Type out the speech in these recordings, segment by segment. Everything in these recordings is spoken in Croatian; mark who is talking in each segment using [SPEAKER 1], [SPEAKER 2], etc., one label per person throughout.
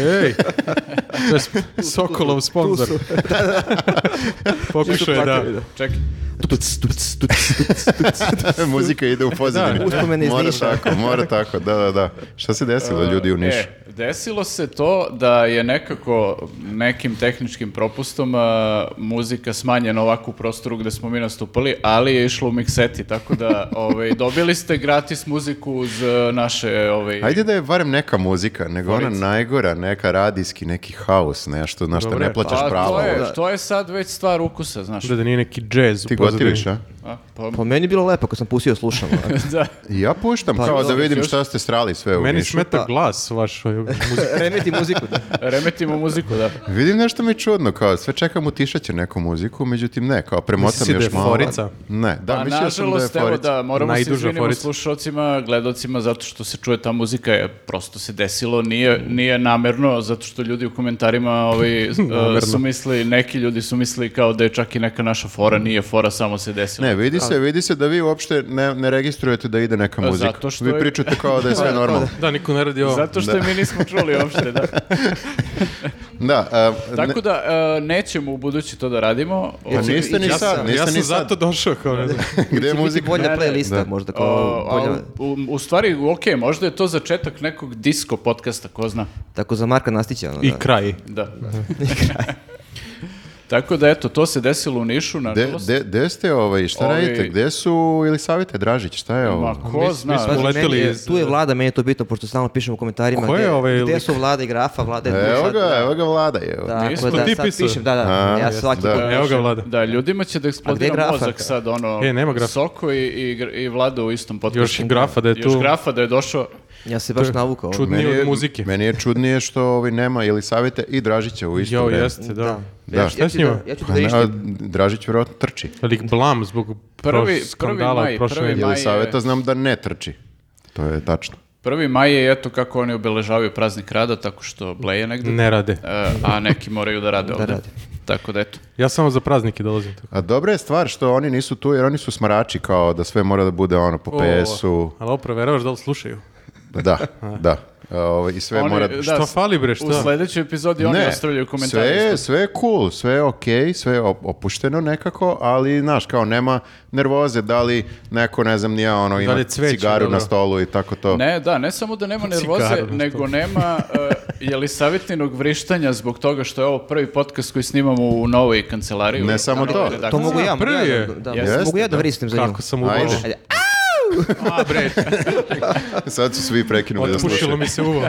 [SPEAKER 1] Ej, to je sp- Sokolov sponsor. Pokušao je da... Ček.
[SPEAKER 2] Tuc, tuc, tuc, tuc, tuc.
[SPEAKER 3] E, Muzika ide u pozadini.
[SPEAKER 2] Uspomene iz
[SPEAKER 3] mora
[SPEAKER 2] Niša.
[SPEAKER 3] tako, mora tako, da, da, da. Šta se desilo ljudi u Nišu?
[SPEAKER 4] E, desilo se to da je nekako nekim tehničkim propustom a, Pa, muzika smanjena ovako u prostoru gde smo mi nastupali, ali je išlo u mikseti, tako da ovaj, dobili ste gratis muziku uz e, naše... Ovaj,
[SPEAKER 3] Ajde da je barem neka muzika, nego ona
[SPEAKER 4] Tvorica.
[SPEAKER 3] najgora, neka radijski, neki haos, nešto na što
[SPEAKER 1] Dobre.
[SPEAKER 3] ne plaćaš
[SPEAKER 4] Pa,
[SPEAKER 3] pravo.
[SPEAKER 4] to, je, to je sad već stvar ukusa, znaš.
[SPEAKER 1] Da, da nije neki džez u
[SPEAKER 3] Ti
[SPEAKER 1] pozadini.
[SPEAKER 3] gotiviš, a?
[SPEAKER 4] A, pa-
[SPEAKER 2] Po meni je bilo lepo kad sam pustio slušam.
[SPEAKER 4] da.
[SPEAKER 3] I Ja puštam kao da
[SPEAKER 4] dobro,
[SPEAKER 3] vidim
[SPEAKER 4] još-
[SPEAKER 3] šta ste strali sve u
[SPEAKER 1] Meni
[SPEAKER 3] Nišu.
[SPEAKER 1] smeta
[SPEAKER 2] Pa-
[SPEAKER 1] glas vaš ovaj, muzika.
[SPEAKER 2] Remeti muziku. Da.
[SPEAKER 3] Pa-
[SPEAKER 4] Remetimo muziku, da.
[SPEAKER 3] Vidim nešto mi je čudno, kao sve čekam utišat će neku muziku, međutim ne, kao premotam
[SPEAKER 1] Misli si da
[SPEAKER 3] još
[SPEAKER 1] je
[SPEAKER 3] malo.
[SPEAKER 1] forica?
[SPEAKER 3] Ne, da,
[SPEAKER 4] A
[SPEAKER 3] mislio sam da je
[SPEAKER 4] Pa, nažalost, evo
[SPEAKER 3] forica.
[SPEAKER 4] da, moramo
[SPEAKER 1] Najduža
[SPEAKER 4] se izvinimo
[SPEAKER 1] forica.
[SPEAKER 4] slušalcima, gledalcima, zato što se čuje ta muzika, je, prosto se desilo, nije, nije namerno, zato što ljudi u komentarima ovaj, e, su mislili, neki ljudi su mislili kao da je čak i neka naša fora, nije fora, samo se desilo.
[SPEAKER 3] Ne, vidi se, vidi se da vi uopšte ne, ne registrujete da ide neka
[SPEAKER 4] A,
[SPEAKER 3] muzika.
[SPEAKER 4] E, zato što
[SPEAKER 3] Vi
[SPEAKER 4] je- Pa
[SPEAKER 3] pričate kao da je sve normalno.
[SPEAKER 1] Da, niko ne radi ovo.
[SPEAKER 4] Zato što mi nismo čuli uopšte, da.
[SPEAKER 3] Da, a, ne-
[SPEAKER 4] Tako da, e, nećemo u budući to da radimo.
[SPEAKER 3] pa
[SPEAKER 4] Ovaj,
[SPEAKER 3] niste ni
[SPEAKER 2] ja
[SPEAKER 3] sad,
[SPEAKER 2] sam-
[SPEAKER 3] niste
[SPEAKER 1] ja sam
[SPEAKER 3] ni sad.
[SPEAKER 1] zato došao kao ne znam.
[SPEAKER 3] Gde je
[SPEAKER 2] Će biti
[SPEAKER 3] muzika?
[SPEAKER 2] bolja
[SPEAKER 4] Ne, ne,
[SPEAKER 2] playlista
[SPEAKER 3] da.
[SPEAKER 2] možda kao
[SPEAKER 4] o,
[SPEAKER 2] bolja.
[SPEAKER 4] ali u, u stvari, ok, možda je to začetak nekog disco podcasta, ko zna.
[SPEAKER 2] Tako za Marka Nastića. Ono,
[SPEAKER 1] I
[SPEAKER 2] da.
[SPEAKER 1] kraj.
[SPEAKER 4] Da. Tako da, eto, to se desilo u Nišu, na
[SPEAKER 3] De, de, de ste ovaj, šta
[SPEAKER 4] Ovi-
[SPEAKER 3] radite? Gde su ili savite Dražić? Šta je ovo?
[SPEAKER 4] Ma, ko zna? znači,
[SPEAKER 1] mi smo
[SPEAKER 2] Pazi,
[SPEAKER 1] Uleteli
[SPEAKER 2] meni je-
[SPEAKER 1] iz-
[SPEAKER 2] tu je vlada, meni je to bitno, pošto stalno pišem u komentarima
[SPEAKER 1] Ko je
[SPEAKER 2] gde,
[SPEAKER 1] ovaj
[SPEAKER 2] gde
[SPEAKER 1] lik?
[SPEAKER 2] su vlada i grafa, vlada je tu
[SPEAKER 3] E, Evo
[SPEAKER 2] sad,
[SPEAKER 3] ga,
[SPEAKER 2] da.
[SPEAKER 3] evo ga vlada je.
[SPEAKER 2] Tako
[SPEAKER 4] smo
[SPEAKER 2] da,
[SPEAKER 1] ti
[SPEAKER 2] sad
[SPEAKER 1] pisali.
[SPEAKER 2] pišem, da, da,
[SPEAKER 3] A,
[SPEAKER 2] ja
[SPEAKER 3] jest,
[SPEAKER 2] svaki
[SPEAKER 3] da.
[SPEAKER 2] put.
[SPEAKER 1] Evo ga vlada.
[SPEAKER 4] Da, ljudima će
[SPEAKER 2] A
[SPEAKER 4] da eksplodira
[SPEAKER 2] gde je graf,
[SPEAKER 4] mozak
[SPEAKER 2] Raka?
[SPEAKER 4] sad, ono,
[SPEAKER 1] E, nema grafa.
[SPEAKER 4] Soko i, i, gr- i Vlada u istom podcastu.
[SPEAKER 1] Još i grafa da je
[SPEAKER 4] Još
[SPEAKER 1] tu.
[SPEAKER 4] grafa da je došao.
[SPEAKER 2] Ja se baš navukao.
[SPEAKER 1] Čudno.
[SPEAKER 3] Meni
[SPEAKER 1] Nije
[SPEAKER 3] je,
[SPEAKER 1] od muzike.
[SPEAKER 3] meni je čudnije što ovaj nema ili savite i Dražića u isto
[SPEAKER 1] Jao,
[SPEAKER 3] vreme.
[SPEAKER 1] jeste, da.
[SPEAKER 3] Da.
[SPEAKER 2] Ja, ću- ja,
[SPEAKER 1] Šta s
[SPEAKER 2] ću da-
[SPEAKER 1] njima?
[SPEAKER 2] ja ću
[SPEAKER 3] Pa
[SPEAKER 2] da
[SPEAKER 3] ne, a
[SPEAKER 2] ištim.
[SPEAKER 3] Dražić vjerojatno trči.
[SPEAKER 1] Lik blam zbog
[SPEAKER 4] Prvi-
[SPEAKER 1] prvi,
[SPEAKER 4] prvi
[SPEAKER 1] skandala
[SPEAKER 4] maj,
[SPEAKER 1] od prošle
[SPEAKER 4] prvi
[SPEAKER 1] nedelje.
[SPEAKER 4] maj.
[SPEAKER 3] Ili
[SPEAKER 4] je-
[SPEAKER 3] saveta znam da ne trči. To je tačno.
[SPEAKER 4] Prvi maj je, eto, kako oni obeležavaju praznik rada, tako što bleje negde,
[SPEAKER 1] Ne rade.
[SPEAKER 4] E, a neki moraju da rade ovde.
[SPEAKER 2] rade.
[SPEAKER 4] Tako da, eto.
[SPEAKER 1] Ja samo za praznike dolazim. Tako.
[SPEAKER 3] A dobra je stvar što oni nisu tu jer oni su smarači kao da sve mora da bude ono po PS-u.
[SPEAKER 1] Ali ovo proveravaš da li slušaju.
[SPEAKER 3] Da, da. A, Ovo, I sve
[SPEAKER 4] Oni,
[SPEAKER 3] mora...
[SPEAKER 4] da,
[SPEAKER 1] E, Šta
[SPEAKER 4] s-
[SPEAKER 1] fali bre, šta?
[SPEAKER 4] U sledećoj epizodi oni ostavljaju
[SPEAKER 3] sve
[SPEAKER 4] komentare.
[SPEAKER 3] je, sve je cool, sve je okej, sve je op- opušteno nekako, ali, znaš, kao nema nervoze, da li neko, ne znam, nije ono, ima
[SPEAKER 1] li je cveće,
[SPEAKER 3] cigaru na
[SPEAKER 1] dobro.
[SPEAKER 3] stolu i tako to.
[SPEAKER 4] Ne, da, ne samo da nema nervoze,
[SPEAKER 1] Cigaru,
[SPEAKER 4] nego
[SPEAKER 1] što?
[SPEAKER 4] nema uh, jelisavitninog vrištanja zbog toga što je ovo prvi podcast koji snimamo u novoj kancelariji. dakle,
[SPEAKER 3] Ne samo
[SPEAKER 4] Na
[SPEAKER 3] to.
[SPEAKER 4] novoj redakciji.
[SPEAKER 2] To mogu ja, mogu ja
[SPEAKER 1] prvi
[SPEAKER 2] da-
[SPEAKER 1] je.
[SPEAKER 2] da,
[SPEAKER 4] Jeste,
[SPEAKER 2] mogu ja da
[SPEAKER 3] da.
[SPEAKER 2] vristim za njim.
[SPEAKER 1] Kako sam
[SPEAKER 3] Ajde.
[SPEAKER 1] ubožen.
[SPEAKER 2] Ajde,
[SPEAKER 1] A bre,
[SPEAKER 3] Sad su svi prekinuli da
[SPEAKER 1] otpušilo
[SPEAKER 3] slušaju.
[SPEAKER 1] mi se uvo.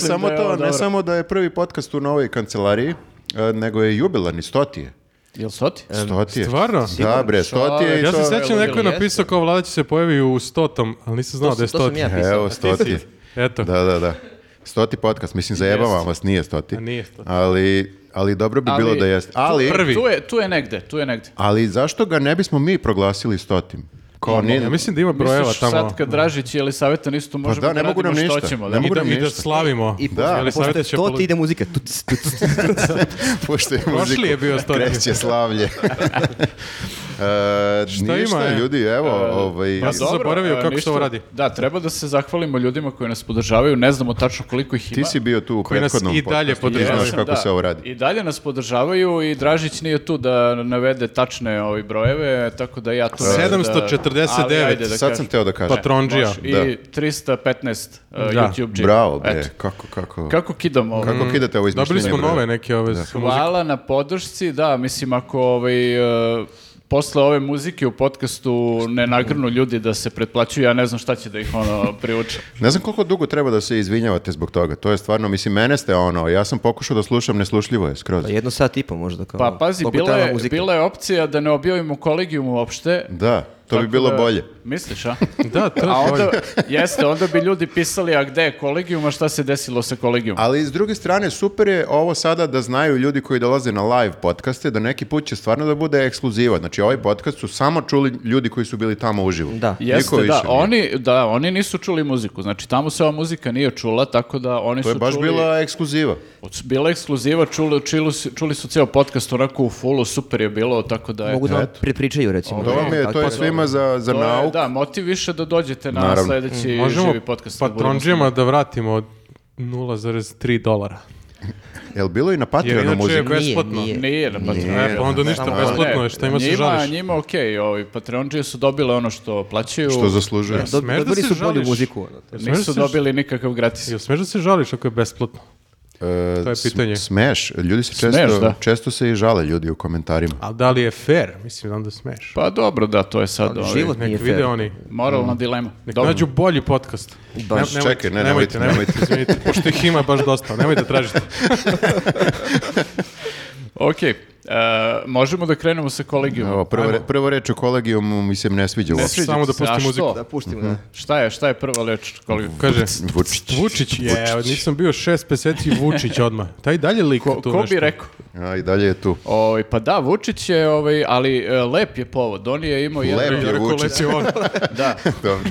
[SPEAKER 3] ne samo
[SPEAKER 4] da je ovo
[SPEAKER 3] to, ne
[SPEAKER 4] dobro.
[SPEAKER 3] samo da je prvi podcast u novoj kancelariji, e, nego je jubilarni, stotije.
[SPEAKER 4] Jel soti?
[SPEAKER 3] Stotije.
[SPEAKER 1] Stvarno?
[SPEAKER 3] Da, bre, stotije i
[SPEAKER 1] Ja
[SPEAKER 3] to...
[SPEAKER 1] se sećam neko je
[SPEAKER 2] Jeste.
[SPEAKER 1] napisao kao vlada će se pojavi u stotom, ali nisam znao
[SPEAKER 2] To
[SPEAKER 1] da je
[SPEAKER 2] sam- to sam
[SPEAKER 1] stoti.
[SPEAKER 2] ja.
[SPEAKER 3] Evo, stotije.
[SPEAKER 1] Eto.
[SPEAKER 3] Da, da, da. Stoti podcast, mislim, zajebavam vas, nije stoti.
[SPEAKER 1] A nije stoti.
[SPEAKER 3] Ali, ali dobro bi
[SPEAKER 4] Ali-
[SPEAKER 3] bilo da jeste. Ali,
[SPEAKER 1] Prvi.
[SPEAKER 4] Tu je, tu je negde, tu je negde.
[SPEAKER 3] ali zašto ga ne bismo mi proglasili stotim? Kao, nije,
[SPEAKER 1] Ja mislim da ima brojeva
[SPEAKER 4] Misliš
[SPEAKER 1] tamo.
[SPEAKER 4] sad kad Dražić i Elisaveta nisu tu, možemo
[SPEAKER 3] Pa da, ne
[SPEAKER 4] da
[SPEAKER 3] mogu
[SPEAKER 4] radimo
[SPEAKER 3] nam
[SPEAKER 4] što
[SPEAKER 3] ništa.
[SPEAKER 4] ćemo.
[SPEAKER 3] Ne
[SPEAKER 4] Da.
[SPEAKER 1] I
[SPEAKER 3] mogu
[SPEAKER 1] da,
[SPEAKER 3] nam
[SPEAKER 1] i da
[SPEAKER 3] ništa.
[SPEAKER 1] slavimo.
[SPEAKER 2] I
[SPEAKER 3] Da,
[SPEAKER 1] ali
[SPEAKER 2] pošto je
[SPEAKER 1] savjet će
[SPEAKER 2] sto, ti
[SPEAKER 1] polu-
[SPEAKER 2] ide muzika. Tuc, tuc, tuc.
[SPEAKER 3] Pušta je
[SPEAKER 1] Prošli
[SPEAKER 3] muziku.
[SPEAKER 1] je bio stoti.
[SPEAKER 3] Kreće slavlje.
[SPEAKER 1] Šta
[SPEAKER 3] e, ništa,
[SPEAKER 1] ima, e?
[SPEAKER 3] ljudi, evo, ovaj...
[SPEAKER 1] pa sam
[SPEAKER 4] Dobro,
[SPEAKER 1] zaboravio
[SPEAKER 4] e,
[SPEAKER 1] kako se
[SPEAKER 4] ništa.
[SPEAKER 1] ovo radi.
[SPEAKER 4] Da, treba da se zahvalimo ljudima koji nas podržavaju, ne znamo tačno koliko ih
[SPEAKER 3] Ti
[SPEAKER 4] ima.
[SPEAKER 3] si bio tu u
[SPEAKER 1] Koji nas
[SPEAKER 3] prethodnom
[SPEAKER 1] i dalje
[SPEAKER 3] podcastu, ti
[SPEAKER 1] podržavaju.
[SPEAKER 3] znaš kako
[SPEAKER 4] Da.
[SPEAKER 3] se ovo radi.
[SPEAKER 4] I dalje nas podržavaju i Dražić nije tu da navede tačne ovi brojeve, tako da ja to... ne-
[SPEAKER 1] 749
[SPEAKER 4] Ali ajde da
[SPEAKER 3] Sad
[SPEAKER 4] kažem.
[SPEAKER 3] sam teo da kažem.
[SPEAKER 1] Patronđija.
[SPEAKER 4] Može. I
[SPEAKER 3] Da.
[SPEAKER 4] 315 uh,
[SPEAKER 1] Da.
[SPEAKER 4] YouTube.
[SPEAKER 3] Bravo, bre, kako, kako... Kako,
[SPEAKER 4] Kako kidamo ovo?
[SPEAKER 3] kidate ovo izmišljenje?
[SPEAKER 1] Mm, Dobili smo
[SPEAKER 3] bre?
[SPEAKER 1] nove neke ove sa muzikom.
[SPEAKER 4] Hvala na podršci, da, mislim ako ovaj, e, posle ove muzike u podcastu ne nagrnu ljudi da se pretplaćuju, ja ne znam šta će da ih ono priuče.
[SPEAKER 3] Ne znam koliko dugo treba da se izvinjavate zbog toga. To je stvarno, mislim, mene ste ono, ja sam pokušao da slušam, neslušljivo je skroz.
[SPEAKER 2] Pa jedno sat i po možda. Kao,
[SPEAKER 3] Ono,
[SPEAKER 4] Pa pazi,
[SPEAKER 2] Koliko
[SPEAKER 4] bila
[SPEAKER 2] trajala
[SPEAKER 4] je,
[SPEAKER 2] muzika?
[SPEAKER 4] bila je opcija da ne objavimo kolegijum uopšte.
[SPEAKER 3] Da, to
[SPEAKER 4] tako
[SPEAKER 3] bi bilo
[SPEAKER 4] da-
[SPEAKER 3] bolje.
[SPEAKER 4] Misliš, a?
[SPEAKER 1] Da, to
[SPEAKER 4] A
[SPEAKER 1] je bolje.
[SPEAKER 4] onda, jeste, onda bi ljudi pisali, a gde je kolegijum, a šta se desilo sa kolegijumom?
[SPEAKER 3] Ali s druge strane, super je ovo sada da znaju ljudi koji dolaze na live podcaste, da neki put će stvarno da bude ekskluziva. Znači, ovaj podcast su samo čuli ljudi koji su bili tamo uživo.
[SPEAKER 2] Da.
[SPEAKER 3] Niko
[SPEAKER 4] Jeste,
[SPEAKER 3] više
[SPEAKER 4] da,
[SPEAKER 3] nije.
[SPEAKER 4] oni, da, oni nisu čuli muziku, znači tamo se ova muzika nije čula, tako da oni
[SPEAKER 3] To je
[SPEAKER 4] su
[SPEAKER 3] baš
[SPEAKER 4] čuli...
[SPEAKER 3] bila ekskluziva.
[SPEAKER 4] Bila ekskluziva, čuli, čuli, su- čuli su ceo podcast onako u fullu, super je bilo, tako da...
[SPEAKER 2] Mogu
[SPEAKER 4] eto.
[SPEAKER 2] da vam prepričaju, recimo.
[SPEAKER 3] To vam je,
[SPEAKER 2] Tako
[SPEAKER 3] to
[SPEAKER 1] pa-
[SPEAKER 3] je
[SPEAKER 2] da-
[SPEAKER 3] svima za, za
[SPEAKER 4] To je,
[SPEAKER 3] nauk.
[SPEAKER 4] da, motiv više da dođete na
[SPEAKER 3] Naravno.
[SPEAKER 4] sledeći
[SPEAKER 1] Možemo
[SPEAKER 4] živi podcast. da budemo
[SPEAKER 1] patronđijama da vratimo 0,3 dolara.
[SPEAKER 3] Jel bilo i na Patreonu
[SPEAKER 1] inače-
[SPEAKER 3] muzika?
[SPEAKER 1] besplatno.
[SPEAKER 4] Nije na Patreonu.
[SPEAKER 1] E, pa onda ništa,
[SPEAKER 4] Samo-
[SPEAKER 1] besplatno je, šta ima se
[SPEAKER 4] njima,
[SPEAKER 1] žališ?
[SPEAKER 4] Njima okej, ovi Patreonđije su dobile ono što plaćaju.
[SPEAKER 3] Što zaslužuje.
[SPEAKER 1] Smeš da
[SPEAKER 2] Dobili
[SPEAKER 1] se
[SPEAKER 2] su bolju
[SPEAKER 1] žališ?
[SPEAKER 2] muziku. ono.
[SPEAKER 1] Jel smeš da
[SPEAKER 4] Nisu
[SPEAKER 1] se-
[SPEAKER 4] dobili nikakav gratis.
[SPEAKER 1] Jel smeš da se žališ ako je besplatno?
[SPEAKER 3] E,
[SPEAKER 1] To je
[SPEAKER 3] sm-
[SPEAKER 1] pitanje.
[SPEAKER 3] Smeš, ljudi se često,
[SPEAKER 4] Smeš, da.
[SPEAKER 3] često se i žale ljudi u komentarima.
[SPEAKER 1] Ali da li je fair? Mislim, onda smeš.
[SPEAKER 4] Pa dobro, da, to je sad
[SPEAKER 2] Ali
[SPEAKER 4] ovi,
[SPEAKER 2] život nije
[SPEAKER 1] Nek
[SPEAKER 2] fair.
[SPEAKER 1] vide oni.
[SPEAKER 4] moralna dilema.
[SPEAKER 1] Mm. Nek
[SPEAKER 4] Dobro.
[SPEAKER 1] nađu bolji podcast.
[SPEAKER 2] Baš.
[SPEAKER 1] Ne- nemojte,
[SPEAKER 3] Čekaj, ne, nemojte, nemojte.
[SPEAKER 1] izvinite, pošto ih ima baš dosta, nemojte tražiti.
[SPEAKER 4] Ok, e, možemo da krenemo sa kolegijom.
[SPEAKER 3] Evo, prvo, re, prvo reč o kolegijumu mi se ne sviđa uopšte.
[SPEAKER 1] Samo da pusti muziku.
[SPEAKER 2] Da pustimo,
[SPEAKER 1] Mhm.
[SPEAKER 2] da.
[SPEAKER 4] Šta je, šta je prva reč kolegijum?
[SPEAKER 1] Kaže,
[SPEAKER 3] Vučić.
[SPEAKER 1] Vučić, je, nisam bio šest meseci Vučić odmah. Taj dalje lik
[SPEAKER 4] Ko,
[SPEAKER 1] tu
[SPEAKER 4] ko
[SPEAKER 1] nešto.
[SPEAKER 4] bi rekao?
[SPEAKER 3] A i dalje je tu.
[SPEAKER 4] Ovaj, pa da, Vučić je, ovaj, ali e, lep je povod. On je imao jedan...
[SPEAKER 3] Lep
[SPEAKER 1] Ja
[SPEAKER 3] je
[SPEAKER 1] rekao,
[SPEAKER 3] Vučić.
[SPEAKER 1] lep je on.
[SPEAKER 4] Da,
[SPEAKER 3] Dobro.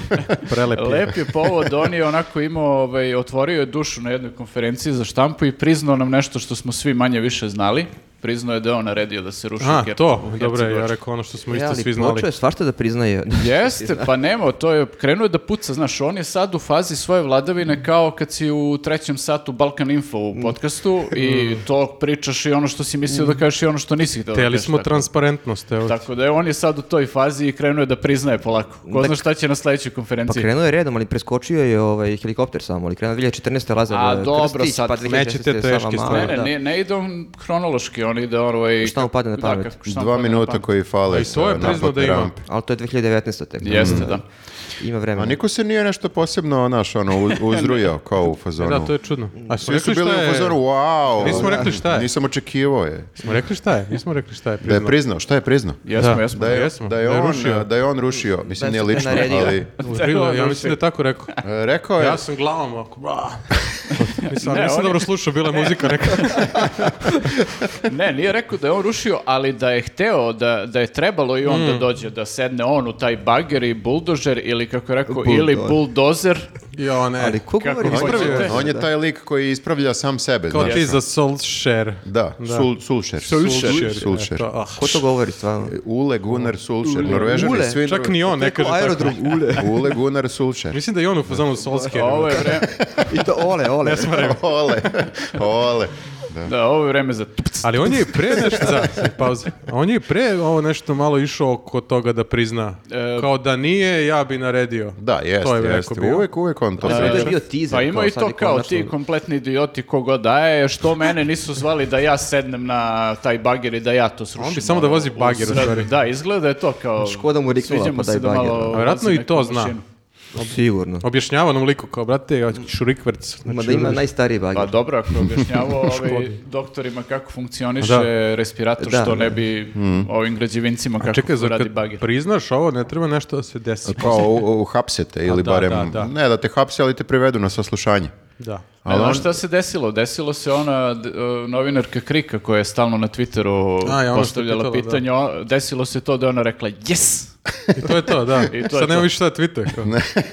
[SPEAKER 1] Prelep je.
[SPEAKER 4] lep je povod. On je onako imao, ovaj, otvorio je dušu na jednoj konferenciji za štampu i priznao nam nešto što smo svi manje više znali. Priznao je da je on naredio da se ruši
[SPEAKER 1] A,
[SPEAKER 4] Ker-
[SPEAKER 1] to,
[SPEAKER 4] u
[SPEAKER 1] dobro, ja
[SPEAKER 4] Hercegovačku.
[SPEAKER 1] rekao ono što smo
[SPEAKER 2] E,
[SPEAKER 1] isto
[SPEAKER 2] ali
[SPEAKER 1] svi znali.
[SPEAKER 2] počeo je svašta da priznaje.
[SPEAKER 4] Jeste, pa nema, to je, krenuo je da puca, znaš, on je sad u fazi svoje vladavine kao kad si u trećem satu Balkan Info u podcastu i to pričaš i ono što si mislio da kažeš i ono što nisi htio da
[SPEAKER 1] Teli
[SPEAKER 4] kažeš,
[SPEAKER 1] smo
[SPEAKER 4] tako.
[SPEAKER 1] transparentnost, evo.
[SPEAKER 4] Tako da je, on je sad u toj fazi i krenuo je da priznaje polako. Ko zna šta će na sledećoj
[SPEAKER 2] Pa
[SPEAKER 4] konferenciji.
[SPEAKER 2] krenuo je redom, ali preskočio je ovaj helikopter samo, ali krenuo 2014. Lazar
[SPEAKER 4] A,
[SPEAKER 2] eh,
[SPEAKER 4] dobro,
[SPEAKER 2] Krstić,
[SPEAKER 4] sad
[SPEAKER 2] pa
[SPEAKER 1] smećete
[SPEAKER 2] 2016.
[SPEAKER 1] teške
[SPEAKER 2] Sava Mala,
[SPEAKER 1] stvari.
[SPEAKER 4] ne,
[SPEAKER 2] da.
[SPEAKER 4] ne, ne, ne ide on hronološki, on ide ovaj...
[SPEAKER 2] Šta mu padne na
[SPEAKER 4] Da,
[SPEAKER 2] pamet.
[SPEAKER 4] kako- šta mu
[SPEAKER 3] Dva
[SPEAKER 4] padne na
[SPEAKER 3] minuta
[SPEAKER 4] pamet.
[SPEAKER 3] koji fale
[SPEAKER 1] pa. A i to je
[SPEAKER 3] sa
[SPEAKER 1] priznao da
[SPEAKER 3] naplatne
[SPEAKER 1] ima.
[SPEAKER 3] rampe.
[SPEAKER 2] Ali to je 2019. tek.
[SPEAKER 4] Jeste, da.
[SPEAKER 2] Ima
[SPEAKER 3] A
[SPEAKER 2] vremena.
[SPEAKER 3] niko se nije nešto posebno, naš, ono, uz- uzrujao kao u fazonu.
[SPEAKER 1] Da, to je čudno.
[SPEAKER 4] Mm.
[SPEAKER 1] A smo
[SPEAKER 3] Svi su
[SPEAKER 1] rekli šta
[SPEAKER 3] bili u
[SPEAKER 1] je?
[SPEAKER 3] fazonu, wow.
[SPEAKER 1] Nismo rekli šta je.
[SPEAKER 3] Nisam očekivao je.
[SPEAKER 1] Smo rekli šta je? Nismo rekli šta je
[SPEAKER 3] Da
[SPEAKER 1] priznao.
[SPEAKER 3] je priznao, šta je priznao?
[SPEAKER 4] Jesmo,
[SPEAKER 1] Da.
[SPEAKER 4] jesmo.
[SPEAKER 3] Da je,
[SPEAKER 1] Jesmo,
[SPEAKER 3] da je
[SPEAKER 1] da je
[SPEAKER 3] on,
[SPEAKER 1] rušio.
[SPEAKER 3] da je on rušio, mislim
[SPEAKER 2] Da
[SPEAKER 3] nije
[SPEAKER 2] je
[SPEAKER 3] lično,
[SPEAKER 2] naredio.
[SPEAKER 3] ali e,
[SPEAKER 1] U prilu,
[SPEAKER 4] Da,
[SPEAKER 1] ja
[SPEAKER 4] da,
[SPEAKER 1] mislim da je tako rekao.
[SPEAKER 3] rekao je,
[SPEAKER 1] Ja sam glavom ovako. bra. Nisam,
[SPEAKER 4] Ne,
[SPEAKER 1] nisam
[SPEAKER 4] on je-
[SPEAKER 1] dobro slušao, bila je muzika neka.
[SPEAKER 4] Ne, nije rekao da je on rušio, ali da je hteo, da, da je trebalo i on da
[SPEAKER 2] Mm.
[SPEAKER 4] dođe, da sedne on u taj bager i buldožer ili kako je rekao, ili buldozer.
[SPEAKER 1] Jo, ne.
[SPEAKER 2] Ali ko
[SPEAKER 4] Kako
[SPEAKER 2] govori?
[SPEAKER 4] hoćete?
[SPEAKER 2] ispravio je.
[SPEAKER 3] on je taj lik koji ispravlja sam sebe,
[SPEAKER 1] Kao
[SPEAKER 3] znaš.
[SPEAKER 1] ti za Solskjaer.
[SPEAKER 3] Da, Sul, Sulšer.
[SPEAKER 4] Solskjaer.
[SPEAKER 3] Solskjaer.
[SPEAKER 1] eto, ah.
[SPEAKER 2] Ko to govori stvarno?
[SPEAKER 3] Ule Gunnar Solskjaer, Norvežani
[SPEAKER 2] Ule,
[SPEAKER 3] svi...
[SPEAKER 1] Čak ni on ne
[SPEAKER 2] Neko
[SPEAKER 1] kaže tako.
[SPEAKER 2] aerodrom ule.
[SPEAKER 3] Ule Gunnar Solskjaer.
[SPEAKER 1] Mislim da je on u fazonu
[SPEAKER 4] Znači,
[SPEAKER 1] ono. Solskjaer.
[SPEAKER 4] Ovo je vreme,
[SPEAKER 2] I to ole, ole.
[SPEAKER 3] Ole, ole.
[SPEAKER 4] da, ovo je vreme za... tupc.
[SPEAKER 1] Ali on je i pre nešto, da, pauza. On je i pre ovo nešto malo išao oko toga da prizna.
[SPEAKER 4] E,
[SPEAKER 1] Kao da nije, ja bi naredio.
[SPEAKER 3] Da,
[SPEAKER 1] To
[SPEAKER 3] jeste,
[SPEAKER 1] je
[SPEAKER 3] jeste.
[SPEAKER 1] rekao bio.
[SPEAKER 3] Uvijek, uvijek on to
[SPEAKER 2] Da,
[SPEAKER 3] priča.
[SPEAKER 2] to je bio teaser.
[SPEAKER 4] Pa ima i
[SPEAKER 2] sad
[SPEAKER 4] to
[SPEAKER 2] je
[SPEAKER 4] kao
[SPEAKER 2] konačno-
[SPEAKER 4] ti kompletni idioti kogo daje, što mene nisu zvali da ja sednem na taj bager i da ja to srušim.
[SPEAKER 1] On bi samo da
[SPEAKER 4] ono,
[SPEAKER 1] vozi
[SPEAKER 4] u
[SPEAKER 1] bager, u
[SPEAKER 4] sred-
[SPEAKER 1] stvari.
[SPEAKER 4] Da, izgleda je to kao...
[SPEAKER 2] Škoda mu riknula,
[SPEAKER 4] sviđa mu
[SPEAKER 2] pa daj
[SPEAKER 4] se
[SPEAKER 2] bager.
[SPEAKER 4] malo
[SPEAKER 1] A vjerojatno
[SPEAKER 4] vozi
[SPEAKER 1] i to
[SPEAKER 4] neku
[SPEAKER 1] zna.
[SPEAKER 4] mašinu.
[SPEAKER 2] Pa Sigurno.
[SPEAKER 1] Objašnjava nam liku kao, brate, ja ću šurikverc. Znači,
[SPEAKER 2] Ma da ima najstariji
[SPEAKER 4] Pa
[SPEAKER 2] bager.
[SPEAKER 4] dobro, ako objašnjavao ovaj doktorima kako funkcioniše
[SPEAKER 1] Da. Mm.
[SPEAKER 4] respirator,
[SPEAKER 2] Da.
[SPEAKER 4] što ne bi ovim građevincima kako
[SPEAKER 1] Čekaj, za
[SPEAKER 4] radi
[SPEAKER 1] kad
[SPEAKER 4] bagir.
[SPEAKER 1] priznaš ovo, ne treba nešto da se desi.
[SPEAKER 3] Kao u- u- hapsete ili
[SPEAKER 1] da,
[SPEAKER 3] barem...
[SPEAKER 1] da, da.
[SPEAKER 3] Ne da te hapse, ali te privedu na saslušanje.
[SPEAKER 1] Da.
[SPEAKER 4] A
[SPEAKER 3] on-
[SPEAKER 4] znaš šta se desilo? Desilo se ona d- e, novinarka Krika koja je stalno na Twitteru
[SPEAKER 1] A, i ona što je
[SPEAKER 4] postavljala
[SPEAKER 1] pitala, da.
[SPEAKER 4] pitanje. o- Desilo se to da je ona rekla yes!
[SPEAKER 1] I to je to, da.
[SPEAKER 4] I to je
[SPEAKER 1] Sad nema
[SPEAKER 4] to.
[SPEAKER 1] više šta Twitter. Kao.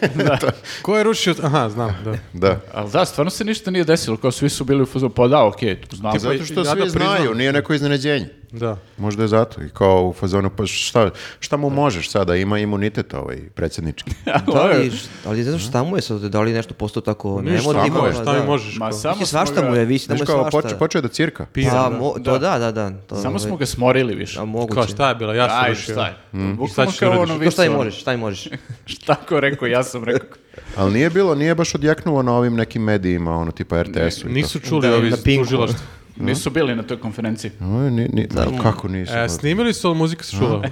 [SPEAKER 1] Ko je rušio? Aha, znam, da.
[SPEAKER 3] Da.
[SPEAKER 4] Ali da, stvarno se ništa nije desilo, kao svi su bili u fazonu, pa da, okej, znam.
[SPEAKER 1] Ti
[SPEAKER 3] Zato
[SPEAKER 1] i
[SPEAKER 3] što
[SPEAKER 1] ja da
[SPEAKER 3] svi
[SPEAKER 1] priznam.
[SPEAKER 3] znaju, nije neko iznenađenje.
[SPEAKER 1] da.
[SPEAKER 3] Možda je zato. I kao u fazonu, pa šta, šta mu možeš sada, ima imunitet ovaj predsjednički.
[SPEAKER 2] Da li, ali ne znam šta mu je sad, da li je nešto postao tako
[SPEAKER 1] Ništa,
[SPEAKER 2] nemotivno.
[SPEAKER 1] šta mu je,
[SPEAKER 2] pa
[SPEAKER 1] šta mi
[SPEAKER 2] da.
[SPEAKER 1] možeš?
[SPEAKER 4] Ma
[SPEAKER 1] kao?
[SPEAKER 4] samo
[SPEAKER 2] Mislim,
[SPEAKER 4] smo
[SPEAKER 2] svašta
[SPEAKER 4] ga-
[SPEAKER 2] mu je, više da mu
[SPEAKER 3] Znaš
[SPEAKER 2] je
[SPEAKER 3] kao,
[SPEAKER 2] svašta.
[SPEAKER 3] poče, počeo je da cirka.
[SPEAKER 1] Pira,
[SPEAKER 2] Pa,
[SPEAKER 1] da.
[SPEAKER 2] mo, to da, da, da. To,
[SPEAKER 4] Samo
[SPEAKER 2] ovaj,
[SPEAKER 4] smo ga smorili više.
[SPEAKER 2] A moguće.
[SPEAKER 1] Kao šta je bilo, ja sam
[SPEAKER 4] Aj,
[SPEAKER 1] rušio. Mm.
[SPEAKER 4] šta je?
[SPEAKER 1] Šta
[SPEAKER 4] Bukvalno
[SPEAKER 1] ćeš
[SPEAKER 4] kao
[SPEAKER 1] da
[SPEAKER 4] ono
[SPEAKER 1] radiš?
[SPEAKER 2] To šta im
[SPEAKER 4] vicu, ono,
[SPEAKER 2] možeš, šta im možeš.
[SPEAKER 4] Šta ko rekao, ja sam rekao.
[SPEAKER 3] Ali nije bilo, nije baš odjeknulo na ovim nekim medijima, ono tipa RTS-u. i
[SPEAKER 1] Nisu čuli
[SPEAKER 2] Da,
[SPEAKER 1] ovi
[SPEAKER 2] na
[SPEAKER 1] iz
[SPEAKER 2] Pinku.
[SPEAKER 1] tužilaštva.
[SPEAKER 4] Nisu bili na toj konferenciji.
[SPEAKER 3] to. Oj, ni- ni- kako nisu?
[SPEAKER 1] E, snimili su, ali muzika se čula.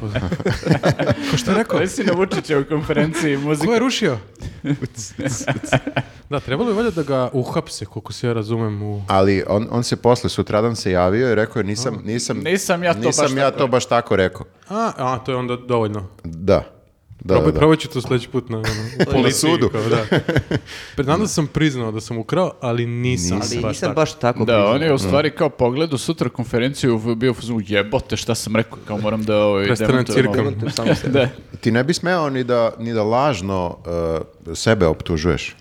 [SPEAKER 1] Ko što je rekao?
[SPEAKER 4] Koji si na Vučićevoj konferenciji muzika?
[SPEAKER 1] Ko je rušio? da, trebalo bi valjda da ga uhapse, koliko se ja razumem u...
[SPEAKER 3] Ali on, on se posle sutradan se javio i rekao je nisam, nisam,
[SPEAKER 4] Nisam ja to
[SPEAKER 3] nisam
[SPEAKER 4] baš
[SPEAKER 3] ja
[SPEAKER 4] tako
[SPEAKER 3] to baš tako rekao.
[SPEAKER 1] A, a, to je onda dovoljno.
[SPEAKER 3] Da. Da,
[SPEAKER 1] Probaj,
[SPEAKER 3] da, da.
[SPEAKER 1] probat ću to sljedeći put na, ono, u policiji.
[SPEAKER 3] sudu.
[SPEAKER 1] kao, da. Znam da sam priznao da sam ukrao, ali nisam,
[SPEAKER 2] Ali
[SPEAKER 1] baš
[SPEAKER 2] nisam
[SPEAKER 1] tako.
[SPEAKER 2] baš tako
[SPEAKER 4] Da,
[SPEAKER 2] priznao.
[SPEAKER 4] on je u stvari kao pogledu sutra konferenciju u- bio u fazonu, jebote šta sam rekao, kao moram da ovaj,
[SPEAKER 1] Prestanem
[SPEAKER 4] demantujem ovo."
[SPEAKER 1] cirkam.
[SPEAKER 2] Demantujem samo sebe.
[SPEAKER 4] Da,
[SPEAKER 3] Ti ne bi smeo ni da, ni da lažno uh, sebe optužuješ.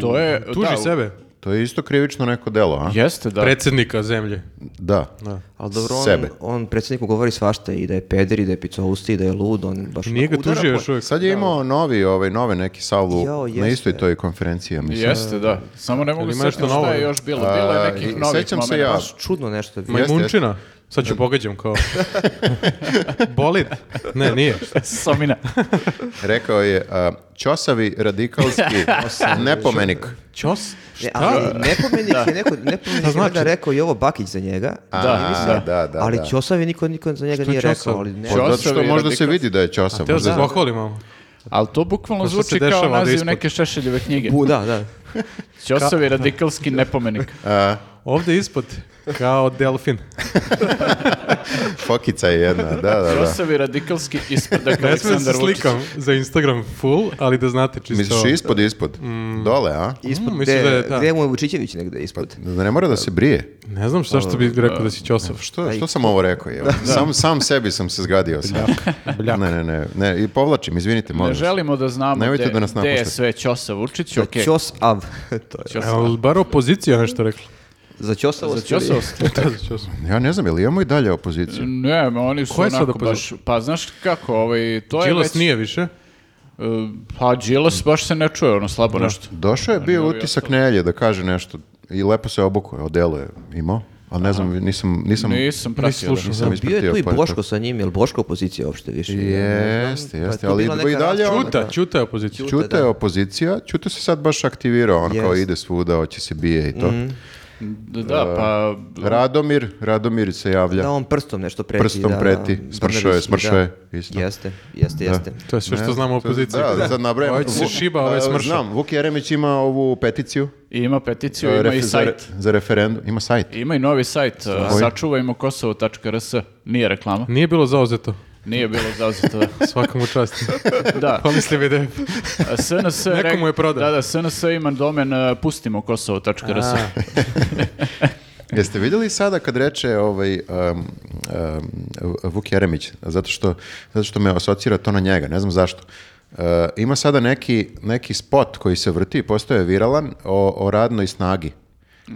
[SPEAKER 4] to je...
[SPEAKER 1] Tuži
[SPEAKER 4] da, u-
[SPEAKER 1] sebe.
[SPEAKER 3] To je isto krivično neko delo, a?
[SPEAKER 4] Jeste, da.
[SPEAKER 1] Predsjednika zemlje.
[SPEAKER 3] Da.
[SPEAKER 1] Da.
[SPEAKER 2] Ali dobro, on,
[SPEAKER 3] Sebe.
[SPEAKER 2] on predsjedniku govori svašta i da je peder i da je picousti i da je lud, on baš...
[SPEAKER 1] Nije ga
[SPEAKER 2] onako udara
[SPEAKER 1] tužio
[SPEAKER 2] po-
[SPEAKER 1] još uvijek.
[SPEAKER 3] Sad je imao novi, ovaj, nove neki salvu
[SPEAKER 2] Jao,
[SPEAKER 3] na
[SPEAKER 2] jeste.
[SPEAKER 3] istoj toj konferenciji, ja mislim.
[SPEAKER 4] Jeste, da. Samo ne mogu
[SPEAKER 1] Jel ima
[SPEAKER 4] se
[SPEAKER 1] nešto
[SPEAKER 4] šta
[SPEAKER 1] novo?
[SPEAKER 4] je još bilo. Bilo
[SPEAKER 3] A,
[SPEAKER 4] je
[SPEAKER 3] i-
[SPEAKER 4] nekih novih
[SPEAKER 3] sećam se
[SPEAKER 4] momenata.
[SPEAKER 3] ja.
[SPEAKER 2] Baš čudno nešto. je bilo.
[SPEAKER 1] Majmunčina. Sad ću pogađam kao... Bolid? Ne, nije.
[SPEAKER 4] Somina.
[SPEAKER 3] Rekao je a, Ćosavi radikalski nepomenik.
[SPEAKER 1] Ćos?
[SPEAKER 2] Ne,
[SPEAKER 1] Šta?
[SPEAKER 2] ali nepomenik je neko, nepomenik je
[SPEAKER 1] znači?
[SPEAKER 2] valjda rekao i ovo Bakić za njega.
[SPEAKER 3] A,
[SPEAKER 4] da.
[SPEAKER 3] da, da,
[SPEAKER 2] ali
[SPEAKER 3] da.
[SPEAKER 2] Ćosavi niko, niko za
[SPEAKER 1] Što
[SPEAKER 2] njega
[SPEAKER 1] je
[SPEAKER 2] nije
[SPEAKER 1] Ćosav?
[SPEAKER 2] rekao. Ali ne,
[SPEAKER 3] Pa Zato što
[SPEAKER 4] Ćosavi
[SPEAKER 3] možda se
[SPEAKER 4] radikalski.
[SPEAKER 3] vidi da je Ćosav.
[SPEAKER 1] Teo se
[SPEAKER 3] možda-
[SPEAKER 1] pohvali malo.
[SPEAKER 4] Ali to bukvalno
[SPEAKER 1] Što se
[SPEAKER 4] zvuči
[SPEAKER 1] dešava
[SPEAKER 4] kao
[SPEAKER 1] ovdje
[SPEAKER 4] naziv
[SPEAKER 1] ispod?
[SPEAKER 4] neke Šešeljeve knjige.
[SPEAKER 2] Bu, da, da.
[SPEAKER 4] Ćosavi radikalski nepomenik.
[SPEAKER 3] A,
[SPEAKER 1] Ovdje ispod, kao delfin.
[SPEAKER 3] fokica je jedna, da, da, da.
[SPEAKER 4] Ćosavi radikalski isprdak
[SPEAKER 1] Ne smijem da se
[SPEAKER 4] Aleksandar Vučić.
[SPEAKER 1] slikam za Instagram full, ali da znate čisto...
[SPEAKER 3] Misliš ispod, ispod? Dole, a?
[SPEAKER 2] Ispod,
[SPEAKER 1] Mm,
[SPEAKER 2] gde,
[SPEAKER 1] misliš da je, da.
[SPEAKER 2] gde mu je Vučićević negde ispod?
[SPEAKER 3] Da ne mora da se brije.
[SPEAKER 1] Ne znam šta što bi rekao da si Ćosov.
[SPEAKER 3] Što, što sam ovo rekao? jel? Sam, sam sebi sam se zgadio. Sam.
[SPEAKER 1] Bljak.
[SPEAKER 3] Ne, ne, ne, ne. I povlačim, izvinite, molim.
[SPEAKER 4] Ne
[SPEAKER 3] vas.
[SPEAKER 4] želimo da znamo
[SPEAKER 3] Nemojte
[SPEAKER 4] gde,
[SPEAKER 3] da nas
[SPEAKER 4] gde je
[SPEAKER 3] napuštate.
[SPEAKER 4] sve Ćosa Vučić.
[SPEAKER 2] Za
[SPEAKER 4] okej.
[SPEAKER 2] Ćosav. to je.
[SPEAKER 4] Ćosa-
[SPEAKER 1] Ali bar opozicija nešto rekla.
[SPEAKER 2] Za
[SPEAKER 4] Za
[SPEAKER 2] Ćosavost. ili-
[SPEAKER 4] Ćosavost?
[SPEAKER 1] Da, za Ćosov.
[SPEAKER 3] Ja ne znam, je li imamo i dalje opoziciju?
[SPEAKER 4] Ne, ma oni su
[SPEAKER 1] Ko je sad
[SPEAKER 4] onako baš...
[SPEAKER 1] opozicija?
[SPEAKER 4] Pa znaš kako, ovaj, to je
[SPEAKER 1] Đilas
[SPEAKER 4] već...
[SPEAKER 1] nije više.
[SPEAKER 4] E, Pa Đilas baš se ne čuje, ono slabo nešto.
[SPEAKER 3] Došao je bio
[SPEAKER 4] ovi
[SPEAKER 3] utisak Nelje da kaže nešto i lepo se obukuje, odelo je imao, ali ne znam, nisam, nisam,
[SPEAKER 4] Nisam pratio.
[SPEAKER 1] slušao.
[SPEAKER 2] Bio
[SPEAKER 3] nisam
[SPEAKER 2] je
[SPEAKER 3] ispratio.
[SPEAKER 2] tu i
[SPEAKER 3] pa je
[SPEAKER 2] Boško sa njim, jel Boško opozicija uopšte više?
[SPEAKER 3] to- Jeste, jeste,
[SPEAKER 2] tu
[SPEAKER 3] ali
[SPEAKER 2] Pa bila
[SPEAKER 3] i
[SPEAKER 2] neka
[SPEAKER 3] dalje
[SPEAKER 2] rasprava.
[SPEAKER 3] on,
[SPEAKER 1] Ćuta, Ćuta je opozicija.
[SPEAKER 2] Ćuta,
[SPEAKER 3] Ćuta je
[SPEAKER 2] da.
[SPEAKER 3] opozicija, Ćuta se sad baš aktivirao, on kao
[SPEAKER 2] Jest. Mhm.
[SPEAKER 3] ide svuda, hoće se bije i to.
[SPEAKER 4] Da, da, pa...
[SPEAKER 3] Radomir, Radomir se javlja.
[SPEAKER 2] Da on prstom nešto preti.
[SPEAKER 3] Prstom
[SPEAKER 2] da,
[SPEAKER 3] preti,
[SPEAKER 2] da,
[SPEAKER 3] smršao je,
[SPEAKER 2] Brnabić,
[SPEAKER 3] smršao je,
[SPEAKER 2] da.
[SPEAKER 3] isto.
[SPEAKER 2] Jeste, jeste, jeste.
[SPEAKER 1] To je sve što
[SPEAKER 3] Ne,
[SPEAKER 1] znamo o
[SPEAKER 3] to-
[SPEAKER 1] opoziciji.
[SPEAKER 3] Da, da, sad nabrajam.
[SPEAKER 1] Ovaj se
[SPEAKER 3] Vu-
[SPEAKER 1] šiba, ovaj
[SPEAKER 3] da,
[SPEAKER 1] smrša.
[SPEAKER 3] Znam, Vuk Jeremić ima ovu peticiju.
[SPEAKER 4] I Ima peticiju,
[SPEAKER 3] e,
[SPEAKER 4] ima
[SPEAKER 3] refe-
[SPEAKER 4] i
[SPEAKER 3] za
[SPEAKER 4] sajt.
[SPEAKER 3] re- Za referendum. Ima sajt.
[SPEAKER 4] Ima i novi sajt, e,
[SPEAKER 3] Koji?
[SPEAKER 4] sačuvajmo kosovo.rs, nije reklama,
[SPEAKER 1] Nije bilo zauzeto.
[SPEAKER 4] nije bilo zauzeto. da.
[SPEAKER 1] Svakom u čast.
[SPEAKER 4] Da,
[SPEAKER 1] Pomisli mi da je...
[SPEAKER 4] a SNS...
[SPEAKER 1] Pa- Neko
[SPEAKER 4] rek-
[SPEAKER 1] mu je prodao.
[SPEAKER 4] Da, da, SNS ima domen e, pustimo kosovo.rs.
[SPEAKER 3] Jeste vidjeli sada kad reče ovaj, um, um, Vuk Jeremić, zato što, zato što me asocira to na njega, ne znam zašto. Uh, ima sada neki, neki spot koji se vrti i postoje viralan o, o radnoj snagi.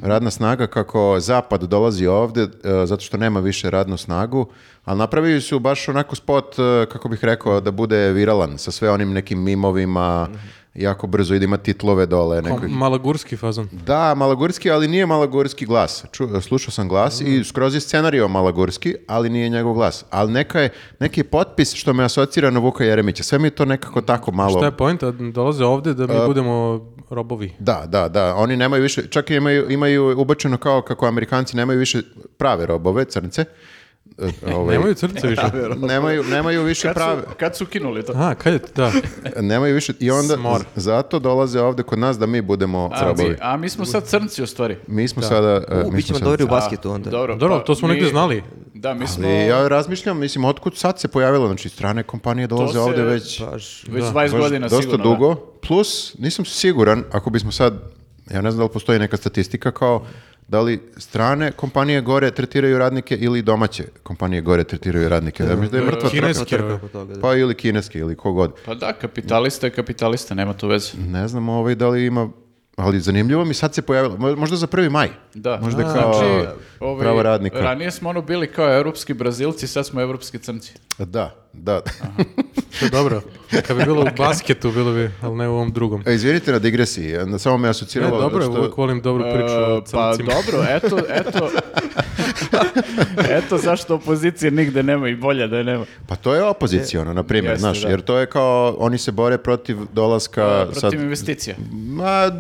[SPEAKER 3] Radna snaga kako zapad dolazi ovde uh, zato što nema više radnu snagu, ali napravili su baš onako spot, uh, kako bih rekao, da bude viralan sa sve onim nekim mimovima, jako brzo ide, ima titlove dole. neko-
[SPEAKER 1] Malagurski fazon.
[SPEAKER 3] da, Malagurski, ali nije Malagurski glas. Ču- slušao sam glas i skroz je scenario Malagurski, ali nije njegov glas. Ali neka je, neki je potpis što me asocira na Vuka Jeremića. Sve mi je to nekako tako malo...
[SPEAKER 1] Šta je pojenta? Dolaze ovdje da mi budemo robovi.
[SPEAKER 3] Da, da, da. Oni nemaju više, čak i imaju, imaju ubačeno kao kako Amerikanci nemaju više prave robove, crnce. E, ovaj,
[SPEAKER 1] Nemaju crnice više.
[SPEAKER 3] nemaju, nemaju više
[SPEAKER 4] Kad
[SPEAKER 3] prave,
[SPEAKER 4] su, kad su kinuli to?
[SPEAKER 1] A, kad je, da.
[SPEAKER 3] nemaju više i onda
[SPEAKER 1] Smor.
[SPEAKER 3] z- zato dolaze ovde kod nas da mi budemo
[SPEAKER 4] A mi,
[SPEAKER 3] robovi.
[SPEAKER 4] a mi smo sad crnci u stvari. pa
[SPEAKER 3] Mi smo sada... e,
[SPEAKER 2] U,
[SPEAKER 3] mi
[SPEAKER 2] bit
[SPEAKER 3] smo
[SPEAKER 2] ćemo
[SPEAKER 3] sada-
[SPEAKER 2] dobri u basketu onda.
[SPEAKER 1] Dobro, to smo
[SPEAKER 4] mi-
[SPEAKER 1] negdje znali.
[SPEAKER 4] Da, mi smo...
[SPEAKER 3] Ali ja razmišljam, mislim, otkud sad se pojavilo, znači strane kompanije dolaze
[SPEAKER 4] se-
[SPEAKER 3] ovdje već
[SPEAKER 2] Baš,
[SPEAKER 4] Već 20
[SPEAKER 3] baš
[SPEAKER 4] godina
[SPEAKER 3] dosta
[SPEAKER 4] sigurno. da.
[SPEAKER 3] dugo. Plus, nisam siguran, ako bismo sad, ja ne znam da li postoji neka statistika kao da li strane kompanije gore tretiraju radnike ili domaće kompanije gore tretiraju radnike. Da, mislim da je mrtva trka.
[SPEAKER 1] Kineski,
[SPEAKER 2] trka
[SPEAKER 1] ove.
[SPEAKER 2] oko toga. da.
[SPEAKER 3] Pa ili kineski ili kogod.
[SPEAKER 4] Pa da, kapitalista je kapitalista, nema tu veze.
[SPEAKER 3] Ne znam ovaj, da li ima, ali zanimljivo mi sad se pojavilo, Mo- možda za 1. maj.
[SPEAKER 4] Da.
[SPEAKER 3] Možda kao
[SPEAKER 4] ovaj,
[SPEAKER 3] pravo radnika.
[SPEAKER 4] Ranije smo ono bili kao evropski brazilci, sad smo evropski crnci.
[SPEAKER 3] Da, da.
[SPEAKER 1] To je dobro. Kad bi bilo u basketu, bilo bi, ali ne u ovom drugom.
[SPEAKER 3] E, Izvinite na digresiji, e, samo me
[SPEAKER 1] Ne,
[SPEAKER 3] asociralo.
[SPEAKER 1] dobro je,
[SPEAKER 3] što-
[SPEAKER 1] uvijek volim dobru priču
[SPEAKER 4] E,
[SPEAKER 1] o
[SPEAKER 4] pa
[SPEAKER 1] crncima.
[SPEAKER 4] dobro, eto, eto, eto zašto opozicije nigde nema i bolje da je nema.
[SPEAKER 3] Pa to je opoziciono, na primjer,
[SPEAKER 4] Jeste,
[SPEAKER 3] znaš,
[SPEAKER 4] da.
[SPEAKER 3] jer to je kao, oni se bore protiv dolaska
[SPEAKER 4] Pa, Protiv
[SPEAKER 3] sad,
[SPEAKER 4] investicija.
[SPEAKER 3] ma,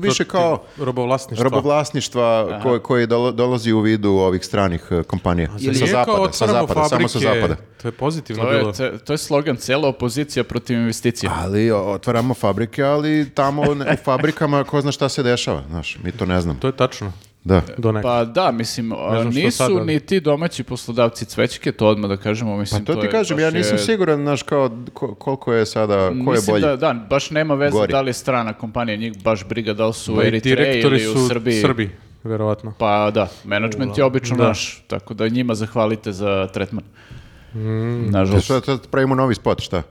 [SPEAKER 3] više kao
[SPEAKER 1] Robovlasništva.
[SPEAKER 3] robovlasništva koje, koje dolo- dolazi u vidu ovih stranih eh, kompanija.
[SPEAKER 1] Ili
[SPEAKER 3] sa
[SPEAKER 1] je kao
[SPEAKER 3] zapada, sa
[SPEAKER 1] otvaramo
[SPEAKER 3] zapada, samo sa
[SPEAKER 1] fabrike,
[SPEAKER 3] zapada.
[SPEAKER 1] To je pozitivno
[SPEAKER 4] To
[SPEAKER 1] bilo.
[SPEAKER 4] je, te- to je slogan, cela opozicija protiv investicija.
[SPEAKER 3] Ali o- otvaramo fabrike, ali tamo ne- u fabrikama ko zna šta se dešava, znaš, mi to ne znam.
[SPEAKER 1] To je tačno.
[SPEAKER 3] Da.
[SPEAKER 1] Do nekada.
[SPEAKER 4] Pa da, mislim, a,
[SPEAKER 1] znam što
[SPEAKER 4] nisu
[SPEAKER 1] sad, ali-
[SPEAKER 4] ni ti domaći poslodavci cvećke, to odmah da kažemo, mislim.
[SPEAKER 3] Pa To ti
[SPEAKER 4] je
[SPEAKER 3] kažem,
[SPEAKER 4] baš
[SPEAKER 3] ja nisam
[SPEAKER 4] je-
[SPEAKER 3] siguran, znaš, kao ko- koliko je sada, ko je
[SPEAKER 4] mislim
[SPEAKER 3] bolji.
[SPEAKER 4] Da, da, baš nema veze
[SPEAKER 3] Gori.
[SPEAKER 4] da li je strana kompanija, njih baš briga da li su u
[SPEAKER 1] Pa i
[SPEAKER 4] Eritreji
[SPEAKER 1] direktori
[SPEAKER 4] ili
[SPEAKER 1] su
[SPEAKER 4] u Srbiji.
[SPEAKER 1] Srbi, verovatno.
[SPEAKER 4] Pa da, management je obično
[SPEAKER 1] Da.
[SPEAKER 4] naš, tako da njima zahvalite za tretman.
[SPEAKER 3] E,
[SPEAKER 4] Nažalost.
[SPEAKER 3] Šta, sad pravimo novi spot, šta?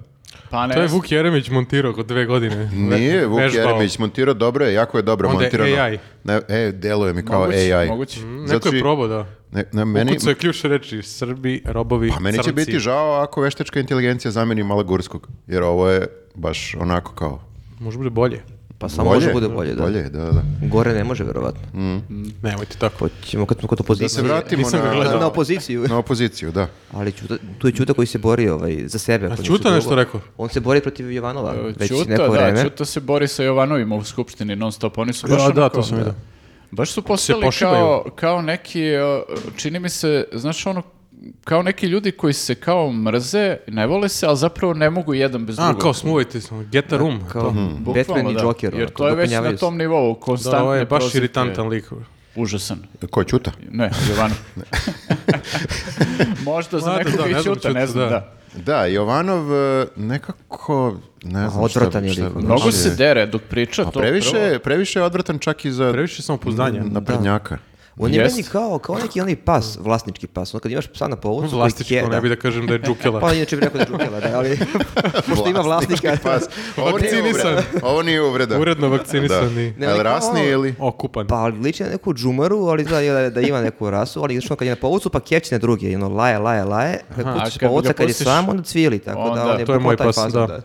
[SPEAKER 4] Pa ne,
[SPEAKER 1] Mm. To je Vuk Jeremić montirao kod dve godine.
[SPEAKER 3] Nije, Vuk
[SPEAKER 1] Vežbao.
[SPEAKER 3] Jeremić montirao dobro je, jako je dobro
[SPEAKER 1] Onda je
[SPEAKER 3] montirano.
[SPEAKER 1] AI.
[SPEAKER 3] Ne, e, deluje mi kao
[SPEAKER 4] moguće,
[SPEAKER 3] AI.
[SPEAKER 4] moguće.
[SPEAKER 1] Neko
[SPEAKER 3] Zato
[SPEAKER 1] je
[SPEAKER 3] i-
[SPEAKER 1] probao, da.
[SPEAKER 3] Ne, ne, Znači, meni,
[SPEAKER 1] Ukucao je ključ reči, Srbi, robovi,
[SPEAKER 3] pa meni će
[SPEAKER 1] crnci.
[SPEAKER 3] biti žao ako veštačka inteligencija zameni Malagurskog, jer ovo je baš onako kao...
[SPEAKER 1] Može bude bolje.
[SPEAKER 2] Pa samo može bude bolje, da.
[SPEAKER 3] Bolje, je, da, da.
[SPEAKER 2] Gore ne može, verovatno.
[SPEAKER 1] Nemojte tako.
[SPEAKER 2] Hoćemo kad smo kod
[SPEAKER 3] Da
[SPEAKER 2] opozicije.
[SPEAKER 3] se vratimo
[SPEAKER 1] nisam ga
[SPEAKER 3] na,
[SPEAKER 1] gledao.
[SPEAKER 2] na,
[SPEAKER 3] na,
[SPEAKER 2] na opoziciju.
[SPEAKER 3] na opoziciju, da.
[SPEAKER 2] Ali Ćuta, tu je Ćuta koji se bori ovaj, za sebe. ako ništa
[SPEAKER 1] Ćuta
[SPEAKER 2] drugo.
[SPEAKER 1] nešto rekao?
[SPEAKER 2] On se bori protiv
[SPEAKER 4] Е,
[SPEAKER 2] Jovanova već neko
[SPEAKER 4] Ćuta,
[SPEAKER 2] vreme.
[SPEAKER 4] da, Ćuta se bori sa Jovanovima u skupštini non stop. Oni su baš
[SPEAKER 1] Da, da,
[SPEAKER 4] onako-
[SPEAKER 1] to sam vidio.
[SPEAKER 4] Baš su postali
[SPEAKER 1] pošibaju.
[SPEAKER 4] kao, kao neki, o, čini mi se, znaš ono, kao neki ljudi koji se kao mrze, ne vole se, ali zapravo ne mogu jedan bez
[SPEAKER 1] A,
[SPEAKER 4] drugog.
[SPEAKER 1] kao smuvajte se, ono, get a room.
[SPEAKER 2] Kao
[SPEAKER 1] to.
[SPEAKER 2] Batman
[SPEAKER 4] Bukvalno,
[SPEAKER 2] i
[SPEAKER 4] da.
[SPEAKER 2] Joker.
[SPEAKER 4] Jer е
[SPEAKER 2] onako,
[SPEAKER 4] to je već na
[SPEAKER 2] dopunjavaju se.
[SPEAKER 4] tom nivou,
[SPEAKER 1] Da,
[SPEAKER 4] konstantne
[SPEAKER 1] ovo je baš
[SPEAKER 4] prozivke.
[SPEAKER 1] iritantan lik.
[SPEAKER 4] Užasan.
[SPEAKER 3] Ko Ćuta?
[SPEAKER 4] Ne, Jovanov. Možda za
[SPEAKER 1] Mlado,
[SPEAKER 4] nekog
[SPEAKER 1] da, ne
[SPEAKER 4] i
[SPEAKER 1] znam
[SPEAKER 4] Ćuta,
[SPEAKER 1] Ćuta,
[SPEAKER 4] ne
[SPEAKER 1] da.
[SPEAKER 4] znam, da.
[SPEAKER 3] Da, Jovanov e, nekako, ne znam šta-
[SPEAKER 2] odvratan je
[SPEAKER 3] šta-
[SPEAKER 2] lik, ono.
[SPEAKER 4] Mnogo
[SPEAKER 3] znači,
[SPEAKER 4] se dere dok priča to.
[SPEAKER 3] Previše,
[SPEAKER 4] prvo.
[SPEAKER 3] je- previše je odvratan čak i za
[SPEAKER 1] Previše samopouzdanja.
[SPEAKER 3] naprednjaka.
[SPEAKER 2] On je
[SPEAKER 4] Jest.
[SPEAKER 2] meni kao, kao neki onaj pas, vlasnički pas. Ono kad imaš psa na povucu, koji
[SPEAKER 1] Vlastičko,
[SPEAKER 2] keda-
[SPEAKER 1] ne bi da kažem da je džukela.
[SPEAKER 2] Pa inače bih rekao da je džukela, da, ali pošto ima vlasnika.
[SPEAKER 3] Pas. Ovo nije
[SPEAKER 1] Vakcinisan.
[SPEAKER 3] uvreda. Ovo nije uvreda.
[SPEAKER 1] Uredno vakcinisan i
[SPEAKER 2] Ne,
[SPEAKER 3] Jel
[SPEAKER 2] ali kao
[SPEAKER 3] rasni
[SPEAKER 2] malo-
[SPEAKER 3] ili...
[SPEAKER 1] okupan.
[SPEAKER 2] Pa ali liči na neku džumaru, ali zna da, da ima neku rasu, ali što kad je na povucu pa kepće na druge, i ono laje, laje, laje, kad
[SPEAKER 4] a
[SPEAKER 2] pustiš
[SPEAKER 4] kad
[SPEAKER 2] povuca
[SPEAKER 4] ga
[SPEAKER 2] kad je
[SPEAKER 4] pustiš-
[SPEAKER 2] sam, onda cvili, tako
[SPEAKER 4] Onda,
[SPEAKER 2] da on je
[SPEAKER 1] to je
[SPEAKER 2] bukvalno
[SPEAKER 1] moj
[SPEAKER 2] taj
[SPEAKER 1] pas,
[SPEAKER 2] fazon,
[SPEAKER 1] da.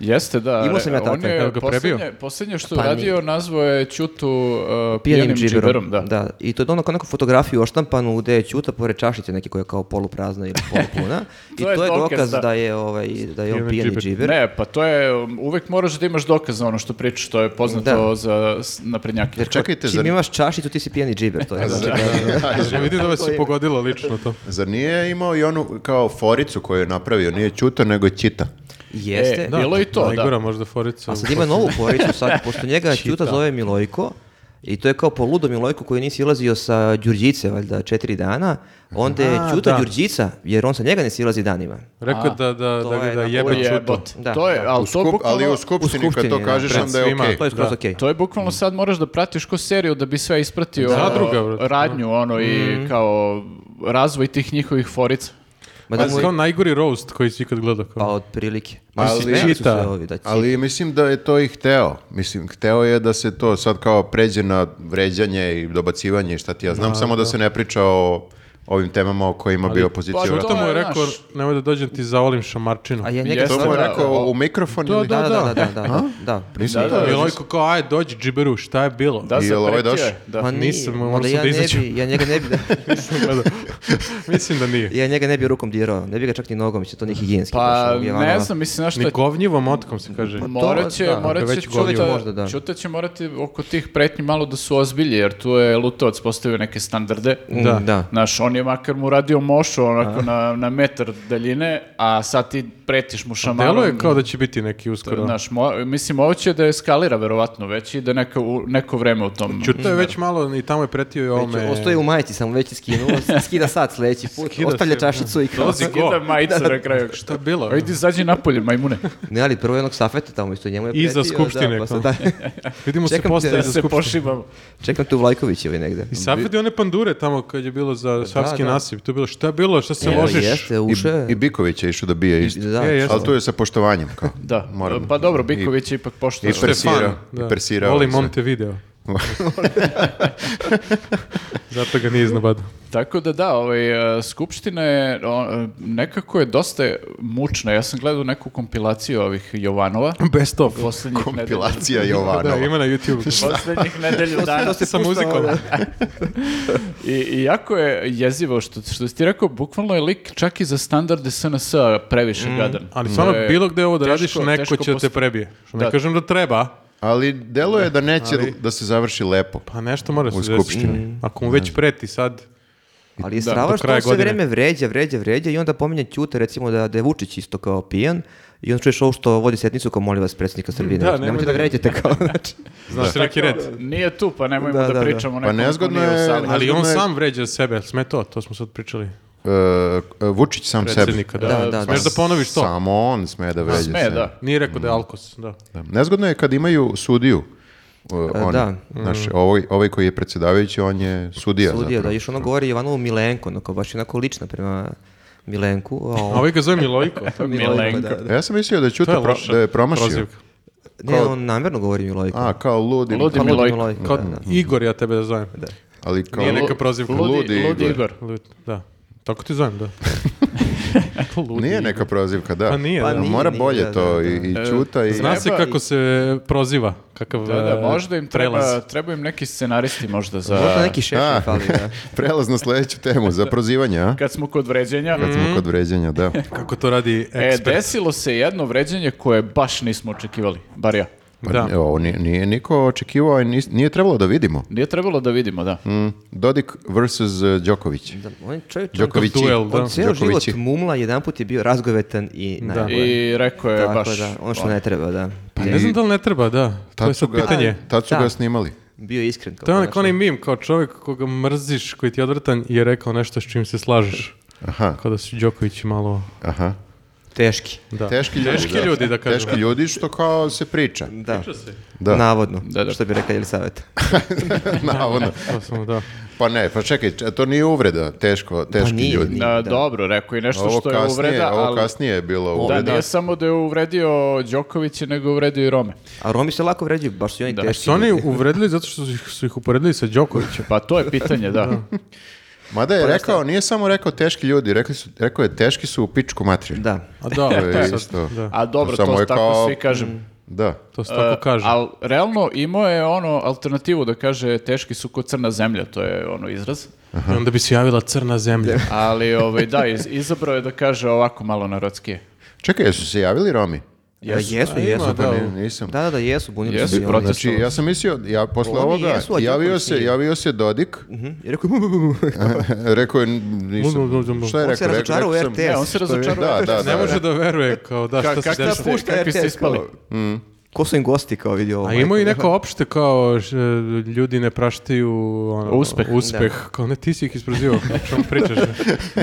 [SPEAKER 4] Jeste, da.
[SPEAKER 2] Imao sam ja
[SPEAKER 4] On
[SPEAKER 2] tata,
[SPEAKER 1] evo
[SPEAKER 4] je
[SPEAKER 1] ga prebio.
[SPEAKER 4] posljednje, posljednje što
[SPEAKER 2] Pa
[SPEAKER 4] je radio, nazvao je Ćutu uh, pijanim džiberom. Da.
[SPEAKER 2] I to je ono kao neku fotografiju oštampanu gde je Ćuta pored čašice neke koja je kao poluprazna ili polupuna. I
[SPEAKER 4] To je
[SPEAKER 2] to je
[SPEAKER 4] dokaz
[SPEAKER 2] dokaz
[SPEAKER 4] da-
[SPEAKER 2] da je, ovaj, da je on
[SPEAKER 1] Pijani
[SPEAKER 2] pijeni
[SPEAKER 1] džiber.
[SPEAKER 2] džiber.
[SPEAKER 4] Ne, pa to je, um, uvek moraš da imaš dokaz za ono što pričaš, to je poznato
[SPEAKER 2] Da.
[SPEAKER 4] za s- naprednjake.
[SPEAKER 2] Jer kao,
[SPEAKER 3] Čekajte,
[SPEAKER 2] čim
[SPEAKER 3] zar-
[SPEAKER 2] imaš čašicu ti si pijeni džiber, to je znači.
[SPEAKER 1] E, Ja vidim da vas je pogodilo lično to.
[SPEAKER 3] Zar nije imao i onu kao foricu koju je napravio? Nije Ćuta, nego je Ćita.
[SPEAKER 2] Jeste.
[SPEAKER 4] E, Bilo i to, da.
[SPEAKER 1] najgora možda forica.
[SPEAKER 2] A sad ima novu poricu sad, pošto njega Ćuta zove Milojko, i to je kao po ludo Milojko koji nisi silazio sa Đurđice, valjda, četiri dana. Onda je
[SPEAKER 1] A,
[SPEAKER 2] Ćuta
[SPEAKER 1] da.
[SPEAKER 2] Đurđica, jer on sa njega ne silazi danima.
[SPEAKER 1] Rekao je da, da,
[SPEAKER 2] to
[SPEAKER 1] da, ga
[SPEAKER 2] je
[SPEAKER 1] da
[SPEAKER 2] na
[SPEAKER 1] jebe
[SPEAKER 2] polju
[SPEAKER 1] čuto.
[SPEAKER 4] jebote.
[SPEAKER 2] Da,
[SPEAKER 4] to je,
[SPEAKER 2] da.
[SPEAKER 4] ali
[SPEAKER 3] U
[SPEAKER 4] to
[SPEAKER 3] skup- ali
[SPEAKER 4] bukvalno-
[SPEAKER 3] u skupštini,
[SPEAKER 2] u skupštini,
[SPEAKER 3] kad to
[SPEAKER 2] da,
[SPEAKER 3] kažeš,
[SPEAKER 1] pred
[SPEAKER 3] onda je
[SPEAKER 1] svima.
[SPEAKER 3] okej.
[SPEAKER 2] To je skroz
[SPEAKER 1] Da.
[SPEAKER 2] okej.
[SPEAKER 4] To je bukvalno sad moraš da pratiš ko seriju da bi sve ispratio
[SPEAKER 1] Zadruga, brate. Mhm.
[SPEAKER 4] uh, radnju ono i kao razvoj tih njihovih forica.
[SPEAKER 2] Ma da
[SPEAKER 1] Pa
[SPEAKER 2] mu je-
[SPEAKER 1] kao najgori roast koji si ikad gledao.
[SPEAKER 2] Pa
[SPEAKER 1] Kao.
[SPEAKER 2] otprilike. Ma
[SPEAKER 3] Ali-
[SPEAKER 2] smejali su se
[SPEAKER 1] Čita.
[SPEAKER 2] ovi da će-
[SPEAKER 3] Ali mislim da je to i hteo. Mislim, hteo je da se to sad kao pređe na vređanje i dobacivanje i šta ti ja znam, samo da, se ne priča o ovim temama o kojima bi opozicija...
[SPEAKER 4] pa to-
[SPEAKER 3] vratila.
[SPEAKER 1] Čuto mu je
[SPEAKER 4] je
[SPEAKER 1] rekao,
[SPEAKER 4] naš-
[SPEAKER 1] nemoj da dođem ti zaolim šamarčinu.
[SPEAKER 2] A ja njega
[SPEAKER 4] Jeste,
[SPEAKER 3] To mu je
[SPEAKER 4] da,
[SPEAKER 3] rekao
[SPEAKER 4] da.
[SPEAKER 3] u mikrofon
[SPEAKER 1] To
[SPEAKER 3] ili...
[SPEAKER 1] da.
[SPEAKER 2] Da, da, da, da, da, da, da.
[SPEAKER 3] Mislim,
[SPEAKER 4] Da,
[SPEAKER 3] da,
[SPEAKER 4] da,
[SPEAKER 3] da,
[SPEAKER 1] Milojko kao, aj, dođi džiberu, šta je bilo?
[SPEAKER 4] Da se
[SPEAKER 3] Jel ovaj
[SPEAKER 4] pretio
[SPEAKER 3] došao?
[SPEAKER 4] je, Da.
[SPEAKER 2] Ma
[SPEAKER 1] nisam,
[SPEAKER 2] Pa nije,
[SPEAKER 1] morao
[SPEAKER 2] ali
[SPEAKER 1] sam
[SPEAKER 2] ja
[SPEAKER 1] da
[SPEAKER 2] ne
[SPEAKER 1] izađem.
[SPEAKER 2] bi- ja njega ne bi,
[SPEAKER 1] Gledao. Mislim da nije.
[SPEAKER 2] ja njega ne bi rukom dirao, ne bi ga čak ni nogom, mislim, to nije higijenski. baš, ono.
[SPEAKER 4] Pa
[SPEAKER 2] ovog Jovanova.
[SPEAKER 4] ne znam, mislim na što
[SPEAKER 1] Ni
[SPEAKER 4] je
[SPEAKER 1] govnjivom otkom se kaže.
[SPEAKER 4] Morat će,
[SPEAKER 2] da, ako
[SPEAKER 4] morat
[SPEAKER 1] je
[SPEAKER 4] će
[SPEAKER 1] već godio.
[SPEAKER 4] Ćuta,
[SPEAKER 2] Možda da.
[SPEAKER 4] Ćuta će morati oko tih pretnji malo da su ozbilji, jer tu je Lutovac postavio neke standarde.
[SPEAKER 2] Mm,
[SPEAKER 1] Da.
[SPEAKER 2] da.
[SPEAKER 4] Znaš, on je makar mu radio mošu onako na, na metar daljine, a sad ti pretiš mu šamarom.
[SPEAKER 1] Pa Delo je kao da će biti neki uskoro.
[SPEAKER 4] Znaš, mo- mislim, ovo će da eskalira verovatno već i da neka, u, neko vreme u tom...
[SPEAKER 1] Čuto je već malo i tamo je pretio i
[SPEAKER 2] Već
[SPEAKER 1] ovome.
[SPEAKER 2] Ostoji u majici samo, već je skinuo, skida sad sledeći put,
[SPEAKER 1] Skida
[SPEAKER 2] ostavlja
[SPEAKER 1] se,
[SPEAKER 2] čašicu i kao...
[SPEAKER 1] Dolazi go.
[SPEAKER 4] Skida majicu na kraju.
[SPEAKER 1] Šta je bilo?
[SPEAKER 4] Ajde, izađi napolje, majmune.
[SPEAKER 2] Ne, ali prvo je onog safeta tamo isto njemu je pretio.
[SPEAKER 1] Iza skupštine,
[SPEAKER 2] Da, pa sad,
[SPEAKER 1] kao.
[SPEAKER 2] da.
[SPEAKER 1] Vidimo se
[SPEAKER 2] Čekam te
[SPEAKER 1] posle
[SPEAKER 2] da
[SPEAKER 1] iza
[SPEAKER 4] Da se
[SPEAKER 1] skupštine.
[SPEAKER 4] pošibamo.
[SPEAKER 2] Čekam tu Vlajković ili negde.
[SPEAKER 1] I Safed je one pandure tamo kad je bilo za savski
[SPEAKER 2] da.
[SPEAKER 1] nasip. To je bilo šta je bilo, šta se
[SPEAKER 2] Evo,
[SPEAKER 1] ložiš?
[SPEAKER 2] Jeste, uše.
[SPEAKER 3] I, I Biković je išao da bije isto.
[SPEAKER 2] da,
[SPEAKER 1] Je, jeste.
[SPEAKER 3] Ali tu je sa poštovanjem kao.
[SPEAKER 4] Da,
[SPEAKER 3] Moram.
[SPEAKER 4] pa dobro, Biković je ipak poštao.
[SPEAKER 3] I
[SPEAKER 1] Što je fan,
[SPEAKER 3] Persirao,
[SPEAKER 1] da.
[SPEAKER 3] persirao
[SPEAKER 1] Voli
[SPEAKER 3] se.
[SPEAKER 1] Montevideo. Zato ga nije iznabadao.
[SPEAKER 4] Tako da da, ovaj, e, skupština je o, e, nekako je dosta mučna. Ja sam gledao neku kompilaciju ovih Jovanova.
[SPEAKER 1] Best of.
[SPEAKER 4] Poslednjih nedelja,
[SPEAKER 3] Kompilacija
[SPEAKER 1] Da,
[SPEAKER 3] Jovanova.
[SPEAKER 1] ima na YouTube.
[SPEAKER 4] poslednjih nedelju dana.
[SPEAKER 1] Sa muzikom.
[SPEAKER 4] I, I jako je jezivo što, što si ti rekao, bukvalno je lik čak i za standarde SNS previše gadan. Ovaj,
[SPEAKER 1] Ali
[SPEAKER 4] To
[SPEAKER 1] stvarno
[SPEAKER 4] je
[SPEAKER 1] bilo gde ovo da
[SPEAKER 4] teško-
[SPEAKER 1] radiš, neko
[SPEAKER 4] teško
[SPEAKER 1] će da te
[SPEAKER 4] post-
[SPEAKER 1] prebije. Što ne
[SPEAKER 4] Da.
[SPEAKER 1] kažem da treba,
[SPEAKER 3] Ali delo je da neće
[SPEAKER 1] Ali-
[SPEAKER 3] da se završi lepo.
[SPEAKER 1] pa nešto mora
[SPEAKER 3] U
[SPEAKER 1] se desiti. Mm.
[SPEAKER 3] skupštini.
[SPEAKER 1] Ako mu već preti sad,
[SPEAKER 2] Ali je
[SPEAKER 4] Da,
[SPEAKER 2] strava
[SPEAKER 1] do
[SPEAKER 2] što
[SPEAKER 1] kraja
[SPEAKER 2] on sve
[SPEAKER 1] godine.
[SPEAKER 2] vreme vređa, vređa, vređa i onda pominje Ćute recimo da, da je Vučić isto kao pijan i onda čuješ ovo što vodi sednicu kao molim vas predsjednika Srbije.
[SPEAKER 1] Da,
[SPEAKER 2] Da,
[SPEAKER 1] nemoj
[SPEAKER 2] nemojte
[SPEAKER 1] da-
[SPEAKER 2] da vređate kao znači.
[SPEAKER 1] znaš neki red.
[SPEAKER 4] Nije tu, pa nemojmo
[SPEAKER 2] Da,
[SPEAKER 4] da,
[SPEAKER 2] da, da.
[SPEAKER 4] pričamo
[SPEAKER 3] Pa
[SPEAKER 4] o nekom ko
[SPEAKER 3] nezgodno
[SPEAKER 4] nije u
[SPEAKER 3] je-
[SPEAKER 4] sali.
[SPEAKER 3] ne-
[SPEAKER 1] Ali on
[SPEAKER 3] Nezgodno je-
[SPEAKER 1] sam vređa sebe, sme to, to smo sad pričali.
[SPEAKER 3] E, e, Vučić sam sebi.
[SPEAKER 1] Predsjednika,
[SPEAKER 2] Da,
[SPEAKER 1] da. Ono
[SPEAKER 2] da,
[SPEAKER 1] Smeš da
[SPEAKER 2] da.
[SPEAKER 1] ponoviš to.
[SPEAKER 3] Samo on sme da vređa
[SPEAKER 4] Pa Sme,
[SPEAKER 3] sebe.
[SPEAKER 4] da.
[SPEAKER 1] Nije rekao
[SPEAKER 3] Mm.
[SPEAKER 1] da je alkos, da.
[SPEAKER 3] Da. Nezgodno je kad imaju sudiju. e, on,
[SPEAKER 2] da. Mm.
[SPEAKER 3] Znaš, ovaj, ovaj koji je predsjedavajući, on je sudija.
[SPEAKER 2] Sudija, da,
[SPEAKER 3] zapravo.
[SPEAKER 2] ono, još ono govori Jovanovu Milenko, onako baš je onako lično prema Milenku. A
[SPEAKER 1] A
[SPEAKER 2] on-
[SPEAKER 1] ovaj ga zove Milojko. tako?
[SPEAKER 2] Milojko,
[SPEAKER 4] Milenko.
[SPEAKER 2] da, da.
[SPEAKER 3] Ja sam mislio da je Ćuta
[SPEAKER 1] To je
[SPEAKER 3] pro-
[SPEAKER 1] loša
[SPEAKER 3] da je promašio.
[SPEAKER 1] prozivka.
[SPEAKER 2] Ne, on namjerno govori Milojko.
[SPEAKER 3] A, kao ludi.
[SPEAKER 2] Pa,
[SPEAKER 4] Ludi
[SPEAKER 3] Kao-
[SPEAKER 2] Ludi
[SPEAKER 4] Milojko.
[SPEAKER 2] Milojko,
[SPEAKER 1] Kao
[SPEAKER 2] da, da.
[SPEAKER 1] Igor ja tebe da zovem.
[SPEAKER 3] Ali kao
[SPEAKER 1] Nije
[SPEAKER 3] lu-
[SPEAKER 1] neka prozivka.
[SPEAKER 4] Ludi,
[SPEAKER 3] Ludi
[SPEAKER 4] Ludi
[SPEAKER 3] Igor.
[SPEAKER 4] Igor.
[SPEAKER 1] Lut- Da. Tako ti zovem, da. Ludi.
[SPEAKER 3] Nije neka prozivka, da.
[SPEAKER 1] Pa nije,
[SPEAKER 2] Pa
[SPEAKER 1] da.
[SPEAKER 2] nije.
[SPEAKER 3] Mora bolje
[SPEAKER 2] da,
[SPEAKER 3] to
[SPEAKER 2] da,
[SPEAKER 3] i, i Ćuta i...
[SPEAKER 1] Zna se
[SPEAKER 4] Treba-
[SPEAKER 1] kako se proziva, kakav
[SPEAKER 4] Da, da,
[SPEAKER 1] e,
[SPEAKER 4] možda im treba,
[SPEAKER 1] prelaz.
[SPEAKER 4] treba im neki scenaristi možda za...
[SPEAKER 2] Možda neki šef
[SPEAKER 3] A,
[SPEAKER 2] mi fali, da.
[SPEAKER 3] prelaz na sljedeću temu, za prozivanje, a?
[SPEAKER 4] Kad smo kod vređenja,
[SPEAKER 3] Kad smo kod vređanja, da.
[SPEAKER 1] Kako to radi
[SPEAKER 4] e,
[SPEAKER 1] Mm. ekspert.
[SPEAKER 4] desilo se jedno vređenje koje baš nismo očekivali, bar ja.
[SPEAKER 3] Pa,
[SPEAKER 1] Da.
[SPEAKER 3] evo, nije, nije niko očekivao i nis- nije trebalo da vidimo.
[SPEAKER 4] Nije trebalo da vidimo, da.
[SPEAKER 3] Mm, Dodik versus eh, Djokovic.
[SPEAKER 2] Da, On je čovjek, on-
[SPEAKER 3] Djokovic.
[SPEAKER 1] duel, da.
[SPEAKER 2] on cijeli život
[SPEAKER 3] Đokovići.
[SPEAKER 2] mumla, jedanput je bio razgovetan i najbolje.
[SPEAKER 4] I rekao je
[SPEAKER 2] Tako
[SPEAKER 4] baš...
[SPEAKER 2] da, ono što ne treba, da.
[SPEAKER 1] Pa ne znam da li ne treba, da. To je sad pitanje.
[SPEAKER 3] Tad su
[SPEAKER 2] Da.
[SPEAKER 3] ga snimali.
[SPEAKER 2] Bio je iskren. kao
[SPEAKER 1] To je onaj
[SPEAKER 2] konačno.
[SPEAKER 1] onaj mim, kao čovjek koga mrziš, koji ti je odvratan i je rekao nešto s čim se slažeš.
[SPEAKER 3] Aha,
[SPEAKER 1] Kao da su Đoković malo...
[SPEAKER 3] aha.
[SPEAKER 2] Teški.
[SPEAKER 1] Da.
[SPEAKER 3] Teški ljudi.
[SPEAKER 1] Teški ljudi, da kažem.
[SPEAKER 3] Teški ljudi što kao se priča.
[SPEAKER 2] Da.
[SPEAKER 3] Da.
[SPEAKER 2] Navodno,
[SPEAKER 4] Da, da.
[SPEAKER 2] što bi rekao Elisaveta.
[SPEAKER 3] Navodno.
[SPEAKER 1] To samo, da.
[SPEAKER 3] ono, Pa ne, pa čekaj, č- to nije uvreda, teško, teški
[SPEAKER 2] nije,
[SPEAKER 3] ljudi.
[SPEAKER 2] nije.
[SPEAKER 4] Da,
[SPEAKER 2] Da.
[SPEAKER 4] Dobro, rekao je nešto
[SPEAKER 3] Ovo
[SPEAKER 4] što je
[SPEAKER 3] kasnije,
[SPEAKER 4] uvreda,
[SPEAKER 3] ovo
[SPEAKER 4] ali...
[SPEAKER 3] kasnije je bilo
[SPEAKER 4] Da,
[SPEAKER 3] uvreda.
[SPEAKER 4] nije samo da je uvredio Đokovića, nego je uvredio i Rome.
[SPEAKER 2] A Romi se lako vređuju, baš su i oni
[SPEAKER 4] Da.
[SPEAKER 2] teški.
[SPEAKER 1] Su oni
[SPEAKER 2] ljudi.
[SPEAKER 1] uvredili zato što su ih, su ih uporedili sa Đokovićem.
[SPEAKER 4] Pa to je pitanje, da.
[SPEAKER 3] Mada je rekao, nije samo rekao teški ljudi, rekli su, rekao je teški su u pičku materiju.
[SPEAKER 2] Da.
[SPEAKER 1] A da,
[SPEAKER 3] To je
[SPEAKER 1] to sad-
[SPEAKER 3] isto.
[SPEAKER 1] da.
[SPEAKER 4] A dobro,
[SPEAKER 3] Samo
[SPEAKER 4] to
[SPEAKER 3] je
[SPEAKER 4] tako
[SPEAKER 3] kao- Mm.
[SPEAKER 4] svi kažem.
[SPEAKER 3] Da.
[SPEAKER 1] To se tako kaže.
[SPEAKER 4] Ali E, realno imao je ono alternativu da kaže teški su ko crna zemlja, to je ono izraz.
[SPEAKER 1] I onda bi se javila crna zemlja.
[SPEAKER 4] Ali ovaj, da, iz- izdobro je da kaže ovako malo narodskije.
[SPEAKER 3] Čekaj, jesu se javili Romi?
[SPEAKER 2] Jesu, jesu,
[SPEAKER 1] A, ima,
[SPEAKER 2] jesu.
[SPEAKER 1] Da,
[SPEAKER 3] Pa
[SPEAKER 1] u-
[SPEAKER 3] ne, nisam.
[SPEAKER 2] Da, da, da, jesu, bunili
[SPEAKER 4] Jesu,
[SPEAKER 2] su se i ono. oni.
[SPEAKER 4] protiv-
[SPEAKER 3] Znači, ja sam mislio, ja posle
[SPEAKER 2] Romi
[SPEAKER 3] ovoga,
[SPEAKER 2] jesu, a
[SPEAKER 3] javio
[SPEAKER 2] Đoković
[SPEAKER 3] se,
[SPEAKER 2] nije.
[SPEAKER 3] javio se Dodik,
[SPEAKER 2] Mhm. I rekao je, "Bu, bu, bu, bu."
[SPEAKER 3] rekao je, nisam,
[SPEAKER 1] Mu, mu, mu, mu.
[SPEAKER 3] šta je
[SPEAKER 2] On
[SPEAKER 3] rekao?
[SPEAKER 2] se razočarao u
[SPEAKER 3] Rekao sam-
[SPEAKER 2] RTS.
[SPEAKER 4] Ne, on se
[SPEAKER 3] Što je-
[SPEAKER 4] razočarao.
[SPEAKER 3] Da, da, da.
[SPEAKER 1] Ne može da veruje, kao da,
[SPEAKER 4] Ka-
[SPEAKER 1] šta se
[SPEAKER 4] kakvi
[SPEAKER 1] desilo.
[SPEAKER 4] ste- kakvi ste ispali?
[SPEAKER 2] Ko su im gosti kao ovaj? vidio?
[SPEAKER 1] A ima i neko opšte kao š- e, ljudi ne praštaju ono,
[SPEAKER 4] Uspeh.
[SPEAKER 1] uspeh. Kao ne, ti si ih isprozivao, o čemu pričaš?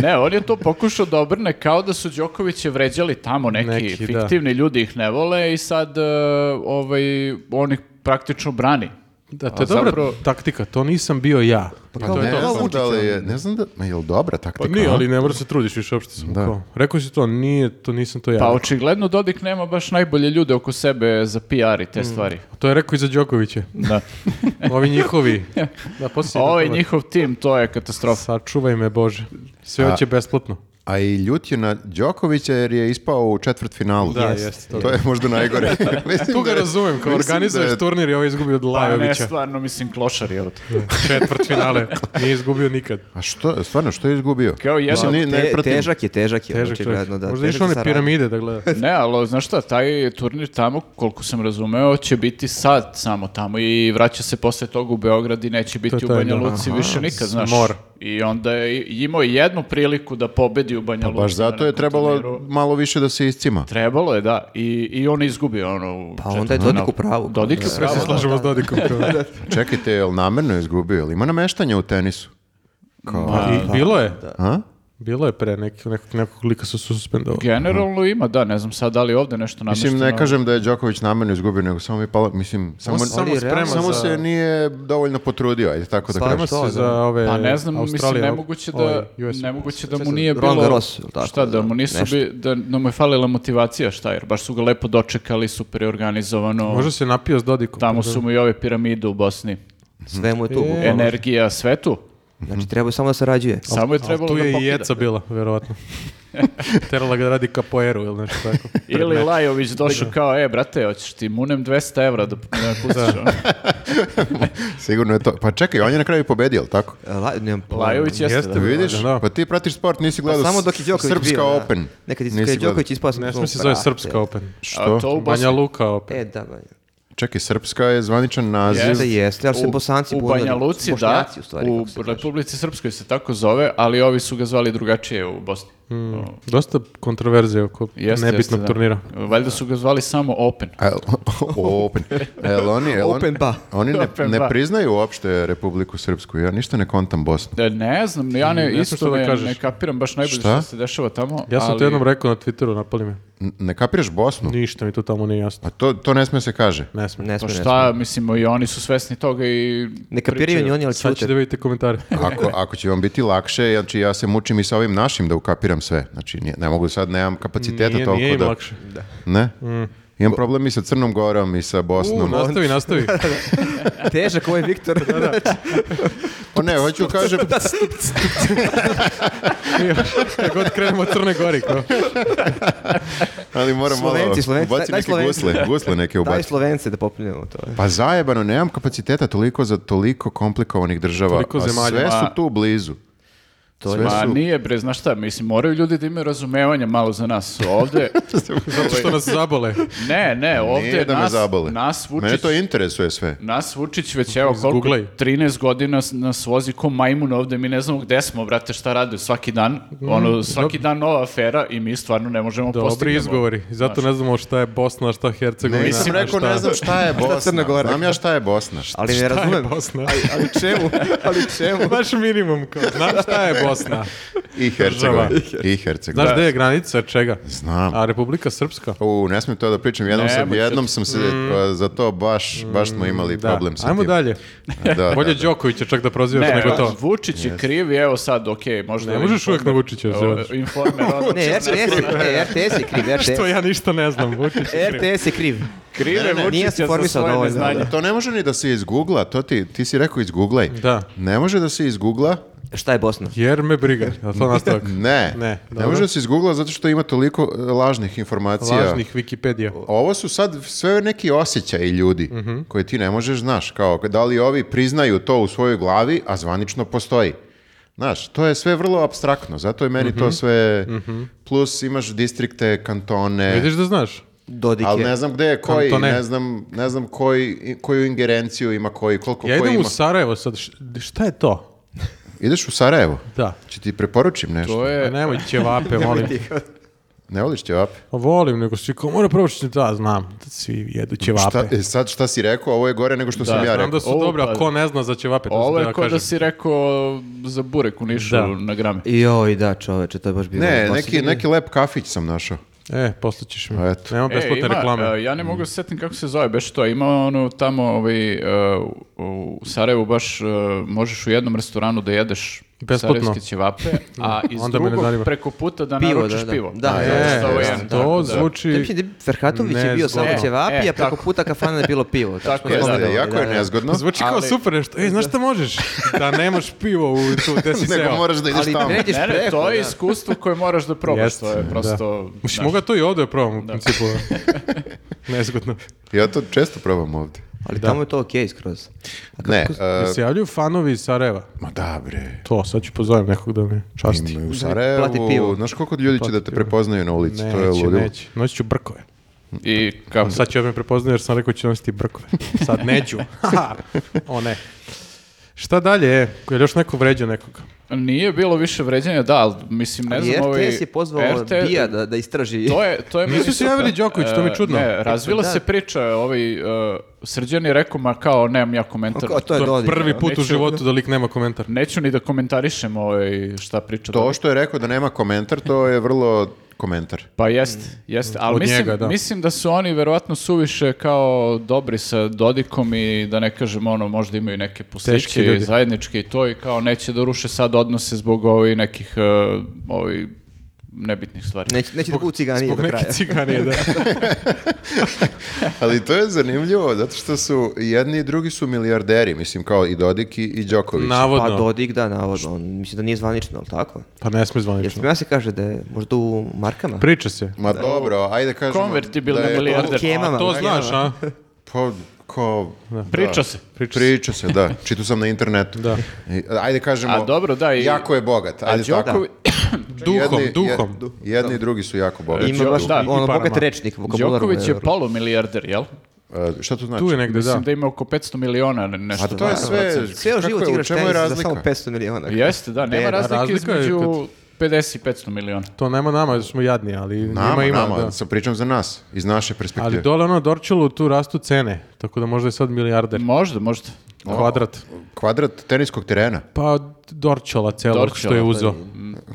[SPEAKER 4] Ne, on je to pokušao da obrne kao da su Đokoviće vređali tamo neki,
[SPEAKER 1] Neki, da.
[SPEAKER 4] fiktivni ljudi ih ne vole i sad e, ovaj, on ih praktično brani.
[SPEAKER 1] Da, to je
[SPEAKER 4] A
[SPEAKER 1] dobra
[SPEAKER 4] zapravo-
[SPEAKER 1] taktika, to nisam bio ja.
[SPEAKER 2] Pa
[SPEAKER 3] Pa
[SPEAKER 2] kao,
[SPEAKER 3] Ne
[SPEAKER 2] kao
[SPEAKER 3] znam da
[SPEAKER 2] Vučić,
[SPEAKER 3] li
[SPEAKER 2] ono.
[SPEAKER 3] je, ne znam da, ma je li
[SPEAKER 1] Pa
[SPEAKER 3] dobra taktika?
[SPEAKER 1] nije,
[SPEAKER 3] a?
[SPEAKER 1] ali ne mora se trudiš više, uopšte sam
[SPEAKER 3] Da.
[SPEAKER 1] kao. Rekao si to, nije, to nisam to ja.
[SPEAKER 4] Pa očigledno Dodik nema baš najbolje ljude oko sebe za PR i
[SPEAKER 1] Mm.
[SPEAKER 4] te stvari.
[SPEAKER 1] To je rekao i za Đokovića.
[SPEAKER 4] Da.
[SPEAKER 1] Ovi njihovi. Da, poslije
[SPEAKER 4] Ovaj njihov tim, to je katastrofa.
[SPEAKER 1] Sačuvaj me, Bože. Sve hoće besplatno.
[SPEAKER 3] A i ljut je na Đokovića jer je ispao u četvrt finalu.
[SPEAKER 1] Da, Jest, jeste,
[SPEAKER 3] To je možda najgore. Mislim
[SPEAKER 1] Tu ga
[SPEAKER 3] da je-
[SPEAKER 1] razumem, kao
[SPEAKER 3] mislim da
[SPEAKER 1] organizuješ
[SPEAKER 3] je-
[SPEAKER 1] turnir i ovo izgubio od
[SPEAKER 4] Pa ne,
[SPEAKER 1] Lajovića.
[SPEAKER 4] stvarno, mislim, klošar je ovo.
[SPEAKER 1] Četvrt finale. Nije izgubio nikad.
[SPEAKER 2] Znači,
[SPEAKER 3] A što, stvarno, što je izgubio?
[SPEAKER 4] Kao jedan
[SPEAKER 3] Mislim,
[SPEAKER 4] od-
[SPEAKER 3] ni- ne
[SPEAKER 2] Te-
[SPEAKER 3] pratim.
[SPEAKER 2] težak je, težak je,
[SPEAKER 1] Težak čovjek.
[SPEAKER 2] očigledno. Da.
[SPEAKER 1] Možda
[SPEAKER 2] Težak
[SPEAKER 1] išao
[SPEAKER 2] je
[SPEAKER 1] one
[SPEAKER 2] sa
[SPEAKER 1] piramide da gleda.
[SPEAKER 4] Ne, ali znaš šta, taj turnir tamo, koliko sam razumeo, će biti sad samo tamo i vraća se posle toga u Beograd i neće biti
[SPEAKER 1] To je
[SPEAKER 4] u
[SPEAKER 1] taj,
[SPEAKER 4] Banja
[SPEAKER 1] da.
[SPEAKER 4] Luci više nikad, znaš.
[SPEAKER 1] Mor.
[SPEAKER 4] I onda je i- imao jednu priliku da pobedi u Banja Luci.
[SPEAKER 3] Pa Baš zato
[SPEAKER 4] na
[SPEAKER 3] je
[SPEAKER 4] nekom
[SPEAKER 3] trebalo
[SPEAKER 4] turniru.
[SPEAKER 3] malo više da se iscima.
[SPEAKER 4] Trebalo je, da. I, i on je izgubio ono... u
[SPEAKER 2] Pa onda je
[SPEAKER 4] četvrtfinalu.
[SPEAKER 2] Dodik u pravu.
[SPEAKER 4] Dodik je u
[SPEAKER 1] Sve
[SPEAKER 4] pravu.
[SPEAKER 1] se slažemo s Dodikom. kao.
[SPEAKER 3] Čekajte, je li namerno izgubio? Je li ima nameštanja u tenisu?
[SPEAKER 4] ono.
[SPEAKER 1] I bilo je.
[SPEAKER 3] A?
[SPEAKER 1] Bilo je pre neki, nekog, nekog lika su suspendovali.
[SPEAKER 4] Generalno ima, da, ne znam sad da li je ovde nešto namešteno.
[SPEAKER 3] Mislim, ne kažem da je Đoković namerno izgubio, nego samo mi je palo, mislim, samo,
[SPEAKER 1] On se
[SPEAKER 3] samo,
[SPEAKER 1] samo
[SPEAKER 2] ali
[SPEAKER 1] sprema
[SPEAKER 2] realno-
[SPEAKER 1] za...
[SPEAKER 3] se nije dovoljno potrudio, ajde tako da
[SPEAKER 2] Stvarno
[SPEAKER 3] kažem.
[SPEAKER 1] Sprema
[SPEAKER 2] To,
[SPEAKER 1] se
[SPEAKER 2] da.
[SPEAKER 1] za ove
[SPEAKER 4] Pa ne znam,
[SPEAKER 1] E,
[SPEAKER 4] mislim,
[SPEAKER 1] Australija,
[SPEAKER 4] nemoguće da,
[SPEAKER 1] ovaj, US.
[SPEAKER 4] nemoguće da mu
[SPEAKER 2] Sve
[SPEAKER 4] nije
[SPEAKER 2] za-
[SPEAKER 4] bilo...
[SPEAKER 2] Roland Garros, jel tako?
[SPEAKER 4] šta, da mu
[SPEAKER 2] Da,
[SPEAKER 4] nisu
[SPEAKER 2] nešto.
[SPEAKER 4] bi, da, da mu je falila motivacija, šta, jer baš su ga lepo dočekali, super je organizovano.
[SPEAKER 1] Možda se napio s Dodikom. pa
[SPEAKER 4] Tamo su mu i ove piramide u Bosni.
[SPEAKER 2] Sve mu je tu.
[SPEAKER 1] E.
[SPEAKER 2] bukvalno.
[SPEAKER 4] Energija, sve tu.
[SPEAKER 2] Znači, treba samo da sarađuje.
[SPEAKER 4] Samo je
[SPEAKER 1] Ali
[SPEAKER 4] trebalo
[SPEAKER 1] tu
[SPEAKER 4] da
[SPEAKER 1] je i
[SPEAKER 4] pokida.
[SPEAKER 1] jeca bila, verovatno. Terala ga da radi kapoeru ili nešto tako.
[SPEAKER 4] Ili Lajović došao kao, e, brate, hoćeš ti munem 200 evra da da pustiš. ono.
[SPEAKER 3] Sigurno je to. Pa čekaj, on je na kraju pobedio, jel tako?
[SPEAKER 2] E, La, nemam pojma.
[SPEAKER 4] Lajović jeste,
[SPEAKER 1] Jeste,
[SPEAKER 4] da.
[SPEAKER 1] vidi.
[SPEAKER 3] Vidiš?
[SPEAKER 1] Da.
[SPEAKER 3] Pa ti pratiš sport, nisi
[SPEAKER 2] Pa
[SPEAKER 3] gledao
[SPEAKER 2] samo dok je Đoković
[SPEAKER 3] Srpska
[SPEAKER 2] bio, da.
[SPEAKER 3] Open.
[SPEAKER 2] Nekad
[SPEAKER 3] Nisi
[SPEAKER 2] je kad je
[SPEAKER 3] gledao.
[SPEAKER 2] Đoković ispao sam
[SPEAKER 1] Ne
[SPEAKER 2] tu,
[SPEAKER 1] smije se zove
[SPEAKER 2] brate.
[SPEAKER 1] Srpska Open.
[SPEAKER 4] A
[SPEAKER 3] Što?
[SPEAKER 4] to u Bosni.
[SPEAKER 1] Banja Luka Open.
[SPEAKER 2] E, da, Banja.
[SPEAKER 3] Čekaj, Srpska je zvaničan naziv.
[SPEAKER 2] Jeste, jeste, ali su
[SPEAKER 4] U-
[SPEAKER 2] Bosanci
[SPEAKER 4] u
[SPEAKER 2] bunili,
[SPEAKER 4] Banja Luci, da,
[SPEAKER 2] Bošnjaci, u stvari,
[SPEAKER 4] u
[SPEAKER 2] kako se kaže.
[SPEAKER 4] Republici Srpskoj se tako zove, ali ovi su ga zvali drugačije u Bosni.
[SPEAKER 1] Hmm.
[SPEAKER 4] O,
[SPEAKER 1] Dosta kontroverzije oko
[SPEAKER 4] jeste,
[SPEAKER 1] nebitnog
[SPEAKER 4] jeste, da.
[SPEAKER 1] turnira.
[SPEAKER 4] Valjda su ga zvali samo Open.
[SPEAKER 3] A jel- Open. A jel oni, jel oni-
[SPEAKER 2] Open ba.
[SPEAKER 3] Oni ne,
[SPEAKER 4] Open
[SPEAKER 3] ne
[SPEAKER 4] ba.
[SPEAKER 3] priznaju uopšte Republiku Srpsku. Ja ništa ne kontam Bosnu.
[SPEAKER 4] E, Ne znam, ja ne,
[SPEAKER 1] znam
[SPEAKER 4] isto
[SPEAKER 1] što da
[SPEAKER 4] ne,
[SPEAKER 1] kažeš.
[SPEAKER 4] ne kapiram baš najbolje
[SPEAKER 3] Šta?
[SPEAKER 4] što se dešava tamo.
[SPEAKER 1] Ja sam
[SPEAKER 4] ali
[SPEAKER 1] to jednom rekao na Twitteru, napali me.
[SPEAKER 3] N- Ne kapiraš Bosnu?
[SPEAKER 1] Ništa mi to tamo nije jasno.
[SPEAKER 3] Pa to, to ne smije se kaže.
[SPEAKER 1] Ne smije.
[SPEAKER 2] Ne
[SPEAKER 4] Pa
[SPEAKER 2] smije, ne
[SPEAKER 4] šta, mislimo, i oni su svesni toga i...
[SPEAKER 2] smije. Ne kapiraju ni
[SPEAKER 4] pričaju.
[SPEAKER 2] oni, ali
[SPEAKER 1] Sad ćete
[SPEAKER 2] ćute.
[SPEAKER 1] da vidite komentare.
[SPEAKER 3] Ako, ako će vam biti lakše, znači ja se mučim i sa ovim našim da ukapiram sve. Znači nije- ne mogu sad, nemam kapaciteta
[SPEAKER 1] Nije,
[SPEAKER 3] toliko
[SPEAKER 1] nije im
[SPEAKER 3] da...
[SPEAKER 1] lakše.
[SPEAKER 3] Ne? Imam problem i sa Crnom Gorom i sa
[SPEAKER 1] U,
[SPEAKER 3] Bosnom.
[SPEAKER 1] nastavi, nastavi.
[SPEAKER 2] Težak ovaj Viktor.
[SPEAKER 3] Pa ne, hoću kažem,
[SPEAKER 1] Kad god krenemo od Crne Gori. Kao.
[SPEAKER 3] ali moram malo...
[SPEAKER 2] Slovenci, Slovenci,
[SPEAKER 3] ubaci
[SPEAKER 2] daj
[SPEAKER 3] neke
[SPEAKER 2] Slovenci.
[SPEAKER 3] gusle, gusle neke
[SPEAKER 2] Daj
[SPEAKER 3] ubaci.
[SPEAKER 2] Slovence da popljujemo to.
[SPEAKER 3] Pa zajebano, nemam kapaciteta toliko za toliko komplikovanih država.
[SPEAKER 1] Toliko
[SPEAKER 3] a
[SPEAKER 1] zemalja.
[SPEAKER 3] Sve su
[SPEAKER 4] Ma-
[SPEAKER 3] tu blizu.
[SPEAKER 2] To je-
[SPEAKER 3] sve
[SPEAKER 4] Ma
[SPEAKER 3] su...
[SPEAKER 4] nije bre, znaš šta, mislim, moraju ljudi da imaju razumevanja malo za nas ovde.
[SPEAKER 1] Zato što nas zabole.
[SPEAKER 4] Ne, ne, ovde
[SPEAKER 3] Nije da me
[SPEAKER 4] nas,
[SPEAKER 3] zabole.
[SPEAKER 4] nas Vučić...
[SPEAKER 3] Mene to interesuje sve.
[SPEAKER 4] Nas Vučić već evo koliko,
[SPEAKER 1] Izguglaj.
[SPEAKER 4] 13 godina s- nas vozi ko majmun ovde, mi ne znamo gde smo, brate, šta rade svaki dan, ono, svaki dan nova afera i mi stvarno ne možemo
[SPEAKER 1] Mm, Dobri
[SPEAKER 4] postignemo.
[SPEAKER 1] izgovori. Zato ne znamo šta je Bosna, šta Hercegovina.
[SPEAKER 3] Nisam
[SPEAKER 1] šta-
[SPEAKER 3] rekao, ne znam šta je Bosna.
[SPEAKER 2] Crna Gora?
[SPEAKER 3] Znam ja šta je Bosna.
[SPEAKER 2] Ali ne razumem.
[SPEAKER 1] Bosna.
[SPEAKER 2] Ali čemu? Ali čemu?
[SPEAKER 1] Baš minimum. Kao. Znam šta je Bosna.
[SPEAKER 3] I Hercegovina. I
[SPEAKER 1] Znaš
[SPEAKER 3] Hercegovina.
[SPEAKER 1] gde je granica, čega?
[SPEAKER 3] Znam.
[SPEAKER 1] A Republika Srpska?
[SPEAKER 3] U, ne smijem to da pričam, jednom, sam,
[SPEAKER 4] Nemoj,
[SPEAKER 3] jednom sam se uh, za to baš, baš smo imali
[SPEAKER 1] Mm. Da.
[SPEAKER 3] problem sa
[SPEAKER 1] Ajmo
[SPEAKER 3] tim.
[SPEAKER 1] dalje.
[SPEAKER 3] Da, da,
[SPEAKER 1] Bolje
[SPEAKER 3] da.
[SPEAKER 1] Đokovića čak da prozivaš
[SPEAKER 4] Ne,
[SPEAKER 1] nego to.
[SPEAKER 4] Vučić je kriv i evo sad, okej, možda...
[SPEAKER 1] Ne možeš uvijek na Vučića da se
[SPEAKER 4] Evo,
[SPEAKER 1] vadiš.
[SPEAKER 4] Informer, ono,
[SPEAKER 2] Ne, RTS je, ne, RTS je kriv.
[SPEAKER 1] Što
[SPEAKER 2] RTS,
[SPEAKER 1] ja ništa ne znam, Vučić je kriv.
[SPEAKER 2] RTS je kriv.
[SPEAKER 4] kriv
[SPEAKER 3] Ne,
[SPEAKER 4] je
[SPEAKER 3] ne,
[SPEAKER 4] Vučića
[SPEAKER 2] nije se
[SPEAKER 4] za
[SPEAKER 2] informisao
[SPEAKER 4] svoje
[SPEAKER 2] dovoljno,
[SPEAKER 4] neznanje.
[SPEAKER 3] To ne može ni da se izgoogla, to ti, ti si rekao izgooglaj.
[SPEAKER 1] Da.
[SPEAKER 3] Ne može da se izgoogla,
[SPEAKER 2] Šta je Bosna?
[SPEAKER 1] Jer me briga. Je li to nastavak?
[SPEAKER 3] ne.
[SPEAKER 1] Ne, dobro.
[SPEAKER 3] može da se izgoogla zato što ima toliko e, lažnih informacija.
[SPEAKER 1] Lažnih Wikipedija.
[SPEAKER 3] Ovo su sad sve neki osjećaji ljudi
[SPEAKER 1] Mhm.
[SPEAKER 3] koje ti ne možeš, znaš, kao da li ovi priznaju to u svojoj glavi, a zvanično postoji. Znaš, to je sve vrlo abstraktno, zato je meni
[SPEAKER 1] Mhm.
[SPEAKER 3] to sve... Plus imaš distrikte, kantone...
[SPEAKER 1] Vidiš da znaš?
[SPEAKER 2] Dodik
[SPEAKER 3] Ali
[SPEAKER 2] je.
[SPEAKER 3] ne znam gde je koji,
[SPEAKER 1] Kantone.
[SPEAKER 3] ne znam, ne znam koji, koju ingerenciju ima koji, koliko
[SPEAKER 1] Ja
[SPEAKER 3] koji
[SPEAKER 1] idem u
[SPEAKER 3] ima.
[SPEAKER 1] Sarajevo sad. Š- Šta je to?
[SPEAKER 3] Ideš u Sarajevo?
[SPEAKER 1] Da.
[SPEAKER 3] Či ti preporučim nešto?
[SPEAKER 4] To
[SPEAKER 1] Pa
[SPEAKER 4] je...
[SPEAKER 1] nemoj ćevape, molim.
[SPEAKER 3] Ne voliš ćevape?
[SPEAKER 1] Pa volim, nego svi kao, mora probaš ćevape. Da, znam, da svi jedu ćevape.
[SPEAKER 3] Šta, e, sad šta si rekao, ovo je gore nego što sam ja
[SPEAKER 1] Znam
[SPEAKER 3] rekao.
[SPEAKER 1] da su
[SPEAKER 4] Ovo,
[SPEAKER 1] dobre, a
[SPEAKER 4] pa-
[SPEAKER 1] ko ne zna za ćevape, to
[SPEAKER 4] Ovo
[SPEAKER 1] sam
[SPEAKER 4] je
[SPEAKER 1] da
[SPEAKER 4] ko da
[SPEAKER 1] kažem.
[SPEAKER 4] si rekao za burek u Nišu
[SPEAKER 1] Da.
[SPEAKER 4] na grame.
[SPEAKER 2] Joj, da, čoveče, to je baš bilo. ono
[SPEAKER 3] Ne,
[SPEAKER 1] pa
[SPEAKER 2] Baš
[SPEAKER 3] neki, neki lep kafić sam našao.
[SPEAKER 1] E, poslat ćeš mi.
[SPEAKER 3] Eto.
[SPEAKER 1] Nema besplatne
[SPEAKER 4] ima,
[SPEAKER 1] reklame. Mm.
[SPEAKER 4] e, ja ne mogu se setim kako se zove, beš to. Ima ono tamo ovaj, e, u Sarajevu baš e, možeš u jednom restoranu da jedeš
[SPEAKER 1] Besplatno.
[SPEAKER 4] sarajevske ćevape, a iz
[SPEAKER 1] Onda me ne zanima.
[SPEAKER 4] drugog preko puta da
[SPEAKER 2] Pivo,
[SPEAKER 4] naručiš
[SPEAKER 2] da, da.
[SPEAKER 4] pivo.
[SPEAKER 2] Da,
[SPEAKER 1] E,
[SPEAKER 4] zato što ovo je ovaj jedan tako,
[SPEAKER 1] to
[SPEAKER 4] da.
[SPEAKER 2] Da mislim
[SPEAKER 1] zvuči...
[SPEAKER 2] da je Ferhatović je bio samo
[SPEAKER 1] Nezgodno.
[SPEAKER 4] E,
[SPEAKER 2] ćevapi,
[SPEAKER 4] e,
[SPEAKER 2] a preko
[SPEAKER 4] tako.
[SPEAKER 2] puta kafana je bilo pivo.
[SPEAKER 4] Tako
[SPEAKER 2] smo
[SPEAKER 4] je, da,
[SPEAKER 3] Jeste,
[SPEAKER 2] spomenuli,
[SPEAKER 3] jako je
[SPEAKER 2] da, da.
[SPEAKER 3] nezgodno.
[SPEAKER 1] Zvuči kao
[SPEAKER 4] ali-
[SPEAKER 1] super nešto. Ej, znaš šta možeš? Da nemaš pivo u tu, gde si
[SPEAKER 3] Nego
[SPEAKER 1] seo.
[SPEAKER 3] moraš da ideš
[SPEAKER 2] Ali
[SPEAKER 3] tamo.
[SPEAKER 2] ne ideš
[SPEAKER 4] Ne, ne,
[SPEAKER 2] preko,
[SPEAKER 4] to je
[SPEAKER 2] da.
[SPEAKER 4] iskustvo koje moraš da probaš,
[SPEAKER 1] Jeste,
[SPEAKER 4] to je prosto...
[SPEAKER 1] Mislim,
[SPEAKER 4] znaš.
[SPEAKER 1] mogu ja to i ovdje da probam, u principu. ono. Nezgodno.
[SPEAKER 3] Ja to često probam ovdje.
[SPEAKER 2] Ali tamo je to okej skroz.
[SPEAKER 3] Ne, e,
[SPEAKER 1] Jel se javljaju fanovi iz Sarajeva?
[SPEAKER 3] ma da bre.
[SPEAKER 1] To, sad ću pozovem nekog da me časti.
[SPEAKER 3] Ima i
[SPEAKER 2] Plati
[SPEAKER 3] U
[SPEAKER 2] pivo.
[SPEAKER 3] Sarajevu, znaš koliko ljudi će da te prepoznaju na ulici, to je
[SPEAKER 1] Neće,
[SPEAKER 3] ludilo.
[SPEAKER 1] neće. Noći ću brkove.
[SPEAKER 4] I kako?
[SPEAKER 1] Sad ću odmah prepoznati jer sam rekao ću nositi brkove. Sad neću. Haha. o ne. Šta dalje? e? Je li još neko vređao nekoga?
[SPEAKER 4] Nije bilo više vređanja, da, ali mislim, ne
[SPEAKER 2] Ali
[SPEAKER 4] znam... ovaj,
[SPEAKER 2] RTS je pozvao
[SPEAKER 4] RT
[SPEAKER 2] Bija da, da istraži.
[SPEAKER 4] To je, to je meni
[SPEAKER 1] Nisu se
[SPEAKER 4] super.
[SPEAKER 1] javili Đoković, to mi je
[SPEAKER 4] E,
[SPEAKER 1] čudno.
[SPEAKER 4] Ne, razvila
[SPEAKER 2] Da.
[SPEAKER 4] se priča, ovaj, e, Srđan je rekao, ma kao, nemam ja komentar.
[SPEAKER 2] Kao, to je
[SPEAKER 1] To je
[SPEAKER 2] dodik.
[SPEAKER 1] prvi put u
[SPEAKER 4] Neću-
[SPEAKER 1] životu da lik nema komentar.
[SPEAKER 4] Neću ni da komentarišem ovaj, šta priča.
[SPEAKER 3] To
[SPEAKER 4] Dodik.
[SPEAKER 3] što je rekao da nema komentar, to je vrlo komentar.
[SPEAKER 4] Pa jeste, jeste. Ali
[SPEAKER 1] Mm. Od
[SPEAKER 4] mislim,
[SPEAKER 1] njega, da.
[SPEAKER 4] mislim da su oni verovatno suviše kao dobri sa Dodikom i da ne kažem ono, možda imaju neke
[SPEAKER 1] Teški
[SPEAKER 4] pustiće
[SPEAKER 1] ljudi.
[SPEAKER 4] i zajedničke i to i kao neće da ruše sad odnose zbog ovih nekih e, ovih nebitnih stvari.
[SPEAKER 2] Neće, neće da budu ciganije
[SPEAKER 1] Zbog
[SPEAKER 2] do kraja.
[SPEAKER 1] neke ciganije, da.
[SPEAKER 3] Ali to je zanimljivo, zato što su i jedni i drugi su milijarderi, mislim kao i Dodik i, i Đoković.
[SPEAKER 2] Pa
[SPEAKER 1] Navodno.
[SPEAKER 2] Dodik, da, navodno. On, mislim da nije zvanično, ali tako?
[SPEAKER 1] Pa ne smije
[SPEAKER 2] Jer
[SPEAKER 1] zvanično.
[SPEAKER 2] ja se kaže da je možda u markama?
[SPEAKER 1] Priča se.
[SPEAKER 3] Ma dobro, ajde kažemo...
[SPEAKER 4] Konvertibilni
[SPEAKER 3] da je-
[SPEAKER 4] milijarder.
[SPEAKER 2] U kemama.
[SPEAKER 1] To
[SPEAKER 2] u kemama.
[SPEAKER 1] znaš, a?
[SPEAKER 3] Pa, kao...
[SPEAKER 4] Priča se.
[SPEAKER 3] Priča, se, da. Čitao sam na internetu.
[SPEAKER 1] Da.
[SPEAKER 3] I, Ajde kažemo...
[SPEAKER 4] A dobro, da, i-
[SPEAKER 3] Jako je bogat. Ajde,
[SPEAKER 4] A
[SPEAKER 3] tako.
[SPEAKER 4] Đoković,
[SPEAKER 1] Duhom,
[SPEAKER 3] Jedni-
[SPEAKER 1] duhom.
[SPEAKER 3] jed- jedni i drugi su jako bogati.
[SPEAKER 2] Ima baš
[SPEAKER 4] Da, i
[SPEAKER 2] ono,
[SPEAKER 1] parama.
[SPEAKER 2] bogat rečnik, vokabular.
[SPEAKER 4] Đoković je polumilijarder, jel?
[SPEAKER 3] E, šta to znači?
[SPEAKER 1] Tu je negde,
[SPEAKER 4] Mislim
[SPEAKER 1] da.
[SPEAKER 4] da. ima oko 500 miliona ne- nešto.
[SPEAKER 3] A to je
[SPEAKER 4] tako.
[SPEAKER 3] sve...
[SPEAKER 2] Ceo
[SPEAKER 3] kako
[SPEAKER 2] život
[SPEAKER 3] je, u
[SPEAKER 2] igraš
[SPEAKER 3] čemu je
[SPEAKER 2] tenis za samo
[SPEAKER 3] razlika?
[SPEAKER 2] 500 miliona.
[SPEAKER 4] Jeste, da, nema
[SPEAKER 2] Beda.
[SPEAKER 4] razlike
[SPEAKER 1] Razlika je
[SPEAKER 4] između 50 i 500 miliona.
[SPEAKER 1] To nema nama, jer smo jadni, ali
[SPEAKER 3] Nama,
[SPEAKER 1] njima ima,
[SPEAKER 3] nama,
[SPEAKER 1] da.
[SPEAKER 3] sad pričam za nas, iz naše perspektive.
[SPEAKER 1] Ali dole ono na Dorčelu tu rastu cene, tako da možda je sad milijarder.
[SPEAKER 4] Možda, možda.
[SPEAKER 1] Kvadrat.
[SPEAKER 3] Kvadrat teniskog terena.
[SPEAKER 1] Pa Dorčola celog
[SPEAKER 4] Dorčola,
[SPEAKER 1] što je uzo.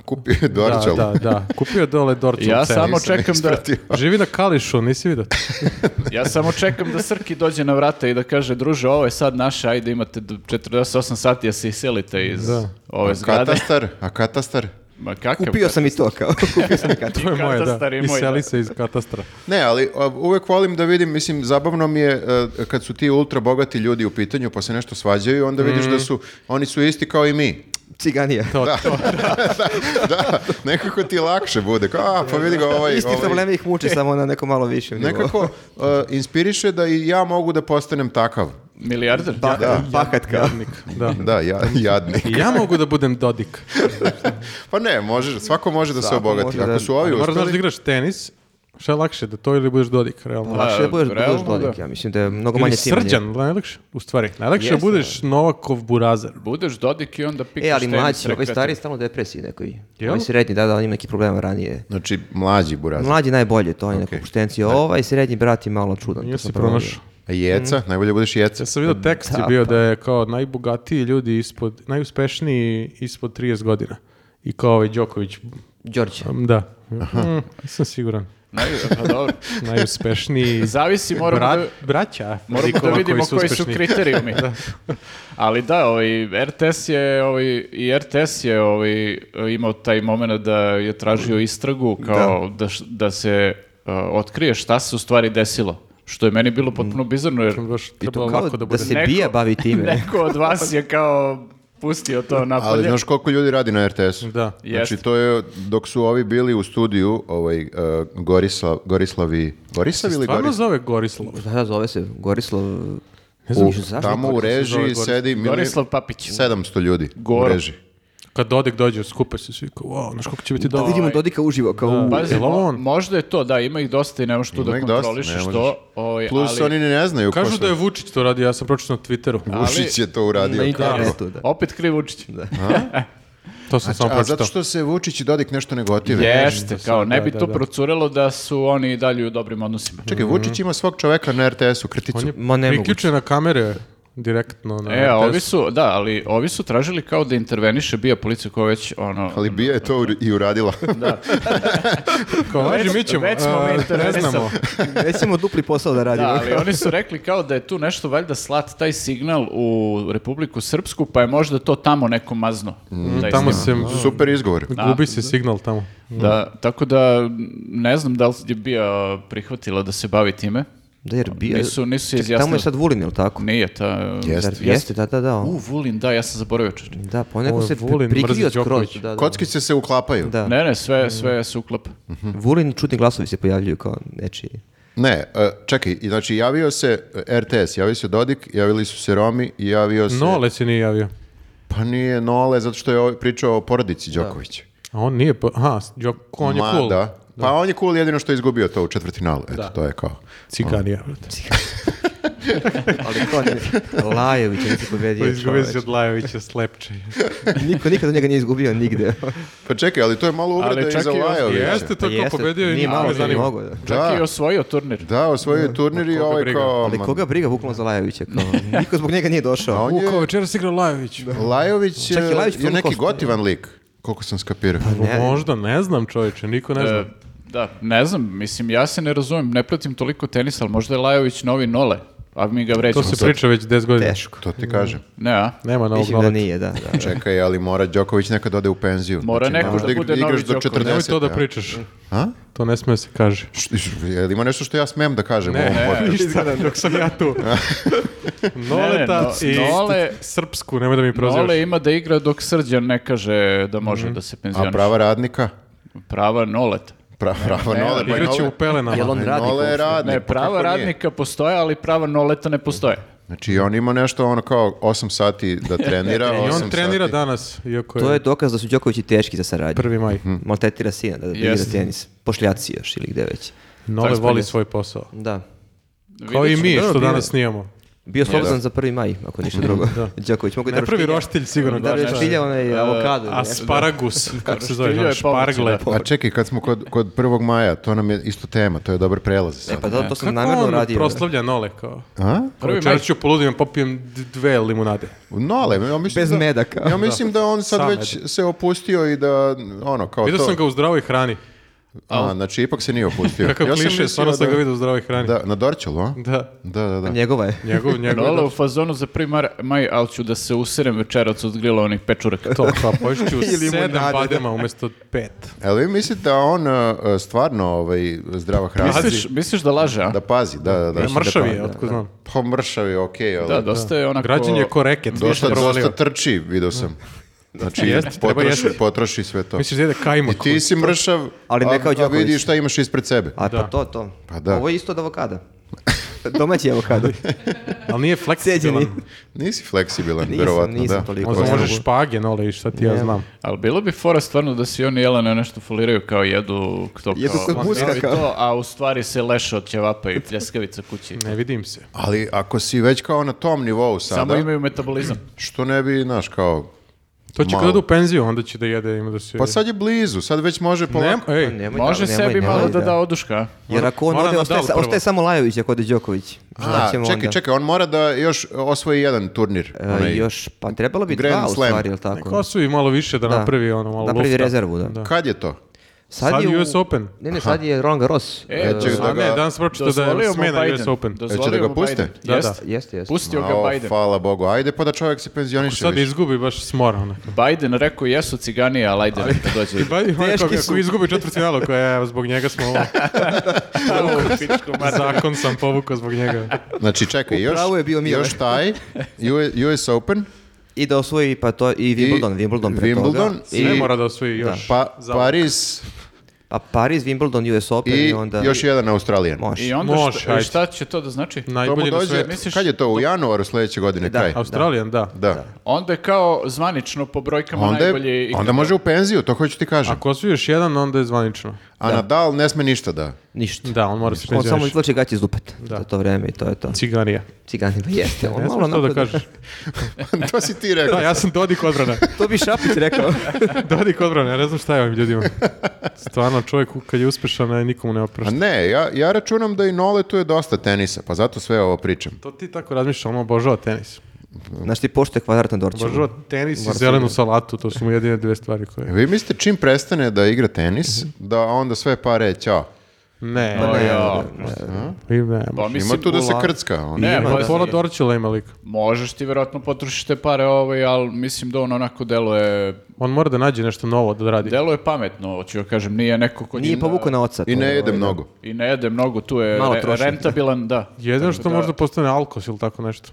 [SPEAKER 3] Kupio je Dorčal.
[SPEAKER 1] Da, da, da. Kupio dole Dorčola
[SPEAKER 4] Ja
[SPEAKER 1] celu.
[SPEAKER 4] samo
[SPEAKER 3] nisam
[SPEAKER 4] čekam da
[SPEAKER 3] ispratio.
[SPEAKER 1] Živi na Kališu, nisi vidio?
[SPEAKER 4] ja samo čekam da Srki dođe na vrata i da kaže druže ovo je sad naše, ajde imate d- 48 sati da se iselite iz
[SPEAKER 1] Da.
[SPEAKER 4] ove
[SPEAKER 3] A
[SPEAKER 4] zgrade.
[SPEAKER 3] katastar, a katastar.
[SPEAKER 4] Ma kakav
[SPEAKER 2] Kupio sam i to kao. Kupio sam i kad.
[SPEAKER 1] To je moje, da.
[SPEAKER 4] Katastar je
[SPEAKER 1] I
[SPEAKER 4] moj,
[SPEAKER 1] seli
[SPEAKER 4] da.
[SPEAKER 1] se iz katastra.
[SPEAKER 3] Ne, ali a, uvek volim da vidim, mislim, zabavno mi je e, kad su ti ultra bogati ljudi u pitanju pa se nešto svađaju, onda vidiš da su, oni su isti kao i mi.
[SPEAKER 2] Ciganija.
[SPEAKER 3] da, nekako ti lakše bude. Kao, a, pa vidi ga ovaj...
[SPEAKER 2] Isti
[SPEAKER 3] ovaj.
[SPEAKER 2] problemi ih muče, samo na neko malo više. nivou.
[SPEAKER 3] Nekako uh, inspiriše da i ja mogu da postanem takav.
[SPEAKER 4] Milijarder?
[SPEAKER 2] Pa, Pahat kao.
[SPEAKER 1] Da.
[SPEAKER 3] Da, ja, jadnik.
[SPEAKER 1] I ja mogu da budem Dodik.
[SPEAKER 3] Pa ne, može, svako može da se
[SPEAKER 2] Svako
[SPEAKER 3] obogati.
[SPEAKER 2] može
[SPEAKER 3] Ako
[SPEAKER 2] da-
[SPEAKER 3] su ovi
[SPEAKER 1] Ali moraš znaš da
[SPEAKER 3] uspeli...
[SPEAKER 1] igraš tenis, šta je lakše, da to ili budeš Dodik, realno.
[SPEAKER 4] Pa,
[SPEAKER 2] Lakše da budeš, budeš
[SPEAKER 4] realno,
[SPEAKER 2] Dodik,
[SPEAKER 4] da.
[SPEAKER 2] ja mislim da je mnogo
[SPEAKER 1] Ili
[SPEAKER 2] manje cimanje.
[SPEAKER 1] Srđan, najlakše, u stvari. Najlakše da
[SPEAKER 2] Jeste,
[SPEAKER 1] budeš Novakov Burazer.
[SPEAKER 4] Budeš Dodik i onda pikaš
[SPEAKER 2] E, ali
[SPEAKER 4] tenis
[SPEAKER 2] mlađi, ovaj
[SPEAKER 4] rekreativno.
[SPEAKER 2] stari je stalno u depresiji nekoj.
[SPEAKER 1] Jel?
[SPEAKER 2] Ovaj srednji, da, da, on ima neki problema ranije.
[SPEAKER 3] Znači, mlađi buraz.
[SPEAKER 2] Mlađi najbolje, to je neka
[SPEAKER 3] Okej.
[SPEAKER 2] opuštencija. Ovaj srednji brat je malo čudan.
[SPEAKER 1] Nije
[SPEAKER 2] to sam
[SPEAKER 1] si
[SPEAKER 2] provalio.
[SPEAKER 1] pronašao.
[SPEAKER 3] A jeca,
[SPEAKER 1] Mhm.
[SPEAKER 3] najbolje budeš jeca.
[SPEAKER 1] Ja sam vidio tekst je
[SPEAKER 2] Da,
[SPEAKER 1] bio
[SPEAKER 2] pa.
[SPEAKER 1] da je kao najbogatiji ljudi ispod, najuspešniji ispod 30 godina. I kao ovaj Đoković,
[SPEAKER 2] Đorđe.
[SPEAKER 1] um, da. Mm, nisam siguran.
[SPEAKER 4] Naj- pa dobro.
[SPEAKER 1] Najuspešniji
[SPEAKER 4] Zavisi, moramo
[SPEAKER 1] bra-
[SPEAKER 4] da-
[SPEAKER 1] braća.
[SPEAKER 4] Moramo da
[SPEAKER 1] likova
[SPEAKER 4] vidimo koji su
[SPEAKER 1] uspešniji.
[SPEAKER 4] kriterijumi. Ali da, ovaj, RTS je, ovaj, i RTS je ovaj, imao taj moment da je tražio istragu kao da, š- da se uh, otkrije šta se u stvari desilo. Što je meni bilo
[SPEAKER 3] Mm.
[SPEAKER 4] potpuno bizarno jer
[SPEAKER 1] Baš
[SPEAKER 2] I
[SPEAKER 1] trebalo
[SPEAKER 2] to kao
[SPEAKER 1] lako
[SPEAKER 2] da,
[SPEAKER 1] da bude.
[SPEAKER 2] se
[SPEAKER 4] Neko-
[SPEAKER 2] bija bavi time.
[SPEAKER 4] neko od vas je kao pustio to napolje.
[SPEAKER 3] Ali znaš koliko ljudi radi na RTS-u?
[SPEAKER 1] Da.
[SPEAKER 3] Znači,
[SPEAKER 4] Jeste.
[SPEAKER 3] to je, dok su ovi bili u studiju, ovaj, uh, Gorislav, Gorislavi, Gorislav ili
[SPEAKER 1] Stvarno
[SPEAKER 3] Gorislav?
[SPEAKER 1] zove Gorislav.
[SPEAKER 2] Da, zove se Gorislav... Ne
[SPEAKER 1] znam
[SPEAKER 3] Tamo u režiji
[SPEAKER 1] Gorislav.
[SPEAKER 3] sedi milijun-
[SPEAKER 4] Gorislav Papić.
[SPEAKER 3] 700 ljudi u
[SPEAKER 4] Goro.
[SPEAKER 3] režiji.
[SPEAKER 1] Kad Dodik dođe, skupe se svi kao, wow, znaš kako će biti
[SPEAKER 2] Da
[SPEAKER 1] dobro.
[SPEAKER 2] vidimo Dodika uživo, kao u...
[SPEAKER 4] Pazi,
[SPEAKER 1] Jel ovo on?
[SPEAKER 4] mo- možda je to, da, ima ih dosta i ne možeš tu
[SPEAKER 3] Ima
[SPEAKER 4] da
[SPEAKER 3] ih dosta,
[SPEAKER 4] kontrolišeš
[SPEAKER 3] ne možeš.
[SPEAKER 4] to. ovaj,
[SPEAKER 3] Plus,
[SPEAKER 4] ali-
[SPEAKER 3] oni ni ne znaju ko
[SPEAKER 1] Kažu
[SPEAKER 3] su-
[SPEAKER 1] da je Vučić to radi, ja sam pročitao na Twitteru.
[SPEAKER 3] Vučić je to uradio.
[SPEAKER 2] Na
[SPEAKER 3] kao-
[SPEAKER 2] internetu, da.
[SPEAKER 4] Opet kriv Vučić.
[SPEAKER 1] To sam samo
[SPEAKER 3] A zato
[SPEAKER 1] pročitao.
[SPEAKER 3] što se Vučić i Dodik nešto ne gotive.
[SPEAKER 4] Jeste, kao ne bi
[SPEAKER 1] da,
[SPEAKER 4] to
[SPEAKER 1] da.
[SPEAKER 4] procurelo da su oni i dalje u dobrim odnosima.
[SPEAKER 3] Čekaj, Vučić ima svog čoveka na RTS-u, kriticu.
[SPEAKER 1] On je
[SPEAKER 2] Ma nemoguće.
[SPEAKER 1] priključen na kamere direktno. Na
[SPEAKER 4] E, a
[SPEAKER 1] RTS.
[SPEAKER 4] ovi su, da, ali ovi su tražili kao da interveniše bija policija koja već, ono...
[SPEAKER 3] Ali Bija je to ur- i uradila.
[SPEAKER 1] Kao,
[SPEAKER 4] Već-
[SPEAKER 1] "Ajde, mi ćemo,
[SPEAKER 4] već smo
[SPEAKER 1] a,
[SPEAKER 4] mi
[SPEAKER 1] ne
[SPEAKER 4] interesantno.
[SPEAKER 1] znamo.
[SPEAKER 2] Recimo dupli posao da radimo.
[SPEAKER 4] Da, ali oni su rekli kao da je tu nešto valjda slat taj signal u Republiku Srpsku, pa je možda to tamo neko mazno. taj
[SPEAKER 1] Mm, Tamo
[SPEAKER 4] snimak.
[SPEAKER 1] se
[SPEAKER 3] Super izgovor.
[SPEAKER 1] gubi se signal tamo.
[SPEAKER 4] Da, tako da ne znam da li je bija prihvatila da se bavi time.
[SPEAKER 2] Da, jer bija...
[SPEAKER 4] Nisu- nisu se
[SPEAKER 2] Čekaj, Tamo
[SPEAKER 4] izjasnili.
[SPEAKER 2] je sad Vulin, jel tako?
[SPEAKER 4] Nije ta...
[SPEAKER 3] Jeste.
[SPEAKER 2] Zar- Jeste, da, da, da. on-
[SPEAKER 4] U, Vulin, da, ja sam zaboravio češće.
[SPEAKER 2] Da,
[SPEAKER 1] Ovo
[SPEAKER 2] ponekad
[SPEAKER 1] je
[SPEAKER 2] se
[SPEAKER 1] Vulin,
[SPEAKER 2] pri- prikrio
[SPEAKER 1] mrzi
[SPEAKER 2] skroz.
[SPEAKER 1] Đoković.
[SPEAKER 2] Da, da.
[SPEAKER 3] Kockice se uklapaju.
[SPEAKER 2] Da.
[SPEAKER 4] Ne, ne, sve, sve se uklapa.
[SPEAKER 2] Vulin čudni glasovi se pojavljuju kao nečiji.
[SPEAKER 3] Ne, e, čekaj, i znači javio se e, RTS, javio se Dodik, javili su se Romi i javio se...
[SPEAKER 1] Nole se nije javio.
[SPEAKER 3] Pa nije Nole, zato što je ovaj pričao o porodici Đoković.
[SPEAKER 1] A on nije, po- aha, s- Đok- on je
[SPEAKER 3] Ma,
[SPEAKER 1] cool.
[SPEAKER 3] Da. Pa on je cool jedino što je izgubio to u četvrtinalu. Eto, to je kao.
[SPEAKER 1] Ciganija. brate.
[SPEAKER 2] Ali to nije. Lajović je nisi
[SPEAKER 1] Pa
[SPEAKER 2] pobedio
[SPEAKER 1] izgubio
[SPEAKER 2] čoveč.
[SPEAKER 1] se od Lajovića, slepče.
[SPEAKER 2] Niko nikad od njega nije izgubio nigde.
[SPEAKER 3] Pa čekaj, ali to je malo
[SPEAKER 4] Ali
[SPEAKER 3] uvreda i
[SPEAKER 4] čak
[SPEAKER 3] za
[SPEAKER 4] i on-
[SPEAKER 3] Lajovića.
[SPEAKER 1] Jeste to
[SPEAKER 2] Pa
[SPEAKER 1] ko
[SPEAKER 2] jeste,
[SPEAKER 1] pobedio i
[SPEAKER 2] nije
[SPEAKER 1] nikog
[SPEAKER 2] malo
[SPEAKER 1] ne
[SPEAKER 2] da
[SPEAKER 1] zanima.
[SPEAKER 2] mogo, da.
[SPEAKER 4] Čak
[SPEAKER 3] Da.
[SPEAKER 4] i osvojio turnir.
[SPEAKER 3] Da, osvojio je turnir i
[SPEAKER 1] koga
[SPEAKER 3] ovaj
[SPEAKER 1] briga.
[SPEAKER 3] kao...
[SPEAKER 2] Ali
[SPEAKER 3] ma,
[SPEAKER 2] koga briga bukvalno za Lajovića? Kao, niko zbog njega Pa nije došao.
[SPEAKER 3] A on je,
[SPEAKER 1] Uko, večeras igra Lajović.
[SPEAKER 3] Lajović je,
[SPEAKER 2] Čak i Lajović
[SPEAKER 3] je neki
[SPEAKER 2] koliko košta?
[SPEAKER 3] gotivan lik, koliko sam skapirao.
[SPEAKER 2] Ne.
[SPEAKER 1] Možda, ne znam čovječe, niko ne zna.
[SPEAKER 4] E, da, ne znam, mislim, ja se ne razumem, ne pratim toliko tenis, ali možda je Lajović novi nole, a mi ga
[SPEAKER 1] To
[SPEAKER 4] vrećamo
[SPEAKER 1] se
[SPEAKER 4] sad.
[SPEAKER 1] priča već 10 godina.
[SPEAKER 2] Teško.
[SPEAKER 3] To ti kažem.
[SPEAKER 4] Ne, a?
[SPEAKER 1] Nema novog
[SPEAKER 2] Mislim da
[SPEAKER 1] nole.
[SPEAKER 2] nije, da. da.
[SPEAKER 3] Čekaj, ali mora Đoković nekad ode u penziju.
[SPEAKER 4] Mora
[SPEAKER 3] ne
[SPEAKER 4] neko
[SPEAKER 3] možeš
[SPEAKER 4] da
[SPEAKER 3] ig-
[SPEAKER 4] bude
[SPEAKER 3] igraš
[SPEAKER 4] novi
[SPEAKER 3] do
[SPEAKER 4] Đoković.
[SPEAKER 3] 40.
[SPEAKER 1] Nemoj to da
[SPEAKER 3] a?
[SPEAKER 1] pričaš.
[SPEAKER 3] A?
[SPEAKER 1] To ne smije se kaže.
[SPEAKER 3] Što- što- je li ima nešto što ja smem da kažem u ovom
[SPEAKER 4] E,
[SPEAKER 3] podcastu?
[SPEAKER 1] ništa, dok sam ja tu. Noleta
[SPEAKER 4] Ne, ne,
[SPEAKER 1] i
[SPEAKER 4] no- Nole-
[SPEAKER 1] srpsku, nemoj da mi prozivaš.
[SPEAKER 4] Nole ima da igra dok Srđan ne kaže da može
[SPEAKER 1] Mhm.
[SPEAKER 4] da se penzioniše.
[SPEAKER 3] A prava radnika?
[SPEAKER 4] Prava noleta.
[SPEAKER 3] Prava, prava
[SPEAKER 4] ne,
[SPEAKER 3] nole.
[SPEAKER 4] ali
[SPEAKER 3] pa i
[SPEAKER 1] Igraće
[SPEAKER 3] nole-
[SPEAKER 1] u pelenama.
[SPEAKER 2] Jel on
[SPEAKER 3] pa i
[SPEAKER 2] radnik
[SPEAKER 3] Nole je
[SPEAKER 2] uopšte?
[SPEAKER 3] radnik.
[SPEAKER 4] Ne,
[SPEAKER 3] pa
[SPEAKER 4] prava
[SPEAKER 3] kako nije?
[SPEAKER 4] radnika postoje, ali prava noleta ne postoje.
[SPEAKER 3] Znači on ima nešto ono kao 8 sati da trenira.
[SPEAKER 1] I on
[SPEAKER 3] osam
[SPEAKER 1] trenira
[SPEAKER 3] sati.
[SPEAKER 1] danas, iako
[SPEAKER 2] To je
[SPEAKER 1] je
[SPEAKER 2] dokaz da su Đokovići teški za saradnju.
[SPEAKER 1] prvi maj.
[SPEAKER 4] Mhm.
[SPEAKER 2] Maltretira sina da, da igra
[SPEAKER 4] Jeste.
[SPEAKER 2] tenis. Pošljaci još ili gde već.
[SPEAKER 1] Nole
[SPEAKER 4] Tako
[SPEAKER 1] voli
[SPEAKER 4] je.
[SPEAKER 1] svoj posao.
[SPEAKER 2] Da.
[SPEAKER 1] Kao i
[SPEAKER 4] Vidjet ćemo.
[SPEAKER 1] mi
[SPEAKER 2] Dobro,
[SPEAKER 1] što
[SPEAKER 2] bilo je.
[SPEAKER 1] danas snijamo.
[SPEAKER 2] Bio slobodan za 1. maj, ako ništa drugo. Đaković, mogu i da
[SPEAKER 1] Mhm, Ne prvi
[SPEAKER 2] roštilja-
[SPEAKER 1] roštilj sigurno.
[SPEAKER 2] Da,
[SPEAKER 1] da, E,
[SPEAKER 2] roštilja, onaj avokado. ne?
[SPEAKER 1] Asparagus, kako se
[SPEAKER 4] Roštilja
[SPEAKER 1] zove,
[SPEAKER 4] je povrće,
[SPEAKER 1] špargle.
[SPEAKER 4] da.
[SPEAKER 3] A čekaj, kad smo kod, kod 1. maja, to nam je isto tema, to je dobar prelaz.
[SPEAKER 2] E,
[SPEAKER 3] Sad.
[SPEAKER 2] pa da, to sam
[SPEAKER 1] Kako
[SPEAKER 2] namjerno
[SPEAKER 1] on
[SPEAKER 2] radio.
[SPEAKER 1] proslavlja nole kao?
[SPEAKER 3] A?
[SPEAKER 1] Prvi
[SPEAKER 4] maj-
[SPEAKER 1] ću poludim, popijem d- dve limunade.
[SPEAKER 3] No, ali ja mislim
[SPEAKER 2] Bez
[SPEAKER 3] da,
[SPEAKER 2] meda, kao.
[SPEAKER 3] Ja mislim da on sad
[SPEAKER 1] Sa
[SPEAKER 3] već se opustio i da, ono, kao
[SPEAKER 1] Vidio
[SPEAKER 3] to.
[SPEAKER 1] sam ga u zdravoj hrani.
[SPEAKER 3] A, znači, ipak se nije opustio.
[SPEAKER 1] Kakav
[SPEAKER 3] Ja sam
[SPEAKER 1] kliše,
[SPEAKER 3] mislio
[SPEAKER 1] stvarno sam
[SPEAKER 3] da-
[SPEAKER 1] ga vidio u zdravoj hrani.
[SPEAKER 3] Da, na Dorčelu, a?
[SPEAKER 1] Da.
[SPEAKER 3] Da, da, da.
[SPEAKER 2] Njegova je.
[SPEAKER 1] Njegov, njegov.
[SPEAKER 4] Nole u fazonu za 1. mar- maj, ali ću da se userem večeras od grila onih pečuraka.
[SPEAKER 1] To, pa pošću
[SPEAKER 2] Ili
[SPEAKER 1] sedam
[SPEAKER 2] limunade,
[SPEAKER 1] badema umjesto pet.
[SPEAKER 3] Ali vi mislite da on uh, stvarno ovaj, zdrava hrana?
[SPEAKER 4] Misliš, misliš da laže, a?
[SPEAKER 3] Da pazi, da, da, da.
[SPEAKER 1] Ne, mršav
[SPEAKER 2] da,
[SPEAKER 1] je, otko znam.
[SPEAKER 3] Pa mršav je, okej, ali...
[SPEAKER 4] Da, dosta je onako...
[SPEAKER 1] Građan je ko reket,
[SPEAKER 3] Dosta,
[SPEAKER 1] ništa provalio.
[SPEAKER 3] dosta trči, vidio sam. Znači,
[SPEAKER 1] Jeste, treba
[SPEAKER 3] potroši,
[SPEAKER 1] jesti.
[SPEAKER 3] potroši sve to.
[SPEAKER 1] Misliš da jede kajmak?
[SPEAKER 3] I ti si mršav,
[SPEAKER 2] Ali ne
[SPEAKER 3] a-
[SPEAKER 2] kao
[SPEAKER 3] a
[SPEAKER 2] Đoković.
[SPEAKER 3] vidi šta imaš ispred sebe.
[SPEAKER 2] A
[SPEAKER 1] Da.
[SPEAKER 2] pa to, to.
[SPEAKER 3] Pa da.
[SPEAKER 2] Ovo je isto od avokada. Domaći avokado.
[SPEAKER 1] Ali nije fleksibilan.
[SPEAKER 2] Cijeđeni.
[SPEAKER 3] Nisi fleksibilan,
[SPEAKER 2] Nisam,
[SPEAKER 3] verovatno,
[SPEAKER 2] nisam
[SPEAKER 3] da.
[SPEAKER 2] toliko.
[SPEAKER 1] Možda
[SPEAKER 2] Ne
[SPEAKER 1] možeš
[SPEAKER 2] mogu.
[SPEAKER 1] špage, nole, i šta ti ja
[SPEAKER 2] Ne.
[SPEAKER 1] znam.
[SPEAKER 4] Ali bilo bi fora stvarno da si oni jelene nešto foliraju kao jedu to
[SPEAKER 2] Jedu
[SPEAKER 4] kao,
[SPEAKER 2] kod
[SPEAKER 4] Ma,
[SPEAKER 2] Buska,
[SPEAKER 4] i
[SPEAKER 2] kao.
[SPEAKER 4] to, a u stvari se leše od ćevapa i pljeskavica kući.
[SPEAKER 1] Ne vidim se.
[SPEAKER 3] Ali ako si već kao na tom nivou sada,
[SPEAKER 4] Samo imaju metabolizam.
[SPEAKER 3] što ne bi, znaš, kao...
[SPEAKER 1] To će
[SPEAKER 3] Malo.
[SPEAKER 1] kada u penziju, onda će da jede, ima da se...
[SPEAKER 3] Pa sad je blizu, sad već može
[SPEAKER 1] Ne,
[SPEAKER 3] polako...
[SPEAKER 1] ej,
[SPEAKER 2] Nemoj
[SPEAKER 4] Može
[SPEAKER 2] da- nemoj,
[SPEAKER 4] sebi
[SPEAKER 2] nemoj
[SPEAKER 4] malo da da oduška. a?
[SPEAKER 2] Jer ako on
[SPEAKER 1] Mora
[SPEAKER 2] ode,
[SPEAKER 1] na
[SPEAKER 2] ostaje,
[SPEAKER 1] dal
[SPEAKER 2] sa-
[SPEAKER 1] prvo.
[SPEAKER 2] ostaje samo Lajović ako ode Đoković. Šta
[SPEAKER 3] A,
[SPEAKER 2] ćemo
[SPEAKER 3] čekaj,
[SPEAKER 2] onda?
[SPEAKER 3] čekaj, on mora da još osvoji jedan turnir.
[SPEAKER 2] E,
[SPEAKER 3] onaj-
[SPEAKER 2] još, pa trebalo bi
[SPEAKER 3] Grand
[SPEAKER 2] dva u
[SPEAKER 3] Slam.
[SPEAKER 2] stvari, jel tako?
[SPEAKER 1] Kosovi malo više da,
[SPEAKER 2] Pa Da.
[SPEAKER 1] napravi ono malo
[SPEAKER 2] Napravi
[SPEAKER 1] lufta.
[SPEAKER 2] rezervu, da.
[SPEAKER 3] Kad je to?
[SPEAKER 1] Sad je
[SPEAKER 2] u-
[SPEAKER 1] US Open.
[SPEAKER 2] Ne, ne, sad je Roland Garros.
[SPEAKER 4] E,
[SPEAKER 2] E,
[SPEAKER 3] Čekaj da
[SPEAKER 1] A ne,
[SPEAKER 3] ga-
[SPEAKER 1] danas sam pročitao da
[SPEAKER 4] Dozvolio
[SPEAKER 1] je
[SPEAKER 4] mu
[SPEAKER 1] smena
[SPEAKER 4] Biden.
[SPEAKER 1] US Open.
[SPEAKER 4] Dozvolio
[SPEAKER 3] Hoće da ga
[SPEAKER 4] mu
[SPEAKER 3] puste?
[SPEAKER 4] Biden.
[SPEAKER 1] Da,
[SPEAKER 4] Jest.
[SPEAKER 2] Jeste, jeste.
[SPEAKER 4] Pustio
[SPEAKER 3] Ao,
[SPEAKER 4] ga Biden.
[SPEAKER 3] Hvala Bogu, ajde pa da čovjek se penzioniše
[SPEAKER 1] Sad
[SPEAKER 3] više.
[SPEAKER 1] izgubi baš s mora onako.
[SPEAKER 4] Biden rekao jesu cigani, ali ajde neka dođe.
[SPEAKER 1] Pa I Biden
[SPEAKER 2] Teški
[SPEAKER 1] onako,
[SPEAKER 2] su.
[SPEAKER 1] ako izgubi četvrtfinalu, koja je, zbog njega smo ovo, zakon sam povukao zbog njega.
[SPEAKER 3] Znači čekaj, još,
[SPEAKER 2] pravu je bio Mile.
[SPEAKER 3] još taj, U- US Open,
[SPEAKER 2] I da osvoji pa to i Wimbledon, Wimbledon pre toga.
[SPEAKER 3] Wimbledon
[SPEAKER 1] Sve
[SPEAKER 3] I-
[SPEAKER 1] mora da osvoji još.
[SPEAKER 3] pa,
[SPEAKER 1] Za-
[SPEAKER 3] Paris
[SPEAKER 2] Pa Paris, Wimbledon, US Open i,
[SPEAKER 3] i
[SPEAKER 2] onda...
[SPEAKER 3] još jedan Australijan.
[SPEAKER 2] Može.
[SPEAKER 4] I onda
[SPEAKER 1] Može,
[SPEAKER 4] šta,
[SPEAKER 1] ajde.
[SPEAKER 4] šta će to da znači?
[SPEAKER 3] To mu
[SPEAKER 1] Najbolji na
[SPEAKER 3] dođe,
[SPEAKER 1] svijetu.
[SPEAKER 4] Misliš-
[SPEAKER 3] kad je to, u januaru sljedeće godine
[SPEAKER 2] Da.
[SPEAKER 3] kraj?
[SPEAKER 1] Australijan, da.
[SPEAKER 3] Da.
[SPEAKER 4] Onda je kao zvanično po brojkama
[SPEAKER 3] Onda,
[SPEAKER 4] najbolji
[SPEAKER 3] je, onda može u penziju, to hoću ti kažem.
[SPEAKER 1] Ako osvoji još jedan, onda je zvanično.
[SPEAKER 3] A Nadal ne sme ništa da.
[SPEAKER 2] Ništa.
[SPEAKER 1] Da, on mora se
[SPEAKER 2] On samo
[SPEAKER 1] penzionirati.
[SPEAKER 2] izvlači gaće iz dupeta za to vreme i to je to.
[SPEAKER 1] Ciganija.
[SPEAKER 2] Ciganima pa jeste. On
[SPEAKER 1] Ne
[SPEAKER 2] malo
[SPEAKER 1] znam što da
[SPEAKER 2] onako
[SPEAKER 1] kažeš.
[SPEAKER 3] to si ti rekao.
[SPEAKER 1] Da, ja sam Dodik odbrana.
[SPEAKER 2] To bi Šapić rekao.
[SPEAKER 1] Dodik odbrana, ja ne znam šta je ovim ljudima. Stvarno, čovjek kad je uspešan, e, nikomu ne
[SPEAKER 3] A
[SPEAKER 1] oprašta.
[SPEAKER 3] Pa ne, ja, ja računam da i Nole tu je dosta tenisa, pa zato sve ovo pričam.
[SPEAKER 1] To ti tako razmišljaš, on obožava tenis.
[SPEAKER 2] Znaš ti pošto je kvadrat na Dorčevu.
[SPEAKER 1] Obožava tenis i zelenu salatu, to su mu jedine dve stvari koje...
[SPEAKER 3] Vi mislite čim prestane da igra tenis, da onda sve pare ćao.
[SPEAKER 1] Ne,
[SPEAKER 4] Pa
[SPEAKER 2] Ne, ne,
[SPEAKER 4] Ja.
[SPEAKER 2] ne, ne.
[SPEAKER 1] i ne.
[SPEAKER 4] Pa
[SPEAKER 3] Ima
[SPEAKER 4] mislim,
[SPEAKER 3] tu da se
[SPEAKER 2] pola-
[SPEAKER 3] krcka. ono, on.
[SPEAKER 4] Ne,
[SPEAKER 1] Ima
[SPEAKER 4] pa-
[SPEAKER 1] Pola Dorčela ima lik.
[SPEAKER 4] možeš ti vjerojatno potrošiš te pare ovaj, ali mislim da on onako deluje,
[SPEAKER 1] On mora da nađe nešto novo da radi.
[SPEAKER 4] deluje pametno, hoću joj kažem, nije neko ko
[SPEAKER 2] Nije povukao na oca.
[SPEAKER 3] I
[SPEAKER 2] to
[SPEAKER 3] ne
[SPEAKER 2] je,
[SPEAKER 3] jede
[SPEAKER 2] ovaj,
[SPEAKER 3] mnogo.
[SPEAKER 4] I ne jede mnogo, tu je
[SPEAKER 2] Malo
[SPEAKER 4] re-
[SPEAKER 2] troši.
[SPEAKER 4] rentabilan, da.
[SPEAKER 1] Jedino što
[SPEAKER 4] da-
[SPEAKER 1] možda postane alkos ili tako nešto.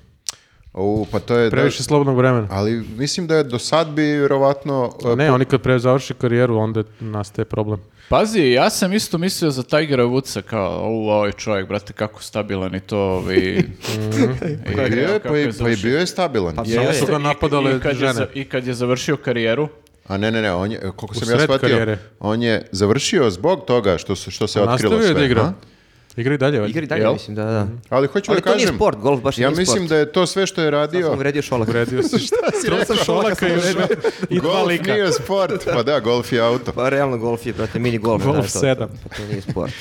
[SPEAKER 3] U, pa to je...
[SPEAKER 1] Previše
[SPEAKER 3] da-
[SPEAKER 1] slobodnog vremena.
[SPEAKER 3] ali mislim da je do sad bi vjerovatno... e,
[SPEAKER 1] Ne, oni kad pre završi karijeru, onda nastaje problem.
[SPEAKER 4] Pazi, ja sam isto mislio za Tigera Woodsa kao, u, ovaj čovjek, brate, kako stabilan i to, ovaj... i,
[SPEAKER 3] Pa, i bio
[SPEAKER 4] evo
[SPEAKER 3] je,
[SPEAKER 4] kako
[SPEAKER 3] pa, i,
[SPEAKER 4] je
[SPEAKER 3] pa i
[SPEAKER 4] završio.
[SPEAKER 3] bio je stabilan.
[SPEAKER 2] Pa
[SPEAKER 1] Samo
[SPEAKER 2] Jeste,
[SPEAKER 1] su ga
[SPEAKER 4] I-
[SPEAKER 1] napadale
[SPEAKER 4] i kad je
[SPEAKER 1] žene.
[SPEAKER 4] za- I kad je završio karijeru,
[SPEAKER 3] A ne, ne, ne, on je, koliko sam ja
[SPEAKER 1] sred
[SPEAKER 3] shvatio,
[SPEAKER 1] karijere. Pa
[SPEAKER 3] on je završio zbog toga što, su- što se otkrilo
[SPEAKER 1] Nastavio
[SPEAKER 3] sve.
[SPEAKER 1] je da igra.
[SPEAKER 3] a?
[SPEAKER 1] Igra i dalje, valjda.
[SPEAKER 2] Igri Pa dalje,
[SPEAKER 4] Jel?
[SPEAKER 2] mislim, da, da.
[SPEAKER 3] Ali hoću
[SPEAKER 2] Ali
[SPEAKER 3] da
[SPEAKER 2] to nije
[SPEAKER 3] kažem,
[SPEAKER 2] sport, golf baš
[SPEAKER 3] ja
[SPEAKER 2] nije
[SPEAKER 3] mislim
[SPEAKER 2] sport.
[SPEAKER 3] da je to sve što
[SPEAKER 2] Sad
[SPEAKER 3] je
[SPEAKER 2] Pa sam
[SPEAKER 3] radio...
[SPEAKER 2] uvredio Šolak.
[SPEAKER 1] Uredio si šta.
[SPEAKER 2] Troca
[SPEAKER 1] Šolaka i
[SPEAKER 2] sam
[SPEAKER 1] žena. I dva
[SPEAKER 3] Golf
[SPEAKER 1] lika.
[SPEAKER 3] nije sport, pa da, golf je auto.
[SPEAKER 2] Pa realno golf je, brate, mini golf.
[SPEAKER 1] Golf
[SPEAKER 2] znaš, to- to-
[SPEAKER 1] sedam.
[SPEAKER 2] To, to nije sport.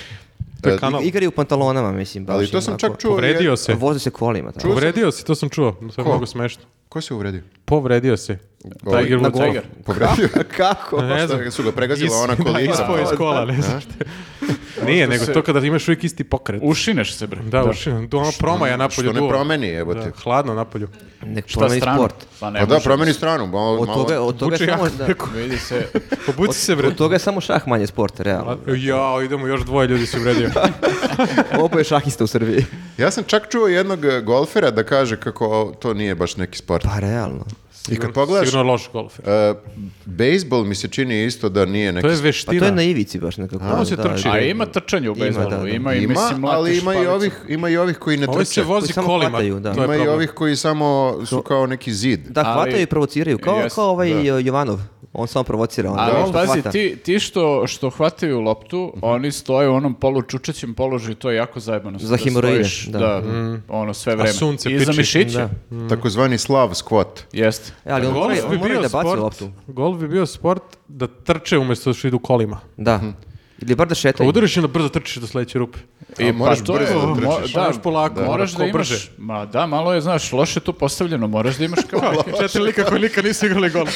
[SPEAKER 1] To je
[SPEAKER 3] E,
[SPEAKER 1] kanal.
[SPEAKER 2] Igri u pantalonama, mislim, baš.
[SPEAKER 3] Ali to sam
[SPEAKER 2] onako.
[SPEAKER 3] čak čuo.
[SPEAKER 1] Povredio
[SPEAKER 3] jer-
[SPEAKER 1] se.
[SPEAKER 2] Voze se kolima. Tako.
[SPEAKER 1] Povredio si, to sam čuo. To je
[SPEAKER 3] Ko?
[SPEAKER 1] mnogo smešno.
[SPEAKER 3] Ko se uvredio?
[SPEAKER 1] Povredio si.
[SPEAKER 3] Ovaj,
[SPEAKER 1] Tiger
[SPEAKER 4] na
[SPEAKER 1] Woods.
[SPEAKER 4] Tiger.
[SPEAKER 3] Povredio?
[SPEAKER 2] Kako?
[SPEAKER 1] Ne znam.
[SPEAKER 3] Su ga pregazila
[SPEAKER 1] Is-
[SPEAKER 3] ona
[SPEAKER 1] da,
[SPEAKER 3] kolica.
[SPEAKER 1] Ispao iz kola, ne znam šta. Nije, nego to kada imaš uvijek isti pokret.
[SPEAKER 4] ušineš se, bre.
[SPEAKER 1] Da, uši. Do ono promaja napolju.
[SPEAKER 3] Što ne
[SPEAKER 1] duva.
[SPEAKER 3] promeni, evo
[SPEAKER 1] Da,
[SPEAKER 3] te.
[SPEAKER 1] hladno napolju.
[SPEAKER 2] Nek
[SPEAKER 4] Šta
[SPEAKER 2] promeni
[SPEAKER 4] stranu?
[SPEAKER 2] sport.
[SPEAKER 4] Pa ne
[SPEAKER 3] Pa da,
[SPEAKER 4] može.
[SPEAKER 3] promeni stranu. Malo,
[SPEAKER 2] Od
[SPEAKER 3] malo-
[SPEAKER 2] toga, od toga
[SPEAKER 1] Vuče
[SPEAKER 2] je samo...
[SPEAKER 1] jako
[SPEAKER 2] Da,
[SPEAKER 1] neku.
[SPEAKER 4] Vidi se,
[SPEAKER 1] Obuci se, bre.
[SPEAKER 2] od toga je samo šah manje sport, realno.
[SPEAKER 1] Jao, idemo, još dvoje ljudi se uvredio.
[SPEAKER 2] Oboje šahista u Srbiji.
[SPEAKER 3] Ja sam čak čuo jednog e, golfera da kaže kako o, to nije baš neki sport.
[SPEAKER 2] Pa realno.
[SPEAKER 3] I kad pogledaš,
[SPEAKER 1] Sigurno loš golfer.
[SPEAKER 3] e, bejsbol mi se čini isto da nije neki
[SPEAKER 1] To je
[SPEAKER 3] sport.
[SPEAKER 2] Pa to
[SPEAKER 1] veština.
[SPEAKER 2] je na ivici baš nekako.
[SPEAKER 1] on se trči.
[SPEAKER 4] a ima trčanje u
[SPEAKER 2] Ima,
[SPEAKER 4] bejzbolu,
[SPEAKER 2] da,
[SPEAKER 4] ima,
[SPEAKER 2] da.
[SPEAKER 4] i
[SPEAKER 3] Ima,
[SPEAKER 4] mislim mlatiš
[SPEAKER 3] ali ima i,
[SPEAKER 4] palicom.
[SPEAKER 3] ovih, ima i ovih koji ne
[SPEAKER 1] Ovi
[SPEAKER 3] trče.
[SPEAKER 1] se vozi
[SPEAKER 2] Koji samo
[SPEAKER 1] kolima.
[SPEAKER 2] hvataju, da.
[SPEAKER 1] To je
[SPEAKER 3] Ima i
[SPEAKER 1] problem.
[SPEAKER 3] ovih koji samo su kao neki zid.
[SPEAKER 2] Da,
[SPEAKER 4] Ali-
[SPEAKER 2] hvataju i provociraju, kao,
[SPEAKER 4] Jeste,
[SPEAKER 2] kao ovaj e, Jovanov. on samo provocira. On
[SPEAKER 4] Ali
[SPEAKER 2] ono što
[SPEAKER 4] pazi,
[SPEAKER 2] hvata.
[SPEAKER 4] ti, ti što, što hvataju loptu,
[SPEAKER 2] Mhm.
[SPEAKER 4] oni stoje u onom polučučećem položaju, to je jako zajebano.
[SPEAKER 2] Za hemoroide,
[SPEAKER 4] stojiš,
[SPEAKER 2] da. Mhm.
[SPEAKER 4] ono, sve vreme.
[SPEAKER 1] sunce
[SPEAKER 4] I za
[SPEAKER 1] piči.
[SPEAKER 4] mišiće.
[SPEAKER 2] Da.
[SPEAKER 3] Takozvani slav squat.
[SPEAKER 4] Jeste.
[SPEAKER 2] E, ali on mora,
[SPEAKER 1] Golf
[SPEAKER 2] on
[SPEAKER 1] bi
[SPEAKER 2] mora i
[SPEAKER 1] bio
[SPEAKER 2] da baci
[SPEAKER 1] sport,
[SPEAKER 2] loptu.
[SPEAKER 1] golf bi bio sport da trče umjesto što idu kolima.
[SPEAKER 2] Da. Ili bar da šeta.
[SPEAKER 1] Kao udariš i onda brzo trčiš do sledeće rupe.
[SPEAKER 3] A
[SPEAKER 1] pa
[SPEAKER 3] moraš brzo da trčiš.
[SPEAKER 4] pa mo-
[SPEAKER 1] Moraš polako,
[SPEAKER 4] moraš
[SPEAKER 1] ko
[SPEAKER 4] da imaš,
[SPEAKER 1] brže.
[SPEAKER 4] ma da, malo je, znaš, loše to postavljeno, moraš da imaš kao neke-
[SPEAKER 1] Četiri lika koji nikad nisu igrali golf.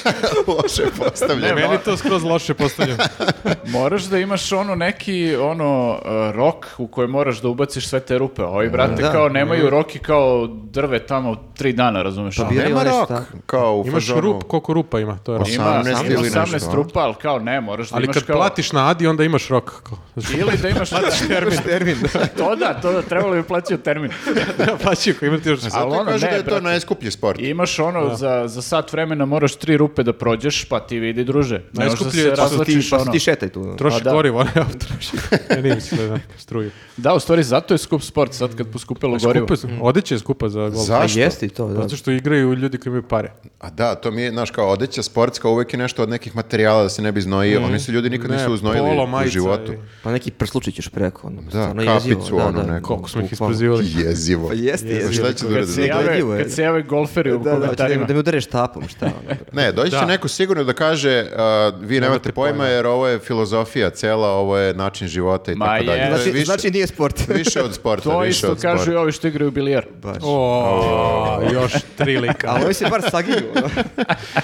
[SPEAKER 3] Loše postavljeno.
[SPEAKER 1] Meni to skroz loše postavljeno.
[SPEAKER 4] moraš da imaš ono neki, ono, eh, rok u koji moraš da ubaciš sve te rupe. Ovi, brate,
[SPEAKER 2] Da.
[SPEAKER 4] kao
[SPEAKER 1] Mhm.
[SPEAKER 4] nemaju roki kao drve tamo tri dana, razumeš? ono.
[SPEAKER 2] Pa bio-
[SPEAKER 3] Nema
[SPEAKER 2] Ili onaj
[SPEAKER 3] rok,
[SPEAKER 2] šta?
[SPEAKER 3] kao u
[SPEAKER 1] Imaš
[SPEAKER 3] fazonu.
[SPEAKER 1] rup, koliko rupa ima, to je rok.
[SPEAKER 4] Ima
[SPEAKER 3] 18
[SPEAKER 4] ima
[SPEAKER 3] ili nešto,
[SPEAKER 4] 18
[SPEAKER 3] a?
[SPEAKER 4] rupa, ali kao ne, moraš da
[SPEAKER 1] Ali
[SPEAKER 4] Pa, imaš
[SPEAKER 1] kad
[SPEAKER 4] kao...
[SPEAKER 1] platiš na Adi, onda imaš rok. kao.
[SPEAKER 4] Ili da imaš...
[SPEAKER 1] Termin. termin.
[SPEAKER 4] to da, to da, trebalo bi plaćati termin.
[SPEAKER 1] da, pa plaći koji ima ti još.
[SPEAKER 4] A-
[SPEAKER 1] A,
[SPEAKER 4] Ali
[SPEAKER 3] Zato
[SPEAKER 4] ono
[SPEAKER 3] kaže
[SPEAKER 4] ne,
[SPEAKER 3] da je to
[SPEAKER 4] brate.
[SPEAKER 3] najskuplji sport.
[SPEAKER 4] I imaš ono, za, za sat vremena moraš tri rupe da prođeš, pa ti vidi druže. Ne možeš da
[SPEAKER 1] Najskuplje je
[SPEAKER 4] se
[SPEAKER 1] to što
[SPEAKER 2] Ti,
[SPEAKER 4] razlačiš
[SPEAKER 2] pa se
[SPEAKER 4] ono.
[SPEAKER 2] ti šetaj tu.
[SPEAKER 1] troši
[SPEAKER 4] A, da.
[SPEAKER 1] gorivo, ne, troši. Ne, nije mi se da struju.
[SPEAKER 4] Da, u stvari zato je skup sport sad kad poskupilo gorivo.
[SPEAKER 1] Skupa, su- odeće je skupa Mm. za golf.
[SPEAKER 2] Pa
[SPEAKER 3] Zašto?
[SPEAKER 2] jeste i to, da.
[SPEAKER 1] Zato što igraju ljudi koji imaju pare.
[SPEAKER 3] A da, to mi je, znaš, kao odeća sportska, uvek je nešto od nekih materijala da se ne bi znojio. Oni se ljudi nikad
[SPEAKER 1] Ne,
[SPEAKER 3] nisu uznojili
[SPEAKER 1] polo,
[SPEAKER 3] u
[SPEAKER 1] majica
[SPEAKER 3] životu.
[SPEAKER 1] i-
[SPEAKER 2] Pa neki prslučić još preko. Ono,
[SPEAKER 3] Da,
[SPEAKER 2] stvarno jezivo,
[SPEAKER 3] kapicu,
[SPEAKER 2] da,
[SPEAKER 3] ono,
[SPEAKER 2] da.
[SPEAKER 3] neko.
[SPEAKER 1] Koliko smo ih
[SPEAKER 2] Bukvalno.
[SPEAKER 1] isprozivali.
[SPEAKER 3] Jezivo.
[SPEAKER 2] jeste,
[SPEAKER 3] Pa
[SPEAKER 2] jeste.
[SPEAKER 3] Šta će da
[SPEAKER 4] Kad
[SPEAKER 3] uradi?
[SPEAKER 4] se
[SPEAKER 2] Gledljivo
[SPEAKER 4] jave,
[SPEAKER 2] je.
[SPEAKER 4] kad se jave golferi u
[SPEAKER 2] Da, da, da,
[SPEAKER 4] komentarima.
[SPEAKER 2] da mi udareš tapom, šta ono.
[SPEAKER 3] Ne, doći će
[SPEAKER 1] Da.
[SPEAKER 3] neko sigurno da kaže a, vi nemate pojma
[SPEAKER 1] pojma.
[SPEAKER 3] jer ovo je filozofija cela, ovo je način života i
[SPEAKER 4] Ma
[SPEAKER 3] tako dalje.
[SPEAKER 4] je.
[SPEAKER 3] To je
[SPEAKER 2] Znači,
[SPEAKER 3] više,
[SPEAKER 2] znači nije sport.
[SPEAKER 3] više od sporta,
[SPEAKER 4] To
[SPEAKER 3] više
[SPEAKER 4] isto
[SPEAKER 3] od sporta.
[SPEAKER 4] kažu i ovi što igraju bilijar.
[SPEAKER 2] Baš.
[SPEAKER 1] O, još tri lika.
[SPEAKER 2] Ali ovi se bar saginju. ono.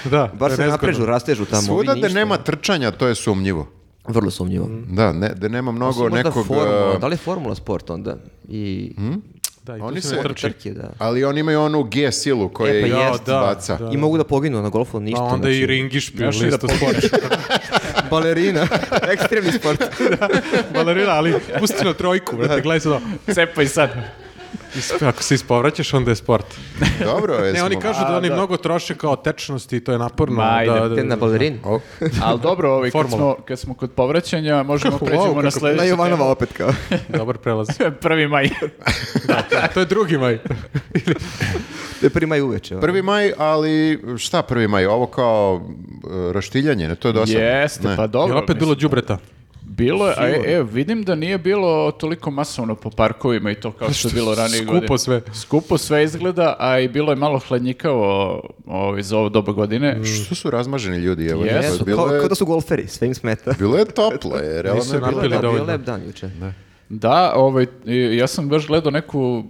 [SPEAKER 1] da, to
[SPEAKER 2] Bar
[SPEAKER 1] je
[SPEAKER 2] se
[SPEAKER 1] nezgodno.
[SPEAKER 2] naprežu, rastežu tamo. ovi
[SPEAKER 3] Svuda da
[SPEAKER 2] ništa.
[SPEAKER 3] nema trčanja, to je sumnjivo.
[SPEAKER 2] Vrlo sumnjivo.
[SPEAKER 3] Da, ne, da nema mnogo
[SPEAKER 2] Možda
[SPEAKER 3] nekog...
[SPEAKER 2] formula,
[SPEAKER 3] a,
[SPEAKER 2] da li je formula sport onda? I
[SPEAKER 1] Da, i
[SPEAKER 3] Oni
[SPEAKER 1] tu se
[SPEAKER 3] se-
[SPEAKER 1] ne trči.
[SPEAKER 2] trke, da.
[SPEAKER 3] Ali oni imaju onu G silu koja
[SPEAKER 2] E, pa
[SPEAKER 3] ih
[SPEAKER 2] jao,
[SPEAKER 1] da,
[SPEAKER 3] baca.
[SPEAKER 1] da.
[SPEAKER 2] I mogu da poginu na golfu, ništa.
[SPEAKER 1] Pa onda
[SPEAKER 2] znači.
[SPEAKER 1] i ringiš pil,
[SPEAKER 4] Znaš li da
[SPEAKER 1] isto sport.
[SPEAKER 2] Balerina, ekstremni sport.
[SPEAKER 1] Balerina, ali pusti na trojku, brate, gledaj se da.
[SPEAKER 4] Cepaj sad.
[SPEAKER 1] Is- Ako se ispovraćaš, onda je sport.
[SPEAKER 3] Dobro,
[SPEAKER 1] Ne,
[SPEAKER 3] jesmo.
[SPEAKER 1] oni kažu da
[SPEAKER 4] A,
[SPEAKER 1] oni
[SPEAKER 4] da.
[SPEAKER 1] mnogo troše kao tečnosti i to je naporno.
[SPEAKER 4] Ma, ajde,
[SPEAKER 1] da, da,
[SPEAKER 2] Te na balerin.
[SPEAKER 3] O,
[SPEAKER 4] Ali dobro, ovi, kad,
[SPEAKER 1] Formula.
[SPEAKER 4] smo, kad smo kod povraćanja, možemo
[SPEAKER 1] Kako,
[SPEAKER 4] pređemo
[SPEAKER 1] wow,
[SPEAKER 4] na
[SPEAKER 1] kako-
[SPEAKER 4] sledeću temu.
[SPEAKER 2] opet kao.
[SPEAKER 1] Dobar prelaz.
[SPEAKER 4] Prvi maj.
[SPEAKER 1] To je drugi maj.
[SPEAKER 2] To je prvi maj uveče. ono.
[SPEAKER 3] Prvi maj, ali šta prvi maj? Ovo kao e, raštiljanje, ne? To je dosadno.
[SPEAKER 4] Jeste,
[SPEAKER 3] Ne.
[SPEAKER 4] pa
[SPEAKER 1] I
[SPEAKER 4] dobro.
[SPEAKER 1] opet
[SPEAKER 4] mislim.
[SPEAKER 1] bilo đubreta.
[SPEAKER 4] Bilo je, a, e, e, vidim da nije bilo toliko masovno po parkovima i to kao što je bilo ranije
[SPEAKER 1] Pa Skupo
[SPEAKER 4] godine.
[SPEAKER 1] sve.
[SPEAKER 4] Skupo sve izgleda, a i bilo je malo hladnjikavo ovaj, za ovo doba godine.
[SPEAKER 1] Mm.
[SPEAKER 3] Što su razmaženi ljudi? Evo,
[SPEAKER 4] Jesu,
[SPEAKER 3] Bilo
[SPEAKER 2] Kao,
[SPEAKER 3] je-
[SPEAKER 2] kao da su golferi, sve im smeta.
[SPEAKER 3] Bilo je toplo, je, realno
[SPEAKER 1] Nisu
[SPEAKER 3] je bilo.
[SPEAKER 1] napili
[SPEAKER 2] Da, bio
[SPEAKER 1] dovoljno.
[SPEAKER 2] lep dan juče.
[SPEAKER 4] Da, ovaj, i ja sam baš gledao neku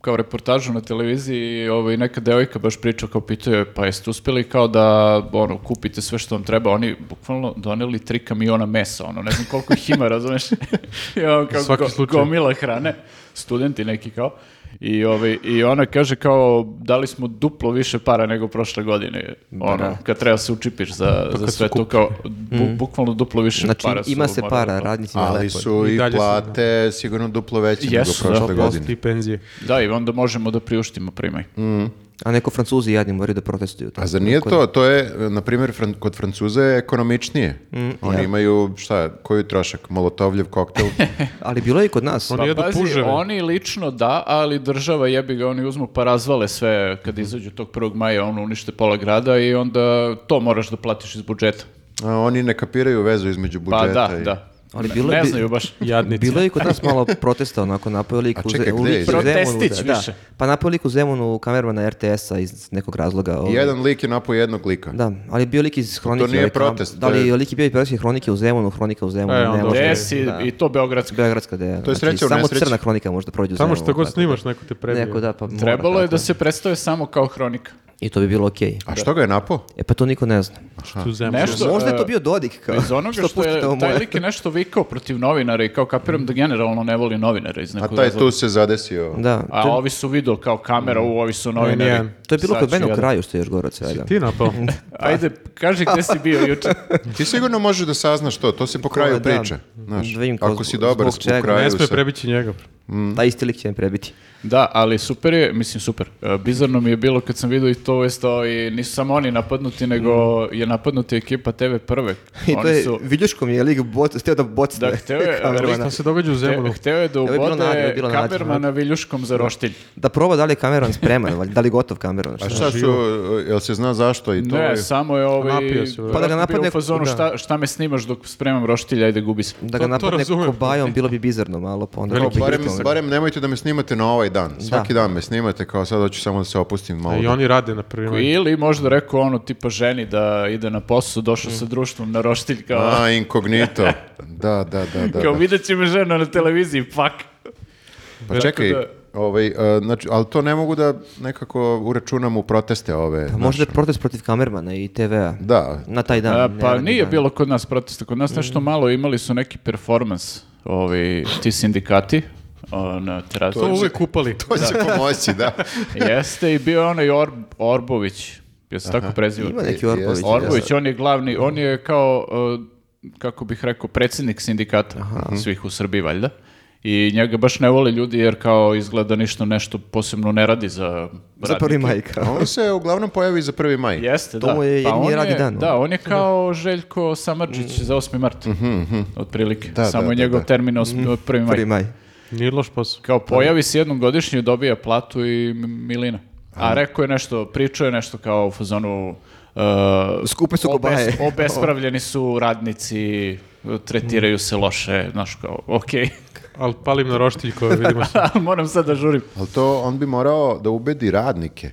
[SPEAKER 4] kao reportažu na televiziji i ovaj, neka devojka baš priča kao pitao je pa jeste uspjeli kao da ono, kupite sve što vam treba, oni bukvalno doneli tri kamiona mesa, ono, ne znam koliko ih ima, razumeš? I on kao
[SPEAKER 1] Svaki
[SPEAKER 4] go-
[SPEAKER 1] slučaj.
[SPEAKER 4] gomila hrane, studenti neki kao. I, ovaj, I ona kaže kao dali smo duplo više para nego prošle godine, ono,
[SPEAKER 2] Bra.
[SPEAKER 4] kad treba se učipiš za, za sve to, kao bu- bukvalno duplo više
[SPEAKER 2] Znači,
[SPEAKER 4] para
[SPEAKER 2] ima
[SPEAKER 4] su
[SPEAKER 2] se
[SPEAKER 4] morali
[SPEAKER 2] para,
[SPEAKER 1] pa.
[SPEAKER 4] da-
[SPEAKER 2] radnicima
[SPEAKER 3] Ali
[SPEAKER 2] lepo je.
[SPEAKER 3] su
[SPEAKER 1] I
[SPEAKER 3] i
[SPEAKER 1] dalje su,
[SPEAKER 3] plate sigurno duplo veće nego
[SPEAKER 4] Jesu, da,
[SPEAKER 3] prošle
[SPEAKER 2] pa
[SPEAKER 3] godine.
[SPEAKER 1] Posti i penzije.
[SPEAKER 4] Da, i onda možemo da priuštimo primaj.
[SPEAKER 2] Mm. A neko francuzi jadni moraju da protestuju.
[SPEAKER 3] A zar nije to? To je, na primjer, fran- kod Francuza je ekonomičnije. Oni imaju, šta, koju trošak? Molotovljev koktel?
[SPEAKER 2] Ali bilo je i kod nas. ono,
[SPEAKER 1] Oni jedu
[SPEAKER 4] Pa Pazi,
[SPEAKER 1] puževe.
[SPEAKER 4] oni lično da, ali država jebi ga, oni uzmu pa razvale sve
[SPEAKER 2] Mhm.
[SPEAKER 4] kad izađu tog 1. maja, ono unište pola grada i onda to moraš da platiš iz budžeta.
[SPEAKER 3] A oni ne kapiraju vezu između
[SPEAKER 4] Pa
[SPEAKER 3] budžeta.
[SPEAKER 4] da,
[SPEAKER 3] i-
[SPEAKER 4] da.
[SPEAKER 2] Ali
[SPEAKER 4] Ne-
[SPEAKER 2] bilo je
[SPEAKER 4] ne
[SPEAKER 2] bi-
[SPEAKER 4] znaju baš.
[SPEAKER 1] Jadnici.
[SPEAKER 2] Bilo je i kod nas malo protesta onako napojili
[SPEAKER 3] A
[SPEAKER 2] liku
[SPEAKER 3] čekaj, gde je?
[SPEAKER 4] Protestić
[SPEAKER 2] da,
[SPEAKER 4] više.
[SPEAKER 2] Pa napojili u Zemunu kamermana RTS-a iz nekog razloga. ovaj.
[SPEAKER 3] Jedan lik je napao jednog lika.
[SPEAKER 2] Da, ali je bio lik iz Hronike.
[SPEAKER 3] nije
[SPEAKER 2] ovaj, kam-
[SPEAKER 3] protest,
[SPEAKER 2] Da
[SPEAKER 3] to
[SPEAKER 2] li
[SPEAKER 3] je-
[SPEAKER 2] je lik je bio iz Beogradske Hronike u Zemunu, Hronika u Zemunu.
[SPEAKER 1] E,
[SPEAKER 2] ne
[SPEAKER 1] onda
[SPEAKER 2] može.
[SPEAKER 1] je-
[SPEAKER 4] Desi i to Beogradsko.
[SPEAKER 2] Beogradska da je.
[SPEAKER 3] To je sreća u
[SPEAKER 2] Samo
[SPEAKER 3] nesreći.
[SPEAKER 2] crna hronika može da prođe u
[SPEAKER 1] Samo
[SPEAKER 2] Zemunu,
[SPEAKER 1] što god
[SPEAKER 2] tako
[SPEAKER 1] snimaš,
[SPEAKER 2] da.
[SPEAKER 1] neko te prebije.
[SPEAKER 2] Neko da, pa mora,
[SPEAKER 4] Trebalo je
[SPEAKER 2] tako
[SPEAKER 4] da se predstave samo kao hronika.
[SPEAKER 2] I to bi bilo okej.
[SPEAKER 3] A što ga je napao?
[SPEAKER 2] E pa to niko ne zna.
[SPEAKER 1] Tu zemlju.
[SPEAKER 4] Nešto-
[SPEAKER 2] Možda je to
[SPEAKER 4] e,
[SPEAKER 2] bio Dodik kao.
[SPEAKER 4] Iz onoga što,
[SPEAKER 2] puštate ovo
[SPEAKER 4] je, taj
[SPEAKER 2] moje?
[SPEAKER 4] lik je nešto vikao protiv novinara i kao kapiram da generalno ne voli novinare iz
[SPEAKER 3] A
[SPEAKER 4] nekog
[SPEAKER 3] taj
[SPEAKER 4] razloga.
[SPEAKER 3] tu se zadesio.
[SPEAKER 2] Da,
[SPEAKER 4] A
[SPEAKER 2] to, je-
[SPEAKER 4] ovi su video kao kamera, u ovi su novinari.
[SPEAKER 1] Nijedan.
[SPEAKER 2] to je bilo
[SPEAKER 4] Sad
[SPEAKER 2] kod
[SPEAKER 4] ću
[SPEAKER 2] mene u
[SPEAKER 4] ja da-
[SPEAKER 2] kraju što je još gore od svega.
[SPEAKER 1] Ti napao.
[SPEAKER 4] Ajde, kaži gde si bio juče.
[SPEAKER 3] Ti sigurno možeš da saznaš to, to se po kraju
[SPEAKER 2] Da, da.
[SPEAKER 3] priče. Znaš,
[SPEAKER 2] Da vidim kao
[SPEAKER 3] ako si
[SPEAKER 2] zbog-
[SPEAKER 3] dobar
[SPEAKER 2] zbog
[SPEAKER 3] u
[SPEAKER 2] čega.
[SPEAKER 3] kraju
[SPEAKER 1] Ne sme
[SPEAKER 3] se...
[SPEAKER 1] prebići njega.
[SPEAKER 2] Taj isti lik će me prebiti.
[SPEAKER 4] Da, ali super je, mislim super. E, Bizarno mi je bilo kad sam vidio i to isto i nisu samo oni napadnuti, nego je napadnuti ekipa TV prve.
[SPEAKER 2] I to
[SPEAKER 4] oni
[SPEAKER 2] je,
[SPEAKER 4] su,
[SPEAKER 2] viljuškom je lik bot, htio da bocne.
[SPEAKER 4] Da, hteo je, ali
[SPEAKER 2] kamermana.
[SPEAKER 1] Šta
[SPEAKER 4] Da.
[SPEAKER 1] se događa u Zemunu?
[SPEAKER 4] Te- hteo je da
[SPEAKER 2] je bilo nađeno, je
[SPEAKER 4] ubode
[SPEAKER 2] bilo nađeno.
[SPEAKER 4] kamermana viljuškom za roštilj.
[SPEAKER 2] Da proba da li je kameron spreman, valjda, da li je gotov kameron.
[SPEAKER 3] A šta su, jel se zna zašto i to?
[SPEAKER 4] Ne,
[SPEAKER 3] je-
[SPEAKER 4] samo je ovaj...
[SPEAKER 1] Napio se,
[SPEAKER 4] Pa da ga
[SPEAKER 2] napadne-
[SPEAKER 4] napadne... U fazonu,
[SPEAKER 2] da.
[SPEAKER 4] šta, šta me snimaš dok spremam roštilja, ajde gubi se.
[SPEAKER 2] Da
[SPEAKER 1] To-
[SPEAKER 2] ga
[SPEAKER 1] to
[SPEAKER 2] napadne
[SPEAKER 1] razumem.
[SPEAKER 2] kobajom, bilo bi bizarno malo, pa onda...
[SPEAKER 3] Kao,
[SPEAKER 2] bi
[SPEAKER 3] barem,
[SPEAKER 2] brutalno.
[SPEAKER 3] barem nemojte da me snimate na ovaj dan. Svaki dan me snimate, kao sad hoću samo da se opustim malo.
[SPEAKER 1] I oni rade, na primjer.
[SPEAKER 4] Ili možda rekao ono tipa ženi da ide na posao, došao sa društvom na roštilj kao...
[SPEAKER 3] A, inkognito. Da, da, da, da.
[SPEAKER 4] kao
[SPEAKER 3] da.
[SPEAKER 4] vidjet će me žena na televiziji, fuck.
[SPEAKER 3] Pa čekaj,
[SPEAKER 4] Tako
[SPEAKER 3] ovaj, e, znači, ali to ne mogu da nekako uračunam u proteste ove.
[SPEAKER 2] Pa Možda je protest protiv kamermana i TV-a.
[SPEAKER 3] Da.
[SPEAKER 2] Na taj dan.
[SPEAKER 4] A,
[SPEAKER 2] ne
[SPEAKER 4] pa
[SPEAKER 2] radni
[SPEAKER 4] nije
[SPEAKER 2] dan. Mm.
[SPEAKER 4] bilo kod nas protesta, kod nas nešto malo imali su neki performans, ovi, ti sindikati o, na terasu.
[SPEAKER 1] To uvek upali.
[SPEAKER 3] To će pomoći, da.
[SPEAKER 4] Jeste i bio je onaj Orb, Orbović, je se tako preziva?
[SPEAKER 2] Ima neki Orbović.
[SPEAKER 3] Jeste.
[SPEAKER 4] Orbović, on je glavni, on je kao, uh, kako bih rekao, predsjednik sindikata svih u Srbiji, valjda. I njega baš ne vole ljudi jer kao izgleda ništa nešto posebno ne radi za
[SPEAKER 2] Za prvi
[SPEAKER 4] radnike.
[SPEAKER 2] majka.
[SPEAKER 3] On se uglavnom pojavi za 1. maj.
[SPEAKER 4] Jeste,
[SPEAKER 2] To
[SPEAKER 4] da.
[SPEAKER 2] mu je jedini
[SPEAKER 4] Pa on
[SPEAKER 2] radni dan,
[SPEAKER 4] Da,
[SPEAKER 2] ono. Mhm,
[SPEAKER 4] on je kao Željko Samarđić za 8. mart, otprilike.
[SPEAKER 3] Da,
[SPEAKER 4] Samo
[SPEAKER 3] da, da,
[SPEAKER 4] je njegov
[SPEAKER 3] da.
[SPEAKER 4] termin 8, 1. maj.
[SPEAKER 2] Prvi maj.
[SPEAKER 1] Nije loš posao.
[SPEAKER 4] Kao pojavi se jednom godišnje, dobija platu i m- milina. A rekao je nešto, pričao je nešto kao u fazonu... Uh,
[SPEAKER 2] Skupe su kobaje.
[SPEAKER 4] obespravljeni su radnici, tretiraju se loše, znaš kao, okej,
[SPEAKER 1] Ali palim na roštiljkove, vidimo se.
[SPEAKER 4] ali moram sad da žurim.
[SPEAKER 3] Ali to on bi morao da ubedi radnike.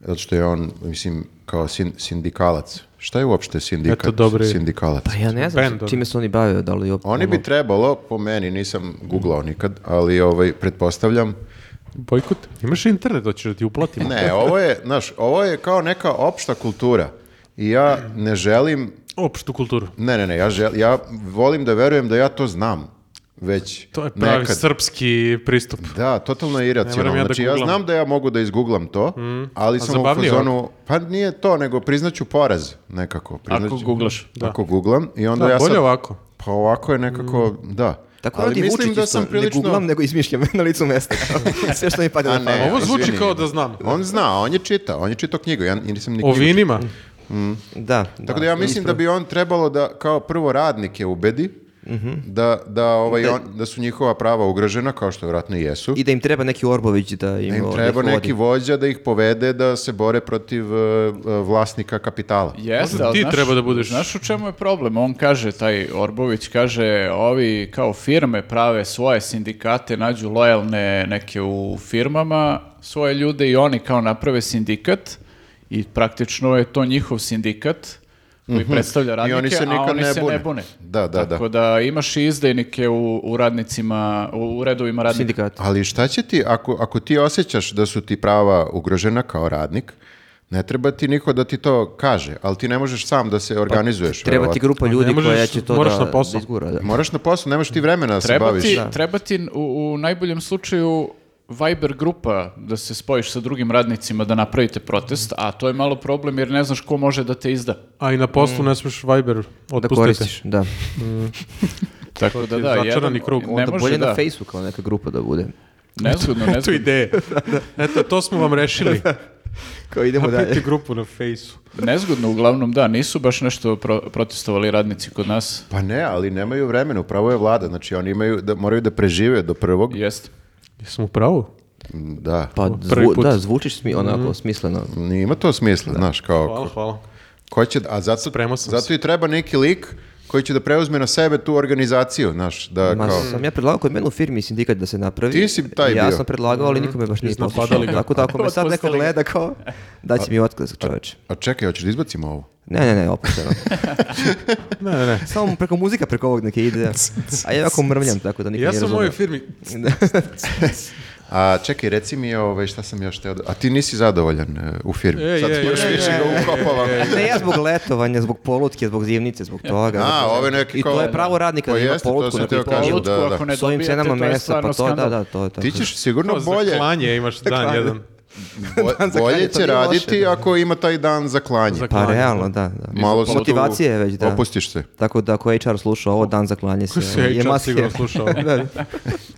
[SPEAKER 3] Zato što je on, mislim, kao sin- sindikalac. Šta je uopšte sindikat?
[SPEAKER 1] Eto, dobro je.
[SPEAKER 3] Sindikalac.
[SPEAKER 2] Pa ja ne znam
[SPEAKER 1] Band, ono.
[SPEAKER 2] čime se oni bavio, da li... op- ono,
[SPEAKER 3] Oni bi trebalo, po meni, nisam googlao nikad, ali ovaj, pretpostavljam,
[SPEAKER 1] Bojkot? Imaš internet, hoćeš da ti uplatimo?
[SPEAKER 3] ne, ovo je, znaš, ovo je kao neka opšta kultura. I ja ne želim,
[SPEAKER 1] Opštu kulturu.
[SPEAKER 3] ne, ne, ne, ja, žel, ja volim da verujem da ja to znam već
[SPEAKER 1] To je pravi
[SPEAKER 3] nekad.
[SPEAKER 1] srpski pristup.
[SPEAKER 3] Da, totalno je
[SPEAKER 1] Ne moram
[SPEAKER 3] iracionalno.
[SPEAKER 1] ja da
[SPEAKER 3] znači, ja
[SPEAKER 1] googlam. Mm.
[SPEAKER 3] znam da ja mogu da izgooglam to, ali sam u
[SPEAKER 1] zabavnije
[SPEAKER 3] fazonu... Pa nije to, nego priznaću poraz nekako.
[SPEAKER 4] Ako
[SPEAKER 3] Priznaću,
[SPEAKER 4] googlaš.
[SPEAKER 1] Da.
[SPEAKER 3] Ako googlam i onda
[SPEAKER 1] Da,
[SPEAKER 3] ja
[SPEAKER 1] bolje
[SPEAKER 3] sad...
[SPEAKER 1] ovako. Mm.
[SPEAKER 3] Pa ovako je nekako, da.
[SPEAKER 2] Tako
[SPEAKER 3] ali
[SPEAKER 2] radi
[SPEAKER 3] mislim
[SPEAKER 2] Vučić
[SPEAKER 3] da
[SPEAKER 2] isto,
[SPEAKER 3] sam prilično...
[SPEAKER 2] Ne googlam, nego izmišljam na licu mesta. Sve što mi padne
[SPEAKER 3] A
[SPEAKER 2] na pamet.
[SPEAKER 3] ne,
[SPEAKER 1] Ovo zvuči
[SPEAKER 3] izvini.
[SPEAKER 1] kao da znam.
[SPEAKER 3] On zna, on je čitao, on je čitao knjigu, ja nisam
[SPEAKER 1] O
[SPEAKER 3] ni knjigu
[SPEAKER 1] vinima?
[SPEAKER 2] Da.
[SPEAKER 3] Tako da ja mislim da bi on trebalo da kao prvo radnike ubedi
[SPEAKER 2] Mhm.
[SPEAKER 3] da, da, ovaj, on, da su njihova prava ugrožena, kao što vjerojatno i jesu.
[SPEAKER 2] I da im treba neki Orbović da im,
[SPEAKER 3] Da im
[SPEAKER 2] o,
[SPEAKER 3] treba
[SPEAKER 2] da ih
[SPEAKER 3] neki
[SPEAKER 2] vodi.
[SPEAKER 3] vođa da ih povede da se bore protiv e, e, vlasnika kapitala.
[SPEAKER 4] Jeste,
[SPEAKER 1] Možda
[SPEAKER 4] ali
[SPEAKER 1] ti
[SPEAKER 4] znaš,
[SPEAKER 1] treba da budeš-
[SPEAKER 4] Znaš u čemu je problem? On kaže, taj Orbović kaže, ovi kao firme prave svoje sindikate, nađu lojalne neke u firmama, svoje ljude i oni kao naprave sindikat i praktično je to njihov sindikat koji predstavlja radnike,
[SPEAKER 3] Mhm. oni se
[SPEAKER 4] a
[SPEAKER 3] nikad
[SPEAKER 4] oni
[SPEAKER 3] ne
[SPEAKER 4] se
[SPEAKER 3] bune.
[SPEAKER 4] ne bune.
[SPEAKER 3] Da, da, da.
[SPEAKER 4] Tako da imaš i izdajnike u, u radnicima, u redovima radnika.
[SPEAKER 2] Sindikat.
[SPEAKER 3] Ali šta će ti, ako, ako ti osjećaš da su ti prava ugrožena kao radnik, ne treba ti niko da ti to kaže, ali ti ne možeš sam da se organizuješ.
[SPEAKER 2] Treba ti
[SPEAKER 3] verovatno.
[SPEAKER 2] grupa
[SPEAKER 1] Pa ne
[SPEAKER 2] ljudi
[SPEAKER 1] možeš,
[SPEAKER 2] koja će to
[SPEAKER 1] moraš
[SPEAKER 2] da,
[SPEAKER 1] na posao.
[SPEAKER 2] da izgura. Da.
[SPEAKER 3] Moraš na posao, nemaš ti vremena da se
[SPEAKER 4] Treba
[SPEAKER 3] baviš.
[SPEAKER 4] ti, treba ti u, u najboljem slučaju Viber grupa da se spojiš sa drugim radnicima da napravite protest, a to je malo problem jer ne znaš ko može da te izda.
[SPEAKER 1] A i na poslu ne smiješ Viber
[SPEAKER 2] Da
[SPEAKER 1] otpustiti.
[SPEAKER 2] koristiš, da.
[SPEAKER 4] Tako da
[SPEAKER 1] ti je
[SPEAKER 4] da,
[SPEAKER 1] začarani
[SPEAKER 4] jedan-
[SPEAKER 1] krug.
[SPEAKER 4] Ne
[SPEAKER 2] Onda
[SPEAKER 4] može
[SPEAKER 2] bolje
[SPEAKER 4] da.
[SPEAKER 2] na Facebooku kao neka grupa da bude.
[SPEAKER 4] Nezgodno,
[SPEAKER 1] Eto
[SPEAKER 4] nezgodno.
[SPEAKER 1] ideje. Eto, to smo vam rešili.
[SPEAKER 2] Kao idemo
[SPEAKER 1] Napravite
[SPEAKER 2] dalje.
[SPEAKER 1] grupu na fejsu.
[SPEAKER 4] Nezgodno uglavnom, da, nisu baš nešto pro- protestovali radnici kod nas.
[SPEAKER 3] Pa ne, ali nemaju vremena, upravo je vlada, znači oni imaju, da, moraju da prežive do prvog.
[SPEAKER 4] Jeste.
[SPEAKER 1] Jesmo u pravu?
[SPEAKER 3] Da,
[SPEAKER 2] Pa
[SPEAKER 1] Prvi
[SPEAKER 2] zvu,
[SPEAKER 1] put.
[SPEAKER 2] da, zvučiš smi, onako smisleno.
[SPEAKER 3] ima to smisla, znaš, kao...
[SPEAKER 2] Pa
[SPEAKER 1] Hvala, hvala.
[SPEAKER 3] Ko će, da- a zato,
[SPEAKER 1] Spremao sam
[SPEAKER 3] zato i treba neki lik koji će da preuzme na sebe tu organizaciju, znaš, da
[SPEAKER 2] Ma
[SPEAKER 3] kao...
[SPEAKER 2] sam ja predlagao kod mene u firmi sindikat da se napravi.
[SPEAKER 3] Ti si taj
[SPEAKER 2] ja
[SPEAKER 3] bio.
[SPEAKER 2] sam predlagao, ali nikome baš nije
[SPEAKER 1] Iznapadali
[SPEAKER 2] poslušao.
[SPEAKER 1] ga.
[SPEAKER 2] Tako da ako me sad neko
[SPEAKER 4] Otpustili ga.
[SPEAKER 2] gleda kao, daći mi otkaz čoveče.
[SPEAKER 3] A čekaj, hoćeš da izbacimo ovo?
[SPEAKER 2] Ne, ne, ne, opet evo.
[SPEAKER 1] Ne, ne, ne.
[SPEAKER 2] Samo preko muzika, preko ovog neke ide. A ja ovako mrmljam, tako da nikad
[SPEAKER 1] Ja sam
[SPEAKER 2] nije
[SPEAKER 1] u
[SPEAKER 2] razumeo.
[SPEAKER 1] mojoj firmi.
[SPEAKER 3] A čekaj, reci mi ovaj, šta sam još teo da... A ti nisi zadovoljan e, u firmi?
[SPEAKER 1] E,
[SPEAKER 3] Sad
[SPEAKER 1] je,
[SPEAKER 3] još
[SPEAKER 1] je,
[SPEAKER 3] više
[SPEAKER 1] je,
[SPEAKER 3] ga
[SPEAKER 1] je,
[SPEAKER 3] ukopavam.
[SPEAKER 2] Ne, ja zbog letovanja, zbog polutke, zbog zimnice, zbog toga.
[SPEAKER 3] A, ove neki
[SPEAKER 2] I
[SPEAKER 3] kao...
[SPEAKER 2] to je pravo radnika
[SPEAKER 3] Pa
[SPEAKER 2] da ima
[SPEAKER 3] jeste, to
[SPEAKER 2] polutku
[SPEAKER 3] sam
[SPEAKER 2] na
[SPEAKER 3] teo
[SPEAKER 2] koju
[SPEAKER 3] kažem,
[SPEAKER 2] polutku.
[SPEAKER 4] Lutku
[SPEAKER 3] da, da.
[SPEAKER 4] ako ne
[SPEAKER 2] S ovim
[SPEAKER 4] dobijete,
[SPEAKER 2] cenama
[SPEAKER 4] to je
[SPEAKER 2] mesa,
[SPEAKER 4] stvarno
[SPEAKER 2] pa to,
[SPEAKER 4] skandal.
[SPEAKER 2] da, da, to je tako.
[SPEAKER 3] Ti ćeš sigurno
[SPEAKER 1] Kao za
[SPEAKER 3] bolje...
[SPEAKER 1] klanje imaš dan jedan.
[SPEAKER 3] Bo-
[SPEAKER 1] Dan za klanje,
[SPEAKER 3] bolje
[SPEAKER 1] to
[SPEAKER 3] će
[SPEAKER 1] nije
[SPEAKER 3] raditi ako ima taj dan za klanje.
[SPEAKER 1] Za-
[SPEAKER 2] Pa
[SPEAKER 1] Klanje.
[SPEAKER 2] realno, da. da.
[SPEAKER 3] Malo se tu
[SPEAKER 2] Motivacije je već, da.
[SPEAKER 3] Opustiš se.
[SPEAKER 2] Tako da ako HR sluša ovo, dan za klanje se. ono,
[SPEAKER 1] se
[SPEAKER 2] je
[SPEAKER 1] HR
[SPEAKER 2] must
[SPEAKER 1] sigurno
[SPEAKER 2] have.
[SPEAKER 1] slušao.
[SPEAKER 2] Da.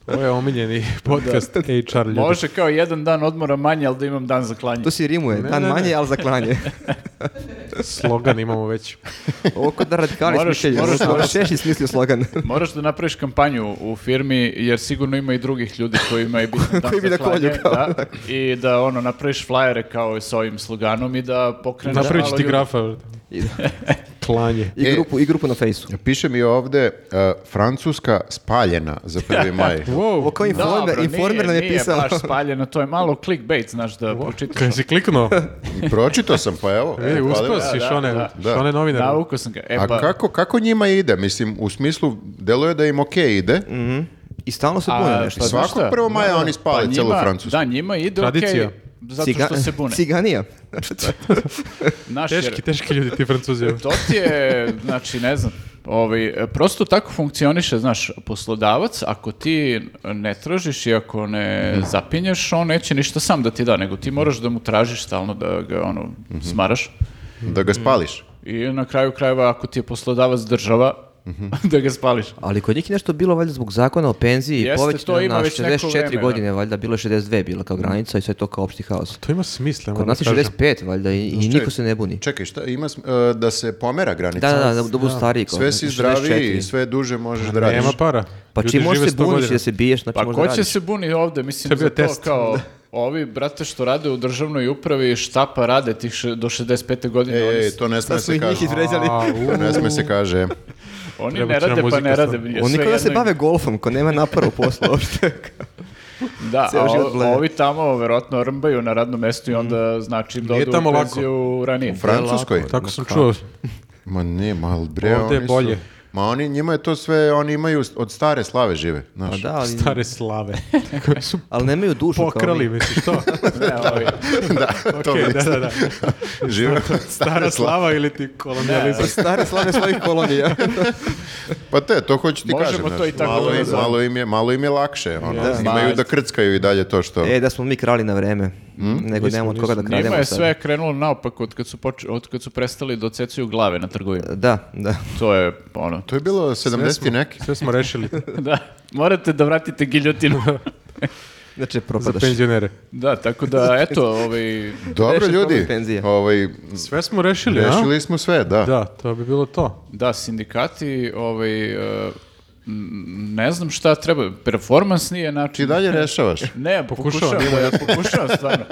[SPEAKER 1] Ovo je omiljeni podcast HR ljudi.
[SPEAKER 4] Može kao jedan dan odmora manje, ali da imam dan za klanje.
[SPEAKER 2] To si rimuje,
[SPEAKER 1] Ne,
[SPEAKER 2] dan
[SPEAKER 1] ne, ne.
[SPEAKER 2] manje, ali za klanje.
[SPEAKER 1] Slogan imamo već.
[SPEAKER 2] Ovo kod da radikali
[SPEAKER 4] Moraš-
[SPEAKER 2] smišljaju.
[SPEAKER 4] moraš-
[SPEAKER 2] Ovo Češi smislio slogan.
[SPEAKER 4] Moraš da napraviš kampanju u firmi, jer sigurno ima i drugih ljudi kojima je bitno dan
[SPEAKER 2] Koji bi
[SPEAKER 4] za
[SPEAKER 2] na kolju,
[SPEAKER 4] klanje,
[SPEAKER 2] kao.
[SPEAKER 4] da, I da ono, napraviš flyere kao s ovim sloganom i da pokreneš
[SPEAKER 1] Napravit ću
[SPEAKER 4] malo
[SPEAKER 1] ti
[SPEAKER 4] ljudi.
[SPEAKER 1] grafa.
[SPEAKER 2] I,
[SPEAKER 1] Klanje.
[SPEAKER 2] i
[SPEAKER 3] E.
[SPEAKER 2] grupu, I grupu na fejsu.
[SPEAKER 3] Piše mi ovde e, Francuska spaljena za 1. maj.
[SPEAKER 2] Ovo
[SPEAKER 1] Wow.
[SPEAKER 2] kao informer,
[SPEAKER 4] Dobro,
[SPEAKER 2] informer nam je
[SPEAKER 4] nije
[SPEAKER 2] pisao.
[SPEAKER 4] baš spaljeno, to je malo clickbait, znaš, da pročitaš.
[SPEAKER 1] Kaj si kliknuo? E,
[SPEAKER 3] Pročito sam, pa evo.
[SPEAKER 1] Vidi,
[SPEAKER 3] hvala
[SPEAKER 1] uspio
[SPEAKER 3] vam.
[SPEAKER 1] E, si
[SPEAKER 4] da,
[SPEAKER 1] šone,
[SPEAKER 4] da.
[SPEAKER 1] šone novinar.
[SPEAKER 4] Navuko sam ga. E,
[SPEAKER 3] A
[SPEAKER 4] pa,
[SPEAKER 3] kako, kako njima ide? Mislim, u smislu, deluje da im okej ide.
[SPEAKER 2] I stalno se
[SPEAKER 4] a,
[SPEAKER 2] bune nešto.
[SPEAKER 4] pa znaš
[SPEAKER 3] Svakog
[SPEAKER 4] šta? pa
[SPEAKER 3] 1. maja oni spale
[SPEAKER 4] njima-
[SPEAKER 3] celu Francusku.
[SPEAKER 4] Da, njima ide okej,
[SPEAKER 1] Tradicija.
[SPEAKER 4] zato što
[SPEAKER 2] Ciga-
[SPEAKER 4] se bune. Znači,
[SPEAKER 2] Ciganija.
[SPEAKER 4] Naš, jer-
[SPEAKER 1] Teški, teški ljudi ti francuzi.
[SPEAKER 4] To ti je, znači, ne znam, ovaj, prosto tako funkcioniše, znaš, poslodavac, ako ti ne tražiš i ako ne zapinješ, on neće ništa sam da ti da, nego ti moraš da mu tražiš stalno da ga, ono,
[SPEAKER 1] Mhm.
[SPEAKER 4] smaraš.
[SPEAKER 3] Da ga spališ.
[SPEAKER 4] I na kraju krajeva, ako ti je poslodavac država,
[SPEAKER 1] Mhm.
[SPEAKER 4] da ga spališ.
[SPEAKER 2] Ali kod njih je nešto bilo valjda zbog zakona o penziji
[SPEAKER 4] Jeste,
[SPEAKER 2] povećano
[SPEAKER 4] to ima
[SPEAKER 2] na
[SPEAKER 4] već neko
[SPEAKER 2] 64
[SPEAKER 4] vreme, da.
[SPEAKER 2] godine, valjda bilo je 62 bila kao granica i sve to kao opšti haos.
[SPEAKER 1] To ima smisla,
[SPEAKER 2] Kod
[SPEAKER 1] moram
[SPEAKER 2] nas je
[SPEAKER 1] da kažem.
[SPEAKER 2] 65 valjda i, i niko se ne buni.
[SPEAKER 3] Čekaj, šta ima sm- e, da se pomera granica?
[SPEAKER 2] Da, da, da, da budu stariji. kao,
[SPEAKER 3] Sve si
[SPEAKER 2] znači,
[SPEAKER 3] zdraviji
[SPEAKER 2] 64.
[SPEAKER 3] i sve duže možeš da radiš.
[SPEAKER 1] Nema para.
[SPEAKER 2] Pa
[SPEAKER 1] Ljudi
[SPEAKER 2] čim možeš
[SPEAKER 1] žive
[SPEAKER 2] se
[SPEAKER 1] 100
[SPEAKER 2] buniš i
[SPEAKER 1] godina.
[SPEAKER 2] da se biješ, znači
[SPEAKER 4] Pa
[SPEAKER 2] možda
[SPEAKER 4] ko će
[SPEAKER 2] radiš.
[SPEAKER 4] se buni ovde, mislim,
[SPEAKER 1] To je bio
[SPEAKER 4] za to
[SPEAKER 1] test.
[SPEAKER 4] kao... Ovi, brate, što rade u državnoj upravi, štapa rade tih še- do 65. godine.
[SPEAKER 1] E,
[SPEAKER 3] Ej,
[SPEAKER 4] oni
[SPEAKER 3] ej,
[SPEAKER 4] su-
[SPEAKER 3] E, to ne sme
[SPEAKER 2] Sad smo
[SPEAKER 3] se
[SPEAKER 2] i njih
[SPEAKER 3] kaže.
[SPEAKER 2] izvređali.
[SPEAKER 1] A,
[SPEAKER 3] To
[SPEAKER 1] u,
[SPEAKER 3] ne sme se kaže.
[SPEAKER 4] Oni
[SPEAKER 1] Treba
[SPEAKER 4] ne
[SPEAKER 1] će nam
[SPEAKER 4] rade pa
[SPEAKER 1] muzika
[SPEAKER 4] ne rade.
[SPEAKER 1] stvarno.
[SPEAKER 4] sve
[SPEAKER 2] Oni kao da se
[SPEAKER 4] jedno im-
[SPEAKER 2] bave golfom, ko nema napora u poslu uopšte.
[SPEAKER 4] Da,
[SPEAKER 2] Ceo
[SPEAKER 4] a o-
[SPEAKER 2] život blede.
[SPEAKER 4] ovi tamo verovatno rmbaju na radnom mestu i onda znači im
[SPEAKER 1] Mm. Nije
[SPEAKER 4] dodu
[SPEAKER 1] tamo
[SPEAKER 4] u
[SPEAKER 1] lako.
[SPEAKER 4] penziju ranije.
[SPEAKER 3] Francuskoj?
[SPEAKER 1] Tako sam čuo.
[SPEAKER 3] Ma ne, mal bre,
[SPEAKER 1] Ovde je
[SPEAKER 3] oni su-
[SPEAKER 1] bolje.
[SPEAKER 3] Ma oni, njima je to sve, oni imaju s- od stare slave žive,
[SPEAKER 2] Pa
[SPEAKER 3] znaš.
[SPEAKER 2] da, ali,
[SPEAKER 1] Stare slave. Koje su
[SPEAKER 2] ali nemaju dušu kao
[SPEAKER 1] pokrali,
[SPEAKER 2] mi.
[SPEAKER 1] misliš to?
[SPEAKER 4] Ne, ovi-
[SPEAKER 3] to
[SPEAKER 1] Okej, da, da, da.
[SPEAKER 3] Žive od
[SPEAKER 1] Stara slava ili ti kolonijalizam.
[SPEAKER 2] Stare slave svojih kolonija.
[SPEAKER 3] Pa te, to hoću ti
[SPEAKER 4] Možemo
[SPEAKER 3] kažem.
[SPEAKER 4] to
[SPEAKER 3] znaš,
[SPEAKER 4] i tako
[SPEAKER 3] malo,
[SPEAKER 4] da
[SPEAKER 3] im,
[SPEAKER 4] nazovemo.
[SPEAKER 3] malo, im je, malo im je lakše. Ono. Imaju da krckaju i dalje to što...
[SPEAKER 2] e, da smo mi krali na vreme. Nego nemamo od koga da krademo
[SPEAKER 4] Njima je
[SPEAKER 2] sad.
[SPEAKER 4] sve krenulo naopako od kad su, poč- od kad su prestali da ocecuju glave na trgovini.
[SPEAKER 2] Da, da.
[SPEAKER 4] To je ono.
[SPEAKER 3] To je bilo 70 i neki.
[SPEAKER 1] Sve smo rešili
[SPEAKER 4] Da, morate da vratite giljotinu.
[SPEAKER 2] Znači,
[SPEAKER 1] za
[SPEAKER 2] propadaš.
[SPEAKER 1] penzionere.
[SPEAKER 4] da, tako da, eto, ovaj,
[SPEAKER 3] Dobro
[SPEAKER 2] Rešen
[SPEAKER 3] ljudi,
[SPEAKER 2] problem penzije.
[SPEAKER 3] ovaj,
[SPEAKER 1] Sve smo rešili, a?
[SPEAKER 3] rešili smo sve, da.
[SPEAKER 1] Da, to bi bilo to.
[SPEAKER 4] da, sindikati, ovaj, e, m, ne znam šta treba, performans nije
[SPEAKER 3] Ti Znači,
[SPEAKER 4] način.
[SPEAKER 3] dalje rešavaš.
[SPEAKER 4] Ne, pokušavam,
[SPEAKER 1] Pokušavam,
[SPEAKER 4] ja pokušavam stvarno.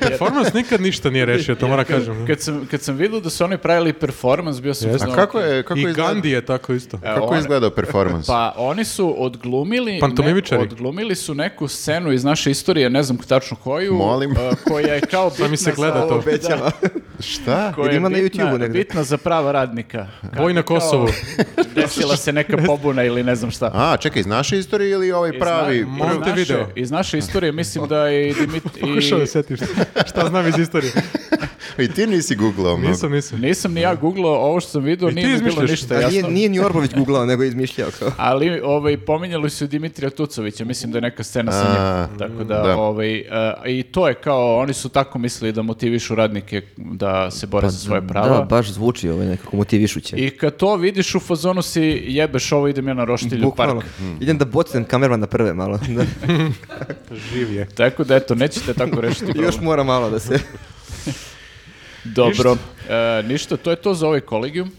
[SPEAKER 1] Performans nikad ništa nije rešio, to moram kažem.
[SPEAKER 4] Kad sam, kad sam vidio da su oni pravili performans, bio sam... u
[SPEAKER 1] Jeste.
[SPEAKER 4] fazonu,
[SPEAKER 3] A kako je, kako
[SPEAKER 1] I
[SPEAKER 3] izgleda,
[SPEAKER 1] Gandhi je tako isto.
[SPEAKER 4] E,
[SPEAKER 3] kako
[SPEAKER 4] one-
[SPEAKER 3] je izgledao performans?
[SPEAKER 4] Pa oni su odglumili...
[SPEAKER 1] Pantomimičari.
[SPEAKER 4] ne- odglumili su neku scenu iz naše istorije, ne znam tačno koju.
[SPEAKER 3] Molim.
[SPEAKER 4] a, koja je kao bitna...
[SPEAKER 1] Pa mi se gleda
[SPEAKER 4] za-
[SPEAKER 1] to.
[SPEAKER 2] Obećava.
[SPEAKER 3] Šta?
[SPEAKER 4] koja je
[SPEAKER 2] Ili ima na
[SPEAKER 4] bitna-
[SPEAKER 2] YouTubeu negde.
[SPEAKER 4] Bitna za prava radnika. Kako
[SPEAKER 1] Boj na
[SPEAKER 4] je kao-
[SPEAKER 1] Kosovu.
[SPEAKER 4] Desila se neka pobuna ili ne znam šta.
[SPEAKER 3] A, čekaj, iz naše istorije ili ovaj pravi?
[SPEAKER 4] Iz na-
[SPEAKER 1] Monte
[SPEAKER 4] iz naše-
[SPEAKER 1] video.
[SPEAKER 4] Iz naše istorije mislim da je i Dimit...
[SPEAKER 1] Pokušao
[SPEAKER 4] i-
[SPEAKER 1] da setiš šta znam iz istorije.
[SPEAKER 3] I ti nisi ono. googlao mnogo.
[SPEAKER 1] Nisam, nisam.
[SPEAKER 4] Nisam ni ja googlao ovo što sam vidio,
[SPEAKER 1] I
[SPEAKER 4] nije
[SPEAKER 1] ti
[SPEAKER 4] mi bilo
[SPEAKER 1] izmišljaš.
[SPEAKER 4] ništa
[SPEAKER 2] Da, nije,
[SPEAKER 4] jasno.
[SPEAKER 2] nije ni Orbović googlao, nego je izmišljao kao.
[SPEAKER 4] Ali ovaj pominjali su i Dimitrija Tucovića, mislim da je neka scena sa
[SPEAKER 3] A,
[SPEAKER 4] njim. Tako da,
[SPEAKER 3] da.
[SPEAKER 4] ovaj a, i to je kao oni su tako mislili da motivišu radnike da se bore za svoje prava.
[SPEAKER 2] Da, baš zvuči ovaj nekako motivišuće.
[SPEAKER 4] I kad to vidiš u fazonu si jebeš ovo idem ja na roštilju u
[SPEAKER 2] Bukvalno.
[SPEAKER 4] park.
[SPEAKER 2] Idem da bocnem kamermana prve malo. Da.
[SPEAKER 1] Živ je.
[SPEAKER 4] Tako da eto, nećete tako rešiti problem.
[SPEAKER 2] Još mora malo da se...
[SPEAKER 4] Dobro. E, ništa, to je to za ovaj kolegium.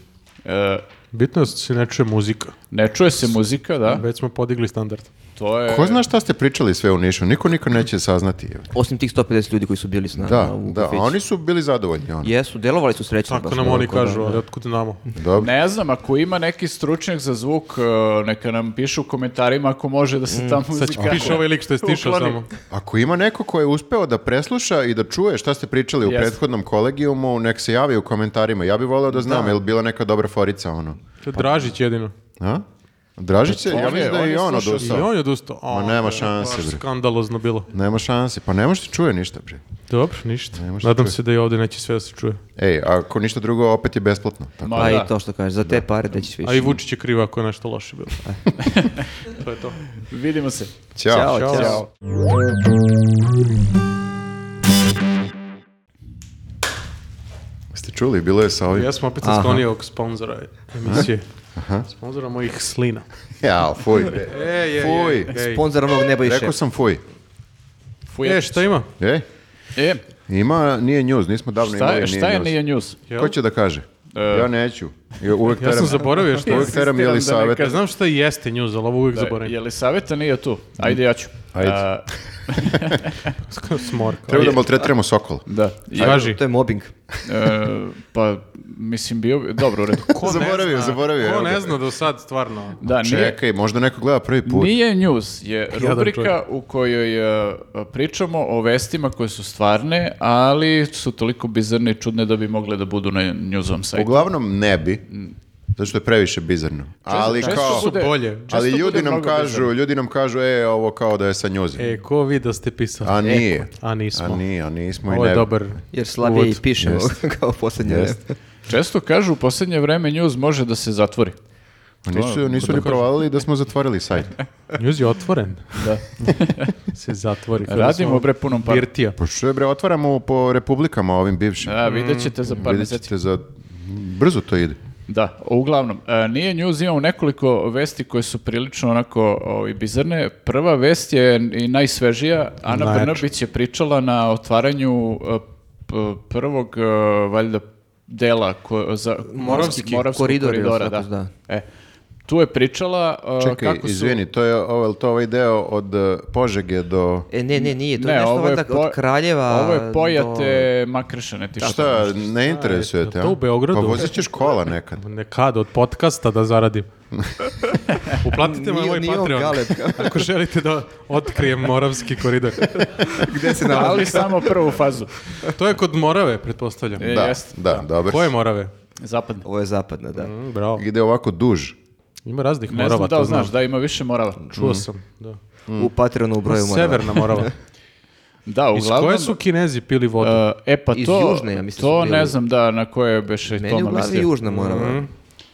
[SPEAKER 4] E,
[SPEAKER 1] Bitno je da se ne čuje muzika.
[SPEAKER 4] ne čuje se muzika, da.
[SPEAKER 1] Već smo podigli standard.
[SPEAKER 4] To je...
[SPEAKER 3] Ko zna šta ste pričali sve u Nišu? Niko nikad neće saznati. evo.
[SPEAKER 2] Osim tih 150 ljudi koji su bili s nama
[SPEAKER 3] Da,
[SPEAKER 2] u
[SPEAKER 3] da, a
[SPEAKER 2] kafiću.
[SPEAKER 3] oni su bili zadovoljni. Ono.
[SPEAKER 2] Jesu, delovali su srećno.
[SPEAKER 1] Tako
[SPEAKER 2] baš
[SPEAKER 1] nam oni
[SPEAKER 2] ovako, da,
[SPEAKER 1] kažu,
[SPEAKER 2] da.
[SPEAKER 1] ali otkud znamo.
[SPEAKER 3] Dobro.
[SPEAKER 4] Ne znam, ako ima neki stručnjak za zvuk, e, neka nam piše u komentarima ako može da se ta muzika...
[SPEAKER 1] Sad će piše ovaj lik što je stišao
[SPEAKER 4] Ukloni.
[SPEAKER 1] samo.
[SPEAKER 3] Ako ima neko ko je uspeo da presluša i da čuje šta ste pričali u
[SPEAKER 4] Jeste.
[SPEAKER 3] prethodnom kolegijumu, nek se javi u komentarima. Ja bih voleo da znam, je li bila neka dobra forica ono?
[SPEAKER 1] To je Dražić jedino.
[SPEAKER 3] A? Dražić se,
[SPEAKER 4] On
[SPEAKER 3] ja
[SPEAKER 4] je-
[SPEAKER 3] mislim da
[SPEAKER 4] on
[SPEAKER 3] je
[SPEAKER 4] je
[SPEAKER 3] i on
[SPEAKER 4] slušao.
[SPEAKER 1] I
[SPEAKER 3] odustao.
[SPEAKER 1] on je odustao. A,
[SPEAKER 3] Ma nema
[SPEAKER 1] bre,
[SPEAKER 3] šanse,
[SPEAKER 1] baš
[SPEAKER 3] bre.
[SPEAKER 1] Skandalozno bilo.
[SPEAKER 3] Nema šanse, pa ne možeš ti čuje ništa, bre.
[SPEAKER 1] Dobro, ništa.
[SPEAKER 3] Nema šta
[SPEAKER 1] Nadam
[SPEAKER 3] čuje.
[SPEAKER 1] se da i ovdje neće sve da se čuje.
[SPEAKER 3] Ej, ako ništa drugo, opet je besplatno. Tako.
[SPEAKER 4] Ma
[SPEAKER 2] Pa
[SPEAKER 4] da.
[SPEAKER 2] i to što kažeš, za te pare da ćeš više.
[SPEAKER 1] A i Vučić je kriv ako je nešto loše bilo.
[SPEAKER 3] E.
[SPEAKER 1] to je to.
[SPEAKER 4] Vidimo se.
[SPEAKER 3] Ćao.
[SPEAKER 2] Ćao,
[SPEAKER 1] Ćao.
[SPEAKER 2] ćao.
[SPEAKER 3] čuli, bilo je sa ovim...
[SPEAKER 1] Ja sam opet
[SPEAKER 2] Aha.
[SPEAKER 1] sklonio sponzora emisije. Sponzora mojih slina.
[SPEAKER 3] Ja, fuj, bre.
[SPEAKER 1] Ej, ej,
[SPEAKER 3] fuj.
[SPEAKER 1] ej, ej.
[SPEAKER 2] Sponzor onog neba i
[SPEAKER 3] Rekao
[SPEAKER 2] šepa.
[SPEAKER 3] sam fuj.
[SPEAKER 4] Fujetić.
[SPEAKER 1] E, šta ima?
[SPEAKER 3] Ej,
[SPEAKER 4] E,
[SPEAKER 3] ima, nije news, nismo davno
[SPEAKER 4] šta,
[SPEAKER 3] imali
[SPEAKER 4] je- šta je
[SPEAKER 3] news.
[SPEAKER 4] nije E, news?
[SPEAKER 1] Jel?
[SPEAKER 3] Ko će da kaže? Ja neću. Ja, uvek
[SPEAKER 1] Ja sam
[SPEAKER 3] teram-
[SPEAKER 1] zaboravio što
[SPEAKER 3] Uvek teram
[SPEAKER 4] Insistiram
[SPEAKER 3] ili
[SPEAKER 4] da ne
[SPEAKER 3] savjet.
[SPEAKER 1] Ja znam šta jeste news, ali ovo uvijek zaboravim.
[SPEAKER 4] Je li savjeta nije tu? Ajde, ja ću.
[SPEAKER 3] Ajde.
[SPEAKER 4] A,
[SPEAKER 1] Smorka.
[SPEAKER 3] Treba da maltretiramo sokola.
[SPEAKER 4] da. I-
[SPEAKER 1] Kaži.
[SPEAKER 2] To je mobbing.
[SPEAKER 4] e, pa, mislim, bio bi... Dobro, u redu.
[SPEAKER 1] Ko ne
[SPEAKER 3] Zaboravio,
[SPEAKER 1] zna-
[SPEAKER 3] zaboravio,
[SPEAKER 1] Ko
[SPEAKER 3] evo ga.
[SPEAKER 1] ne zna do sad, stvarno.
[SPEAKER 4] Da, Pa nije,
[SPEAKER 3] Čekaj, možda neko gleda prvi put.
[SPEAKER 4] Nije news, je
[SPEAKER 1] čovjek.
[SPEAKER 4] rubrika u kojoj e, pričamo o vestima koje su stvarne, ali su toliko bizarne i čudne da bi mogle da budu na newsovom sajtu.
[SPEAKER 3] Uglavnom ne bi, zato što je previše bizarno. Ali
[SPEAKER 4] Mm. često
[SPEAKER 3] kao...
[SPEAKER 1] Su
[SPEAKER 4] bude-
[SPEAKER 1] bolje.
[SPEAKER 4] često
[SPEAKER 3] Ali ljudi
[SPEAKER 4] bude
[SPEAKER 3] nam
[SPEAKER 4] mnogo
[SPEAKER 3] kažu,
[SPEAKER 4] bizarno.
[SPEAKER 3] ljudi nam kažu, e, ovo kao da je sa njuzom.
[SPEAKER 1] E, ko vi da ste pisali?
[SPEAKER 3] A nije.
[SPEAKER 1] A nismo.
[SPEAKER 3] A nije, a nismo i
[SPEAKER 1] Ovo je
[SPEAKER 3] ne.
[SPEAKER 1] dobar.
[SPEAKER 2] Jer slabije i
[SPEAKER 1] uvod.
[SPEAKER 2] piše kao posljednje.
[SPEAKER 3] Jest.
[SPEAKER 2] vreme.
[SPEAKER 4] Često kažu u posljednje vreme news može da se zatvori.
[SPEAKER 3] Nisu, nisu ni provalili da smo zatvorili sajt.
[SPEAKER 1] News je otvoren.
[SPEAKER 4] Da.
[SPEAKER 1] Se zatvori. Kao da
[SPEAKER 4] Radimo
[SPEAKER 1] smo
[SPEAKER 4] bre punom parom.
[SPEAKER 1] Birtija.
[SPEAKER 3] Pa što je bre, otvaramo po republikama ovim
[SPEAKER 1] E,
[SPEAKER 3] bivšim.
[SPEAKER 4] Da, vidjet ćete za par
[SPEAKER 3] Vidjet
[SPEAKER 4] mjeseci.
[SPEAKER 3] ćete za... Brzo to ide.
[SPEAKER 4] Da, uglavnom, e, nije news, imamo nekoliko vesti koje su prilično onako ovaj, bizarne. Prva vest je i najsvežija. Ana
[SPEAKER 1] Najjača.
[SPEAKER 4] Brnabić je pričala na otvaranju e, p- prvog, e, valjda, dela ko, za
[SPEAKER 2] Moravski koridor ili
[SPEAKER 4] koridora. Da.
[SPEAKER 2] tako, da.
[SPEAKER 4] E, tu je pričala
[SPEAKER 1] Pa,
[SPEAKER 4] e,
[SPEAKER 3] Čekaj,
[SPEAKER 4] kako su...
[SPEAKER 3] izvini, to je, ovo, je li to ovaj deo od eh, Požege do...
[SPEAKER 2] E, ne, ne, nije. To je
[SPEAKER 4] Ne,
[SPEAKER 2] nešto
[SPEAKER 4] ovo je,
[SPEAKER 2] valjda
[SPEAKER 4] po-
[SPEAKER 2] od kraljeva.
[SPEAKER 4] ovo je
[SPEAKER 2] do-
[SPEAKER 4] pojate Makršane.
[SPEAKER 1] E,
[SPEAKER 4] Ti
[SPEAKER 3] Šta, ne interesuje te?
[SPEAKER 1] to
[SPEAKER 3] a?
[SPEAKER 1] u Beogradu?
[SPEAKER 3] Pa vozit ćeš kola nekad.
[SPEAKER 1] Nekad od podcasta da zaradim. Uplatite me
[SPEAKER 2] Nije-
[SPEAKER 1] moj
[SPEAKER 2] nije on
[SPEAKER 1] Patreon.
[SPEAKER 2] Galeb.
[SPEAKER 1] Ako želite da otkrijem Moravski koridor.
[SPEAKER 2] Gde se nalazi?
[SPEAKER 4] Ali samo prvu fazu.
[SPEAKER 1] To je kod Morave, pretpostavljam.
[SPEAKER 4] E,
[SPEAKER 3] Da,
[SPEAKER 4] jeste.
[SPEAKER 3] da, dobar.
[SPEAKER 1] Koje Morave?
[SPEAKER 4] Zapadne.
[SPEAKER 2] Ovo je zapadna, da.
[SPEAKER 1] Mm, bravo.
[SPEAKER 3] Ide ovako duž.
[SPEAKER 1] Ima raznih
[SPEAKER 4] Ne
[SPEAKER 1] Morava,
[SPEAKER 4] znam da
[SPEAKER 1] to
[SPEAKER 4] li znaš,
[SPEAKER 1] znam.
[SPEAKER 4] da ima više Morava.
[SPEAKER 1] Čuo sam, da.
[SPEAKER 3] Mm.
[SPEAKER 2] U Patreonu u broju morava.
[SPEAKER 1] Severna Morava.
[SPEAKER 4] Da,
[SPEAKER 1] Iz
[SPEAKER 4] uglavnom...
[SPEAKER 1] koje su Kinezi pili vodu?
[SPEAKER 4] Uh, e pa
[SPEAKER 2] Iz
[SPEAKER 4] to,
[SPEAKER 2] južne, ja mislim,
[SPEAKER 4] to
[SPEAKER 2] su bili.
[SPEAKER 4] ne znam da na koje beše
[SPEAKER 2] Meni u
[SPEAKER 4] Toma
[SPEAKER 2] glavi
[SPEAKER 4] mislio.
[SPEAKER 2] južna morava.
[SPEAKER 3] Mm.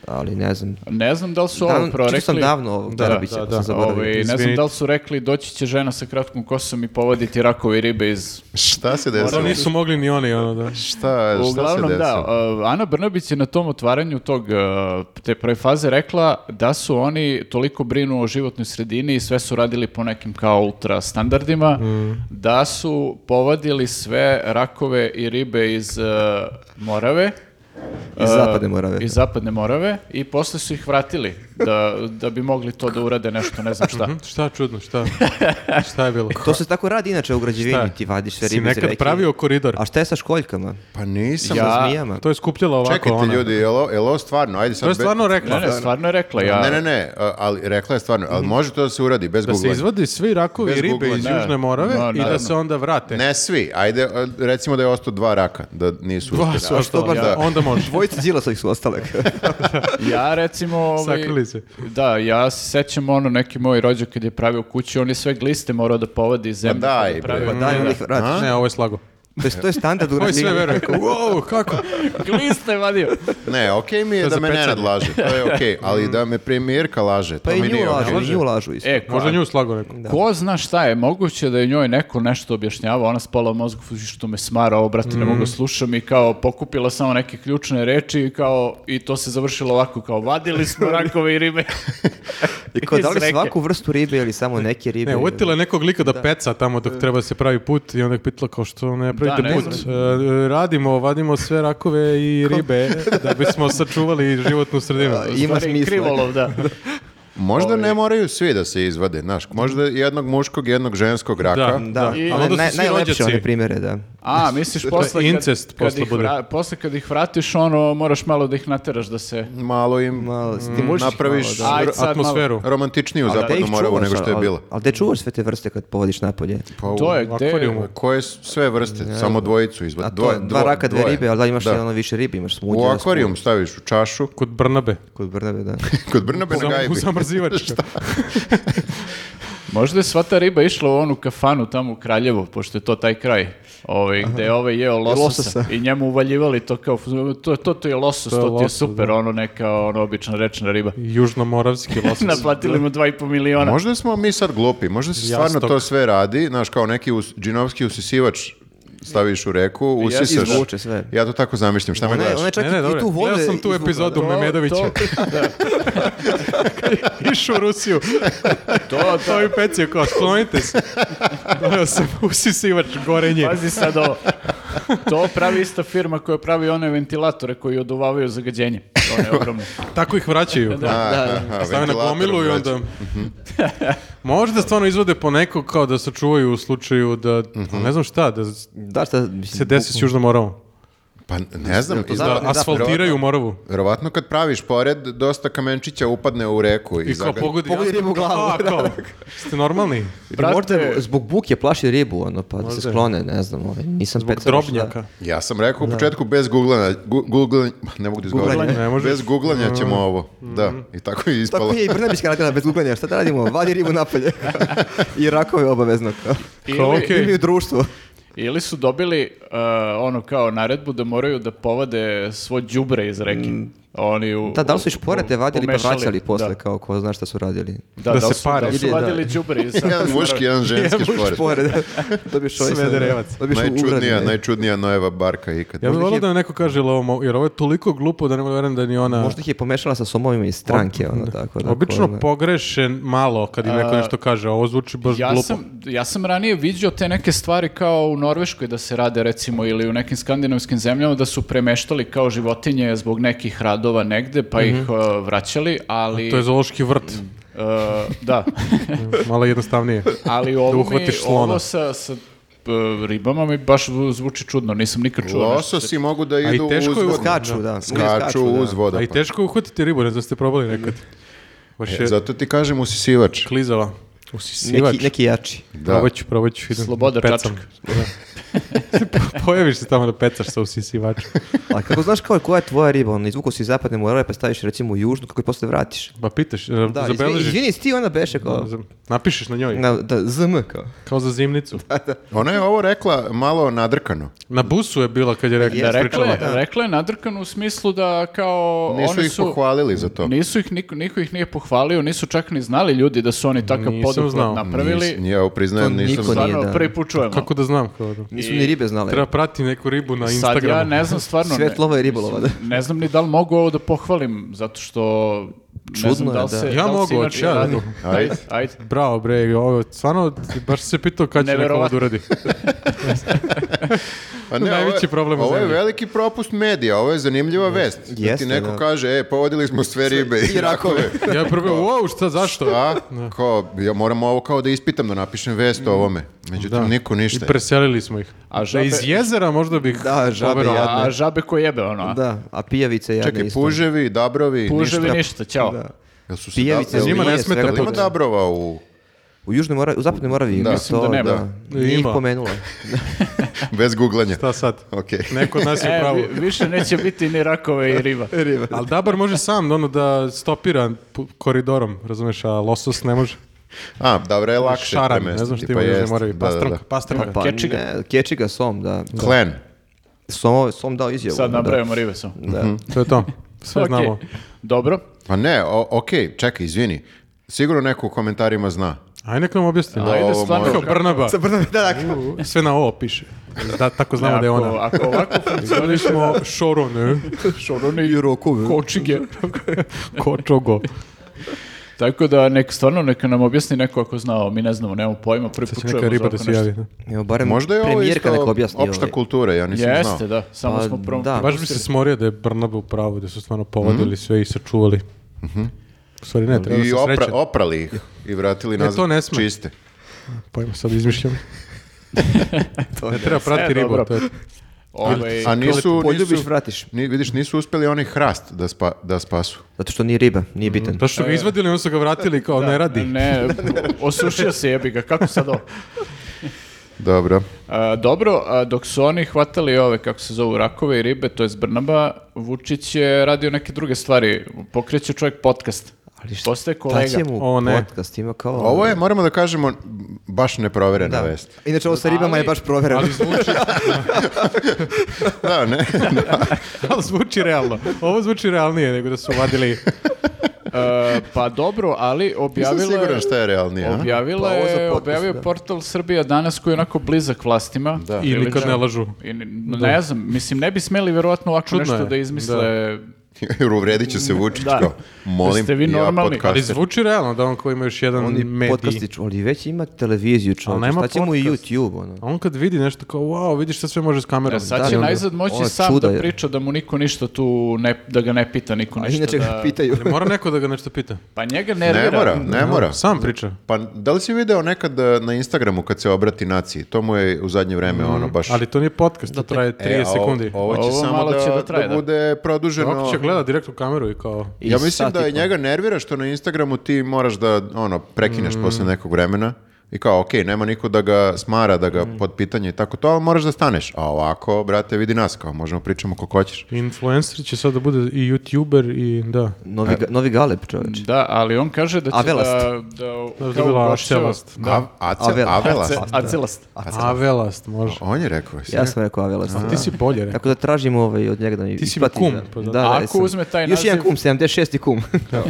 [SPEAKER 2] Ali ne znam.
[SPEAKER 4] Ne znam da li su
[SPEAKER 2] Dan-
[SPEAKER 4] ovo prorekli.
[SPEAKER 2] čitao sam davno ovog
[SPEAKER 4] Da,
[SPEAKER 2] Darabića,
[SPEAKER 4] da,
[SPEAKER 2] pa
[SPEAKER 4] da.
[SPEAKER 2] sam zaboravio.
[SPEAKER 4] Ovaj, ne znam
[SPEAKER 1] Izvinite.
[SPEAKER 4] da li su rekli doći će žena sa kratkom kosom i povaditi rakove i ribe iz...
[SPEAKER 3] Šta se
[SPEAKER 1] to
[SPEAKER 3] desilo?
[SPEAKER 1] nisu mogli ni oni, ono da.
[SPEAKER 3] Šta, šta se
[SPEAKER 4] Uglavnom
[SPEAKER 3] desilo?
[SPEAKER 4] da, uh, Ana Brnabić je na tom otvaranju tog, uh, te prve faze rekla da su oni toliko brinu o životnoj sredini i sve su radili po nekim kao ultra standardima,
[SPEAKER 3] Mm.
[SPEAKER 4] da su povadili sve rakove i ribe iz uh, Morave.
[SPEAKER 2] Iz
[SPEAKER 4] Uh,
[SPEAKER 2] zapadne Morave.
[SPEAKER 4] Iz zapadne Morave i posle su ih vratili da, da bi mogli to da urade nešto, ne znam
[SPEAKER 3] Mhm.
[SPEAKER 4] šta.
[SPEAKER 1] Hm, Šta čudno, šta? Šta je
[SPEAKER 4] E,
[SPEAKER 1] bilo?
[SPEAKER 2] To se tako radi inače u građevini,
[SPEAKER 1] Šta?
[SPEAKER 2] ti vadiš sve
[SPEAKER 1] Si
[SPEAKER 2] ribe iz
[SPEAKER 1] nekad
[SPEAKER 2] reke.
[SPEAKER 1] pravio koridor?
[SPEAKER 2] A šta je sa školjkama?
[SPEAKER 3] Pa nisam.
[SPEAKER 4] Ja-
[SPEAKER 2] Sa zmijama?
[SPEAKER 1] To je skupljalo ovako
[SPEAKER 3] Čekajte
[SPEAKER 1] ona.
[SPEAKER 3] ljudi, jel ovo, jel ovo stvarno? Ajde sad
[SPEAKER 1] To je
[SPEAKER 3] be-
[SPEAKER 1] stvarno rekla.
[SPEAKER 4] Ne, ne, stvarno je rekla. Ja,
[SPEAKER 3] Ne, ne, ne, a- ali rekla je stvarno, ali može to da se uradi bez
[SPEAKER 1] Mhm. Da se
[SPEAKER 3] googlanja.
[SPEAKER 1] izvadi svi rakovi
[SPEAKER 3] Bez
[SPEAKER 1] i ribe
[SPEAKER 3] Google,
[SPEAKER 1] iz
[SPEAKER 4] ne.
[SPEAKER 1] Južne Morave
[SPEAKER 4] Da,
[SPEAKER 1] i da
[SPEAKER 4] naravno.
[SPEAKER 1] se onda vrate.
[SPEAKER 3] Ne svi, ajde, a, recimo da je ostao dva raka, da nisu
[SPEAKER 1] Dva
[SPEAKER 3] uspjeli.
[SPEAKER 1] su
[SPEAKER 2] A što
[SPEAKER 1] ostala,
[SPEAKER 2] baš
[SPEAKER 1] ja,
[SPEAKER 3] da?
[SPEAKER 1] onda može.
[SPEAKER 2] Dvojica Đilasovih su ostale.
[SPEAKER 4] Ja recimo... ovaj,
[SPEAKER 1] Sakrili se.
[SPEAKER 4] Da, ja se sećam ono, neki moj rođak kad je pravio kuću, on je sve gliste morao da povadi iz zemlje.
[SPEAKER 3] daj,
[SPEAKER 4] kad je pravio.
[SPEAKER 2] Pa daj, onda ih vratiš.
[SPEAKER 1] Znači, Ne, ovo je slago.
[SPEAKER 2] To je, to je standard u
[SPEAKER 1] Ovo je sve
[SPEAKER 2] građevini.
[SPEAKER 1] veruje. Wow, kako?
[SPEAKER 4] gliste je vadio. E,
[SPEAKER 3] Ne, okej mi
[SPEAKER 1] To
[SPEAKER 3] je
[SPEAKER 1] je
[SPEAKER 3] da
[SPEAKER 1] za
[SPEAKER 3] me Nenad
[SPEAKER 1] pecanje.
[SPEAKER 3] laže, to je okej, ali da me premijerka laže, to
[SPEAKER 2] Pa i
[SPEAKER 3] mi
[SPEAKER 2] nju
[SPEAKER 3] nije okej.
[SPEAKER 2] lažu, i nju lažu isto.
[SPEAKER 4] E, ko,
[SPEAKER 1] Možda nju slago rekao.
[SPEAKER 4] ko zna šta je, moguće da je njoj neko nešto objašnjava, ona spala u mozgu "Fuj, što me smara, ovo brate, ne
[SPEAKER 1] Mhm.
[SPEAKER 4] mogu da slušam i kao pokupila samo neke ključne reči i kao, i to se završilo ovako, kao vadili smo rakove i ribe.
[SPEAKER 2] I kao, da li
[SPEAKER 4] iz reke.
[SPEAKER 2] svaku vrstu ribe ili samo neke ribe?
[SPEAKER 1] Ne, uvetila je nekog lika da, peca tamo dok treba da se pravi put i onda je pitala kao što ne pravite
[SPEAKER 4] ne
[SPEAKER 1] put. E, radimo, vadimo sve rakove i ribe da bismo sačuvali životnu sredinu.
[SPEAKER 2] Ima
[SPEAKER 4] Stvari,
[SPEAKER 2] smisla.
[SPEAKER 4] Krivolov, da.
[SPEAKER 3] Možda
[SPEAKER 1] Ovaj-
[SPEAKER 3] ne moraju svi da se izvade, znaš, možda jednog muškog, jednog ženskog
[SPEAKER 1] Da.
[SPEAKER 3] raka.
[SPEAKER 2] Da,
[SPEAKER 1] I-
[SPEAKER 2] ali
[SPEAKER 1] onda su
[SPEAKER 2] naj,
[SPEAKER 1] svi
[SPEAKER 2] najlepše
[SPEAKER 1] rođaci.
[SPEAKER 2] one primere, da.
[SPEAKER 4] A, misliš posle kad,
[SPEAKER 1] incest
[SPEAKER 4] kad
[SPEAKER 1] posle
[SPEAKER 4] ih
[SPEAKER 1] bude.
[SPEAKER 4] vra- posle kad ih vratiš, ono, moraš malo da ih nateraš da se...
[SPEAKER 3] Malo im
[SPEAKER 2] Malo,
[SPEAKER 1] Mm,
[SPEAKER 2] stimuliš ih
[SPEAKER 3] napraviš
[SPEAKER 2] malo, da.
[SPEAKER 4] Aj,
[SPEAKER 3] r-
[SPEAKER 4] sad
[SPEAKER 1] Atmosferu.
[SPEAKER 3] romantičniju
[SPEAKER 2] Ali gde
[SPEAKER 3] zapadnu
[SPEAKER 2] ih
[SPEAKER 3] moravu
[SPEAKER 2] čuvaš,
[SPEAKER 3] nego što je
[SPEAKER 2] ali-
[SPEAKER 3] bila.
[SPEAKER 2] Ali gde čuvaš sve te vrste kad povodiš napolje?
[SPEAKER 3] Pa u-
[SPEAKER 4] To je
[SPEAKER 1] u
[SPEAKER 4] gde...
[SPEAKER 1] akvarijumu.
[SPEAKER 3] Koje s- sve vrste, samo dvojicu
[SPEAKER 2] A
[SPEAKER 3] izvadi.
[SPEAKER 2] to je dva raka, dve
[SPEAKER 3] dvoje.
[SPEAKER 2] ribe, ali da imaš
[SPEAKER 3] Da.
[SPEAKER 2] jedan ono više ribi, imaš smutnje.
[SPEAKER 3] U akvarijum staviš u čašu,
[SPEAKER 1] Kod Brnabe.
[SPEAKER 2] Kod Brnabe, da.
[SPEAKER 3] kod Brnabe
[SPEAKER 1] U zam-
[SPEAKER 3] na
[SPEAKER 1] U
[SPEAKER 3] gajbi.
[SPEAKER 1] zamrzivač.
[SPEAKER 4] Možda je sva ta riba išla u onu kafanu tamo u Kraljevu, pošto je to taj kraj. Ovaj, gde je ovaj jeo lososa,
[SPEAKER 2] lososa.
[SPEAKER 4] i njemu uvaljivali to kao, to, to, to je losos,
[SPEAKER 1] To
[SPEAKER 4] to,
[SPEAKER 1] je
[SPEAKER 4] ti je
[SPEAKER 1] losos,
[SPEAKER 4] super, ono neka ono, obična rečna riba.
[SPEAKER 1] Južnomoravski losos.
[SPEAKER 4] Naplatili mu 2,5 miliona.
[SPEAKER 3] Možda smo mi sad glupi, možda se
[SPEAKER 1] Jastok.
[SPEAKER 3] stvarno to sve radi, znaš, kao neki us, džinovski usisivač staviš u reku, usisaš.
[SPEAKER 2] izvuče sve.
[SPEAKER 3] Ja to tako zamišljam, šta me
[SPEAKER 2] Ona je,
[SPEAKER 3] daš?
[SPEAKER 2] ona je čak
[SPEAKER 1] Pa Ne, ne,
[SPEAKER 2] i- i
[SPEAKER 1] dobro.
[SPEAKER 2] tu ono, vodu
[SPEAKER 1] Gledao sam tu
[SPEAKER 2] izvukla.
[SPEAKER 1] epizodu
[SPEAKER 4] To-
[SPEAKER 1] Memedovića.
[SPEAKER 4] to- da,
[SPEAKER 1] Iš u Rusiju.
[SPEAKER 4] to,
[SPEAKER 1] To
[SPEAKER 4] to,
[SPEAKER 1] mi pecio kao, sklonite se. Gledao sam usisivač gorenje.
[SPEAKER 4] Pazi sad ovo. To pravi ista firma koja pravi one ventilatore koji oduvavaju zagađenje. To je ogromno.
[SPEAKER 1] Tako ih vraćaju.
[SPEAKER 3] A,
[SPEAKER 2] Da,
[SPEAKER 3] aha,
[SPEAKER 1] Stave na
[SPEAKER 3] ventilator znači.
[SPEAKER 1] gomilu i
[SPEAKER 3] vraća.
[SPEAKER 1] onda... Mhm. Možda stvarno izvode po nekog kao da se čuvaju u slučaju da... Ne znam šta, da
[SPEAKER 2] Da, šta, mislim,
[SPEAKER 1] se desi s Južnom Moravom.
[SPEAKER 3] Pa ne znam,
[SPEAKER 2] to
[SPEAKER 3] iz-
[SPEAKER 1] Da
[SPEAKER 2] Zapadni zapad.
[SPEAKER 1] asfaltiraju Moravu.
[SPEAKER 3] Verovatno kad praviš pored, dosta kamenčića upadne u reku. I,
[SPEAKER 1] I kao
[SPEAKER 3] zaga-
[SPEAKER 1] pogodi...
[SPEAKER 2] pogodi ribu u glavu.
[SPEAKER 1] A, kao, ste normalni?
[SPEAKER 2] ili
[SPEAKER 4] Brate-
[SPEAKER 2] možda je zbog buke plaši ribu, ono, pa da se
[SPEAKER 1] Možda je.
[SPEAKER 2] sklone, ne znam, ovaj, nisam
[SPEAKER 1] Zbog
[SPEAKER 2] specijalno šta-
[SPEAKER 1] drobnjaka.
[SPEAKER 3] Ja sam rekao u početku bez googlanja, gu- googlanja- ne mogu da izgovorim.
[SPEAKER 2] Googlanja.
[SPEAKER 1] Ne možeš. Mm.
[SPEAKER 3] Bez googlanja ćemo ovo. Da, i tako je ispalo.
[SPEAKER 2] Tako je Pa i Brnabićka radila bez guglanja, šta da radimo, vadi ribu napolje i rakove obavezno.
[SPEAKER 1] Kao,
[SPEAKER 4] Ili,
[SPEAKER 1] okej.
[SPEAKER 2] Ili u društvu.
[SPEAKER 4] ili su dobili uh, ono kao naredbu da moraju da povade svo đubre iz reke.
[SPEAKER 3] Mm.
[SPEAKER 4] Oni u,
[SPEAKER 2] Da, da li su
[SPEAKER 4] u-
[SPEAKER 2] i šporete vadili pa
[SPEAKER 4] pomešali.
[SPEAKER 2] vraćali posle,
[SPEAKER 4] Da.
[SPEAKER 2] kao ko zna šta su radili.
[SPEAKER 1] Da
[SPEAKER 4] Da, da li
[SPEAKER 1] se
[SPEAKER 4] su- da li
[SPEAKER 1] pare.
[SPEAKER 4] su vadili đubre iz
[SPEAKER 3] jedan muški, jedan ženski šporet.
[SPEAKER 2] Šporet, da. Dobiješ ovaj
[SPEAKER 1] Svederevac.
[SPEAKER 2] sad, Dobiješ u
[SPEAKER 3] Najčudnija,
[SPEAKER 2] ugradi.
[SPEAKER 3] najčudnija Nojeva barka ikad.
[SPEAKER 1] Ja bih volio da je neko kaže ili ovo, mo- jer ovo je toliko glupo da ne mogu da verujem da ni ona...
[SPEAKER 2] Možda ih je pomešala sa somovima iz stranke, ono tako. Da,
[SPEAKER 1] Obično
[SPEAKER 2] ko zna.
[SPEAKER 1] pogrešen malo kad im neko
[SPEAKER 4] A,
[SPEAKER 1] nešto kaže, a ovo zvuči baš
[SPEAKER 4] Ja
[SPEAKER 1] glupo.
[SPEAKER 4] sam, ja sam ranije viđao te neke stvari kao u Norveškoj da se rade recimo ili u nekim skandinavskim zemljama da su premeštali kao životinje zbog nekih radova negde pa ih uh, vraćali, ali...
[SPEAKER 1] Mhm. To je zoološki vrt,
[SPEAKER 4] uh, da,
[SPEAKER 1] malo jednostavnije.
[SPEAKER 4] ali
[SPEAKER 1] Da
[SPEAKER 4] ovo, mi,
[SPEAKER 1] uhvatiš slona.
[SPEAKER 4] ovo sa, sa uh, ribama mi baš zvuči čudno, nisam nikad čuo. nešto.
[SPEAKER 3] Lososi mogu da
[SPEAKER 1] i
[SPEAKER 3] idu uz
[SPEAKER 1] teško je
[SPEAKER 3] vodu.
[SPEAKER 2] Skaču, da.
[SPEAKER 3] Skaču uz vodu.
[SPEAKER 1] A i
[SPEAKER 3] pa.
[SPEAKER 1] teško je uhvatiti ribu, ne znam ste probali nekad. Baš je
[SPEAKER 3] E, Zato ti kažem usisivač.
[SPEAKER 1] klizava. Usisivač.
[SPEAKER 2] Neki, neki jači.
[SPEAKER 3] Da.
[SPEAKER 1] Probat ću, probat ću. Idem.
[SPEAKER 4] Sloboda
[SPEAKER 1] Pecam. Da. Pojaviš se tamo da pecaš sa usisivačem.
[SPEAKER 2] A kako znaš kao koja je tvoja riba, ono, izvuku si iz zapadne morale pa staviš recimo u južnu, kako je posle vratiš.
[SPEAKER 1] Pa pitaš, e,
[SPEAKER 2] Da, izvini-
[SPEAKER 1] zabeležiš.
[SPEAKER 2] izvini, si ti ona beše kao,
[SPEAKER 1] Napišeš na njoj,
[SPEAKER 2] na, da, ZM kao.
[SPEAKER 1] kao za zimnicu.
[SPEAKER 3] Ona je ovo rekla malo nadrkano.
[SPEAKER 1] Na busu je bila kad je rekla,
[SPEAKER 4] Da, rekla,
[SPEAKER 1] ispričala.
[SPEAKER 4] je, rekla je nadrkan u smislu da kao
[SPEAKER 3] Nisu
[SPEAKER 4] oni
[SPEAKER 3] ih
[SPEAKER 4] su...
[SPEAKER 3] pohvalili za to.
[SPEAKER 4] Nisu ih, niko, niko ih nije pohvalio, nisu čak ni znali ljudi da su oni takav
[SPEAKER 1] Nisam znao.
[SPEAKER 4] poduhvat napravili.
[SPEAKER 3] Nis- ja priznajem,
[SPEAKER 2] To
[SPEAKER 3] nisam
[SPEAKER 2] niko
[SPEAKER 3] znao.
[SPEAKER 2] nije.
[SPEAKER 4] Stvarno,
[SPEAKER 2] da.
[SPEAKER 4] prvi put čujemo.
[SPEAKER 1] Kako da znam? Kao da.
[SPEAKER 2] Nisu
[SPEAKER 4] I-
[SPEAKER 2] ni ribe znale.
[SPEAKER 1] Treba prati neku ribu na
[SPEAKER 4] Sad
[SPEAKER 1] Instagramu.
[SPEAKER 4] ja ne znam stvarno. ne-
[SPEAKER 2] Svetlova i ribolova, da.
[SPEAKER 4] Ne znam ni da li mogu ovo da pohvalim, zato što
[SPEAKER 2] Čudno
[SPEAKER 4] ne znam da
[SPEAKER 2] je,
[SPEAKER 4] li se...
[SPEAKER 2] da.
[SPEAKER 1] Ja
[SPEAKER 4] da li se
[SPEAKER 1] mogu,
[SPEAKER 4] inače
[SPEAKER 1] hoću ja da
[SPEAKER 4] radi.
[SPEAKER 1] mogu.
[SPEAKER 4] Ajde, ajde.
[SPEAKER 1] Bravo bre, ovo, stvarno, baš sam se pitao kad će neko ovo da
[SPEAKER 4] Neverovatno.
[SPEAKER 1] uradi.
[SPEAKER 3] Pa ne, ovo je-
[SPEAKER 1] Najveći problem u
[SPEAKER 3] Ovo je
[SPEAKER 1] zemlji.
[SPEAKER 3] veliki propust medija, ovo je zanimljiva vest. da ti
[SPEAKER 2] Jeste,
[SPEAKER 3] neko
[SPEAKER 2] da.
[SPEAKER 3] kaže, e, povodili smo sve ribe i rakove.
[SPEAKER 1] Ja prvo, wow, šta, zašto?
[SPEAKER 3] A, kao, ja moram ovo kao da ispitam, da napišem vest o ovome. Međutim, niko
[SPEAKER 1] I
[SPEAKER 3] ništa.
[SPEAKER 1] preselili smo ih.
[SPEAKER 4] A
[SPEAKER 1] Da
[SPEAKER 4] žabe,
[SPEAKER 1] iz jezera možda bih
[SPEAKER 2] Da, žabe
[SPEAKER 1] poverovao.
[SPEAKER 2] jadne.
[SPEAKER 4] a žabe koje jebe, ono. a?
[SPEAKER 2] Da, a pijavice jadne
[SPEAKER 3] Čekaj,
[SPEAKER 2] isto.
[SPEAKER 3] puževi, dabrovi,
[SPEAKER 4] Puževi
[SPEAKER 3] ništa.
[SPEAKER 4] ništa, ćao.
[SPEAKER 2] Da.
[SPEAKER 3] Jel su se
[SPEAKER 2] Pijavice,
[SPEAKER 3] da- jel
[SPEAKER 1] Njima
[SPEAKER 2] linije,
[SPEAKER 1] ne smeta
[SPEAKER 2] svega
[SPEAKER 1] to.
[SPEAKER 3] ima
[SPEAKER 2] toga.
[SPEAKER 3] dabrova u
[SPEAKER 2] U južnoj Moravi, u zapadnoj Moravi ima
[SPEAKER 4] Mislim
[SPEAKER 2] to,
[SPEAKER 4] da nema.
[SPEAKER 2] Nije ih
[SPEAKER 1] Ima.
[SPEAKER 2] pomenula.
[SPEAKER 3] bez guglanja?
[SPEAKER 1] Šta sad?
[SPEAKER 3] Okej.
[SPEAKER 1] Neko od nas je
[SPEAKER 4] E,
[SPEAKER 1] pravo.
[SPEAKER 4] vi- više neće biti ni rakove i riba.
[SPEAKER 1] Ali dabar može sam ono da stopira pu- koridorom, razumeš, a losos ne može.
[SPEAKER 3] A, dabra je lakše.
[SPEAKER 1] Šaran, ne
[SPEAKER 3] premestiti,
[SPEAKER 1] znam što
[SPEAKER 3] pa
[SPEAKER 1] ima, ne
[SPEAKER 3] jeste,
[SPEAKER 1] moraju.
[SPEAKER 3] da, da,
[SPEAKER 1] Pastranka,
[SPEAKER 3] da.
[SPEAKER 1] pastranka.
[SPEAKER 2] Pa
[SPEAKER 4] Kečiga.
[SPEAKER 2] ne, kečiga som, da.
[SPEAKER 3] Klen.
[SPEAKER 2] Som, som dao izjavu.
[SPEAKER 4] Sad
[SPEAKER 2] da.
[SPEAKER 4] napravimo ribe samo.
[SPEAKER 2] Da.
[SPEAKER 1] To je to. Sve
[SPEAKER 4] Ok,
[SPEAKER 1] znamo.
[SPEAKER 4] Dobro.
[SPEAKER 3] Pa ne, o, okej, čekaj, izvini. Sigurno neko u komentarima zna.
[SPEAKER 1] Ajde nek nam objasni.
[SPEAKER 3] Ajde,
[SPEAKER 1] Ovo
[SPEAKER 4] Ajde, stvarno.
[SPEAKER 3] može.
[SPEAKER 1] Kao Brnaba.
[SPEAKER 2] Sa Brnabić, da, dakle. da.
[SPEAKER 1] Sve na ovo piše. Da, tako znamo da je
[SPEAKER 4] Ako,
[SPEAKER 1] ona.
[SPEAKER 4] ako ovako ono
[SPEAKER 1] Zvali
[SPEAKER 4] funkcioniš,
[SPEAKER 1] smo Šorone,
[SPEAKER 4] šoroni i kočige.
[SPEAKER 1] Kočogo.
[SPEAKER 4] Tako da nek stvarno neka nam objasni neko ako zna, ovo, mi ne znamo, nemamo pojma, prvi
[SPEAKER 1] Sad
[SPEAKER 4] put
[SPEAKER 1] će
[SPEAKER 4] čujemo
[SPEAKER 1] neka riba da
[SPEAKER 4] ovako
[SPEAKER 1] se
[SPEAKER 4] nešto.
[SPEAKER 1] javi. da.
[SPEAKER 2] Evo, barem
[SPEAKER 3] Možda je ovo
[SPEAKER 2] premijerka neka
[SPEAKER 3] isto
[SPEAKER 2] objasni.
[SPEAKER 3] opšta
[SPEAKER 2] ovaj.
[SPEAKER 3] kultura, ja nisam znao.
[SPEAKER 4] Jeste, da, samo
[SPEAKER 2] Pa,
[SPEAKER 4] smo prom...
[SPEAKER 2] da.
[SPEAKER 1] Baš bi se smorio da je Brnaba u pravu, da su stvarno povadili sve i sačuvali. U stvari ne, treba da
[SPEAKER 3] Mhm. I
[SPEAKER 1] sam
[SPEAKER 3] opra,
[SPEAKER 1] srećan.
[SPEAKER 3] oprali ih i vratili
[SPEAKER 1] Ne,
[SPEAKER 3] nazad
[SPEAKER 1] E, to ne sme.
[SPEAKER 3] čiste.
[SPEAKER 1] Pojma, Pa sad izmišljam. ne treba prati
[SPEAKER 4] E,
[SPEAKER 1] ribu,
[SPEAKER 4] dobro.
[SPEAKER 1] to je
[SPEAKER 4] Ovaj,
[SPEAKER 3] A nisu,
[SPEAKER 2] Poljubiš,
[SPEAKER 3] nisu,
[SPEAKER 2] vratiš.
[SPEAKER 3] ni, vidiš, nisu uspeli oni hrast da, spa, da spasu.
[SPEAKER 2] Zato što nije riba, nije bitan.
[SPEAKER 1] To što ga izvadili, onda su ga vratili kao ne radi.
[SPEAKER 4] E. Ne, osušio se jebi ga, kako sad ovo?
[SPEAKER 3] Dobro.
[SPEAKER 4] A, dobro, a, dok su oni hvatali ove, kako se zovu, rakove i ribe, to je Brnaba, Vučić je radio neke druge stvari, pokreće čovjek podcast.
[SPEAKER 2] Ali šta-
[SPEAKER 4] Postaje
[SPEAKER 2] Šta
[SPEAKER 4] kolega.
[SPEAKER 2] će mu
[SPEAKER 1] O, ne.
[SPEAKER 2] podcast ima kao...
[SPEAKER 3] Ovo je, moramo da kažemo, baš neproverena
[SPEAKER 2] Da.
[SPEAKER 3] vest.
[SPEAKER 2] Inače, ovo sa ribama je baš provjereno.
[SPEAKER 1] Ali zvuči,
[SPEAKER 3] Da, ne?
[SPEAKER 1] ali zvuči realno. Ovo zvuči realnije nego da su vadili
[SPEAKER 4] E, pa dobro, ali objavila
[SPEAKER 3] Nisam siguran šta je realnije. a?
[SPEAKER 4] Objavila
[SPEAKER 2] Pa ovo za
[SPEAKER 4] je,
[SPEAKER 2] potpis,
[SPEAKER 4] objavio je
[SPEAKER 2] da.
[SPEAKER 4] portal Srbija danas koji je onako blizak vlastima.
[SPEAKER 3] Da.
[SPEAKER 1] I nikad ne lažu.
[SPEAKER 4] I ni- ne znam, mislim, ne bi smeli vjerovatno ovako
[SPEAKER 1] Čudno
[SPEAKER 4] nešto
[SPEAKER 1] je,
[SPEAKER 4] da izmisle.
[SPEAKER 3] Jer uvredit će se Vučić
[SPEAKER 4] Da.
[SPEAKER 3] kao, molim,
[SPEAKER 4] Jeste vi
[SPEAKER 3] ja
[SPEAKER 4] normalni?
[SPEAKER 3] podcaster.
[SPEAKER 1] Ali zvuči realno da on koji ima još jedan
[SPEAKER 2] On je
[SPEAKER 1] medij.
[SPEAKER 2] podcastič, on i već ima televiziju
[SPEAKER 1] Ali
[SPEAKER 2] čovječe,
[SPEAKER 1] nema
[SPEAKER 2] šta će mu i
[SPEAKER 1] podcast.
[SPEAKER 2] YouTube, ono.
[SPEAKER 1] A on kad vidi nešto kao, wow, vidiš šta sve može s kamerom.
[SPEAKER 4] E, Sad
[SPEAKER 2] da,
[SPEAKER 4] će
[SPEAKER 2] da, da.
[SPEAKER 4] najzad moći
[SPEAKER 2] Ovo je
[SPEAKER 4] sam
[SPEAKER 2] čudo,
[SPEAKER 4] da
[SPEAKER 2] je.
[SPEAKER 4] priča da mu niko ništa tu, ne, da ga ne pita niko
[SPEAKER 2] A
[SPEAKER 4] ništa.
[SPEAKER 2] inače ga
[SPEAKER 4] da-
[SPEAKER 2] pitaju.
[SPEAKER 1] Ali mora neko da ga nešto pita.
[SPEAKER 4] Pa njega
[SPEAKER 3] Ne
[SPEAKER 4] nervira.
[SPEAKER 3] mora, ne mora.
[SPEAKER 1] Sam priča.
[SPEAKER 3] Pa da li si video nekad e, na Instagramu kad se obrati naciji? To mu je u zadnje vreme ono baš...
[SPEAKER 1] Ali to nije podcast, to traje 30
[SPEAKER 3] E, a o-
[SPEAKER 1] sekundi.
[SPEAKER 3] Ovo će
[SPEAKER 4] Mm, Ovo
[SPEAKER 3] samo
[SPEAKER 4] malo
[SPEAKER 3] da,
[SPEAKER 4] će da
[SPEAKER 3] da,
[SPEAKER 4] traje, da.
[SPEAKER 3] bude produženo.
[SPEAKER 1] Ovako će gleda direkt u kameru i kao...
[SPEAKER 2] I
[SPEAKER 3] ja mislim
[SPEAKER 2] sat
[SPEAKER 3] da
[SPEAKER 2] i
[SPEAKER 3] je
[SPEAKER 2] pol.
[SPEAKER 3] njega nervira što na Instagramu ti moraš da ono prekineš
[SPEAKER 4] Mm.
[SPEAKER 3] posle nekog vremena i kao ok, nema niko da ga smara, da ga
[SPEAKER 4] Mm.
[SPEAKER 3] pod pitanje i tako to, ali moraš da staneš. A ovako, brate, vidi nas, kao možemo pričamo koliko hoćeš.
[SPEAKER 1] Influencer će sad da bude i youtuber i da.
[SPEAKER 2] Novi, ga- novi Galeb, čovječe.
[SPEAKER 4] Da, ali on kaže da će
[SPEAKER 2] Avelast.
[SPEAKER 4] da... da
[SPEAKER 1] Da
[SPEAKER 4] kao
[SPEAKER 1] bi bila
[SPEAKER 4] ugošćava.
[SPEAKER 1] Acelast.
[SPEAKER 4] Da.
[SPEAKER 3] A- Ace-
[SPEAKER 2] Avela.
[SPEAKER 3] Avela.
[SPEAKER 4] Ace- Acelast.
[SPEAKER 1] Avelast, može.
[SPEAKER 3] Pa On je rekao. jesi
[SPEAKER 2] Ja
[SPEAKER 3] rekao?
[SPEAKER 2] sam rekao Avelast.
[SPEAKER 1] A ti si bolje rekao.
[SPEAKER 2] Tako da tražim ovaj od njega da mi
[SPEAKER 1] Ti si mi
[SPEAKER 2] isplati
[SPEAKER 1] kum,
[SPEAKER 2] za-
[SPEAKER 1] pa da.
[SPEAKER 2] da,
[SPEAKER 4] A ako
[SPEAKER 2] jesam.
[SPEAKER 4] uzme taj
[SPEAKER 2] Još jedan
[SPEAKER 4] naziv-
[SPEAKER 2] kum, 76. kum.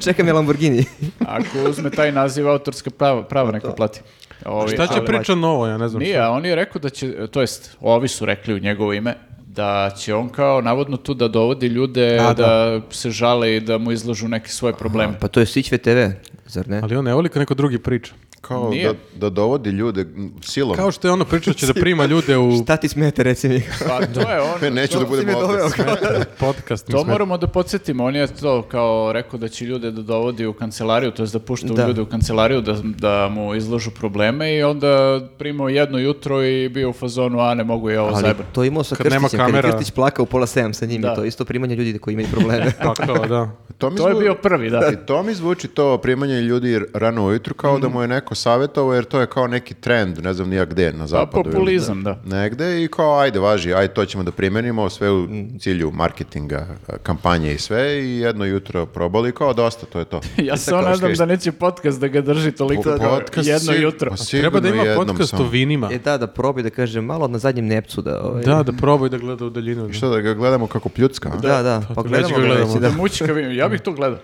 [SPEAKER 2] Čekam je Lamborghini.
[SPEAKER 4] Ako uzme taj naziv autorska prava,
[SPEAKER 2] Pa
[SPEAKER 4] prava neko plati. Ovi,
[SPEAKER 1] Šta će
[SPEAKER 4] ali-
[SPEAKER 1] priča novo, ja ne znam.
[SPEAKER 4] Nije,
[SPEAKER 1] šta.
[SPEAKER 4] a on je rekao da će, to jest, ovi su rekli u njegovo ime, da će on kao navodno tu da dovodi ljude
[SPEAKER 1] A,
[SPEAKER 4] da,
[SPEAKER 1] da.
[SPEAKER 4] se žale i da mu izlažu neke svoje probleme.
[SPEAKER 2] Pa to je Sićve TV, zar ne?
[SPEAKER 1] Ali on ne voli kad neko drugi priča.
[SPEAKER 3] Kao
[SPEAKER 4] Nije.
[SPEAKER 3] da, da dovodi ljude m, silom.
[SPEAKER 1] Kao što je ono pričao će da prima ljude u
[SPEAKER 2] Šta ti smete, reci mi?
[SPEAKER 4] Pa to je on.
[SPEAKER 3] E, neću da
[SPEAKER 2] Što si me
[SPEAKER 3] budem ovdje.
[SPEAKER 2] doveo, kao?
[SPEAKER 1] podcast.
[SPEAKER 4] To
[SPEAKER 1] mislim.
[SPEAKER 4] moramo da podsjetimo, on je to kao rekao da će ljude da dovodi u kancelariju, to jest da pušta
[SPEAKER 2] Da.
[SPEAKER 4] ljude u kancelariju da, da mu izlažu probleme i onda primao jedno jutro i bio u fazonu, a ne mogu je ovo
[SPEAKER 2] Ali
[SPEAKER 4] zajebano.
[SPEAKER 2] to je imao sa
[SPEAKER 1] Kad nema
[SPEAKER 2] Krstićem, kad je
[SPEAKER 1] kamera.
[SPEAKER 2] Krstić plakao pola 7 sa njim,
[SPEAKER 4] Da.
[SPEAKER 2] i to je isto primanje ljudi koji imaju probleme.
[SPEAKER 1] Pa kao, da.
[SPEAKER 3] To, mi
[SPEAKER 4] To je
[SPEAKER 3] zvu-
[SPEAKER 4] bio prvi, da.
[SPEAKER 3] I to mi zvuči to primanje ljudi rano ujutru kao
[SPEAKER 4] Mhm.
[SPEAKER 3] da mu je neko savjetovao jer to je kao neki trend, ne znam nija gde na
[SPEAKER 4] Pa
[SPEAKER 3] zapadu. ili-
[SPEAKER 4] populizam, da.
[SPEAKER 3] Negde i kao ajde važi, ajde to ćemo da primenimo sve u cilju marketinga, kampanje i sve i jedno jutro probali kao dosta, to je to.
[SPEAKER 4] Ja se nadam da neće podcast da ga drži toliko kao
[SPEAKER 3] Podcast
[SPEAKER 4] jedno
[SPEAKER 3] si-
[SPEAKER 4] jutro.
[SPEAKER 3] pa sigurno
[SPEAKER 1] Treba da ima
[SPEAKER 3] jednom
[SPEAKER 1] podcast
[SPEAKER 3] samo.
[SPEAKER 1] o vinima.
[SPEAKER 2] E da, da probi da kaže malo na zadnjem nepcu da... Ovaj,
[SPEAKER 1] Da, da probaj da gleda u daljinu.
[SPEAKER 3] Što da ga gledamo kako pljucka? a?
[SPEAKER 2] da, da, pa
[SPEAKER 1] već
[SPEAKER 2] gledamo
[SPEAKER 1] ga
[SPEAKER 2] ga
[SPEAKER 1] gledamo.
[SPEAKER 2] već, da.
[SPEAKER 4] Da mučka vidim, ja bih to gledao.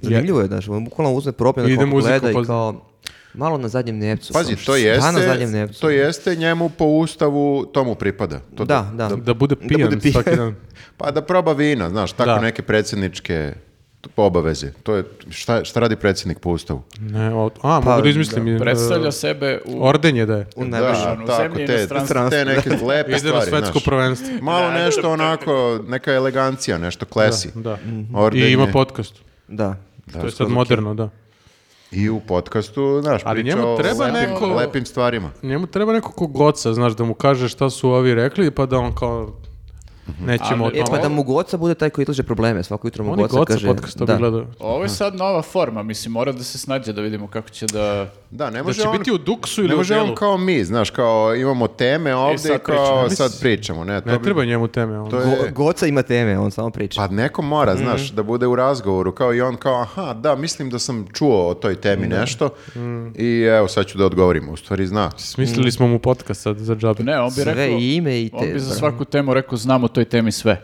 [SPEAKER 2] Zanimljivo je, znaš, on bukvalno uzme probi
[SPEAKER 1] Ide
[SPEAKER 2] na kako
[SPEAKER 1] muziku pa
[SPEAKER 2] gleda i
[SPEAKER 1] pozna.
[SPEAKER 2] kao... Malo na zadnjem nepcu.
[SPEAKER 3] Pazi,
[SPEAKER 2] sam.
[SPEAKER 3] to
[SPEAKER 2] Šta na zadnjem
[SPEAKER 3] jeste,
[SPEAKER 2] nepcu?
[SPEAKER 3] to jeste njemu po ustavu, tomu pripada. To
[SPEAKER 2] Da, da.
[SPEAKER 1] Da bude pijan
[SPEAKER 2] pijan.
[SPEAKER 1] svaki dan.
[SPEAKER 3] Pa da proba vina, znaš, tako
[SPEAKER 1] Da.
[SPEAKER 3] neke predsjedničke obaveze. To je, šta, šta radi predsjednik po ustavu?
[SPEAKER 1] Ne, o- a,
[SPEAKER 2] Pa,
[SPEAKER 1] mogu da izmislim. i, e,
[SPEAKER 4] Predstavlja sebe u...
[SPEAKER 1] Orden je da je.
[SPEAKER 2] U najviše.
[SPEAKER 4] ono, u zemlji i
[SPEAKER 3] te,
[SPEAKER 4] inostranstvu.
[SPEAKER 3] te neke lepe
[SPEAKER 1] Ide na
[SPEAKER 3] stvari,
[SPEAKER 1] svetsko
[SPEAKER 3] znaš.
[SPEAKER 1] prvenstvo.
[SPEAKER 3] Malo nešto onako, neka elegancija, nešto klesi.
[SPEAKER 1] Da.
[SPEAKER 2] Mhm.
[SPEAKER 3] Orden
[SPEAKER 1] I ima
[SPEAKER 3] je.
[SPEAKER 1] podcast.
[SPEAKER 2] Da.
[SPEAKER 1] To je sad moderno, da.
[SPEAKER 3] I u podcastu, znaš,
[SPEAKER 1] Ali
[SPEAKER 3] priča
[SPEAKER 1] njemu
[SPEAKER 3] o
[SPEAKER 1] treba
[SPEAKER 3] lepim,
[SPEAKER 1] neko-
[SPEAKER 3] lepim stvarima.
[SPEAKER 1] Njemu treba neko ko goca, znaš, da mu kaže šta su ovi rekli, pa da on kao
[SPEAKER 3] Mhm.
[SPEAKER 1] nećemo o
[SPEAKER 4] Ali-
[SPEAKER 2] E pa
[SPEAKER 1] tome.
[SPEAKER 2] da mu goca bude taj koji izlaže probleme, svako jutro mu
[SPEAKER 1] On je
[SPEAKER 2] goca
[SPEAKER 1] goca
[SPEAKER 2] kaže...
[SPEAKER 1] podcast, to bi
[SPEAKER 2] da.
[SPEAKER 1] gledao.
[SPEAKER 4] Ovo je sad nova forma, mislim, mora da se snađe da vidimo kako će da...
[SPEAKER 3] Da, ne
[SPEAKER 1] Da
[SPEAKER 3] može
[SPEAKER 1] će
[SPEAKER 3] on,
[SPEAKER 1] biti u duksu
[SPEAKER 3] ne
[SPEAKER 1] ili u E,
[SPEAKER 3] može on
[SPEAKER 1] delu.
[SPEAKER 3] kao mi, znaš, kao imamo teme ovdje i,
[SPEAKER 4] sad
[SPEAKER 3] kao
[SPEAKER 4] pričamo.
[SPEAKER 3] sad pričamo. Ne, to
[SPEAKER 1] Ne
[SPEAKER 3] bi-
[SPEAKER 1] treba njemu teme. on.
[SPEAKER 3] to je-
[SPEAKER 2] Go- goca ima teme, on samo priča.
[SPEAKER 3] Pa neko mora,
[SPEAKER 2] Mhm.
[SPEAKER 3] znaš, da bude u razgovoru, kao i on kao, aha, da, mislim da sam čuo o toj temi
[SPEAKER 2] Mhm.
[SPEAKER 3] nešto i evo, sad ću da odgovorim, u stvari zna.
[SPEAKER 2] Mm.
[SPEAKER 1] Smislili smo mu podcast sad za džabe.
[SPEAKER 4] Ne, on bi
[SPEAKER 2] Sve
[SPEAKER 4] rekao...
[SPEAKER 2] i ime i te...
[SPEAKER 4] On bi za svaku temu rekao, znam o toj temi sve.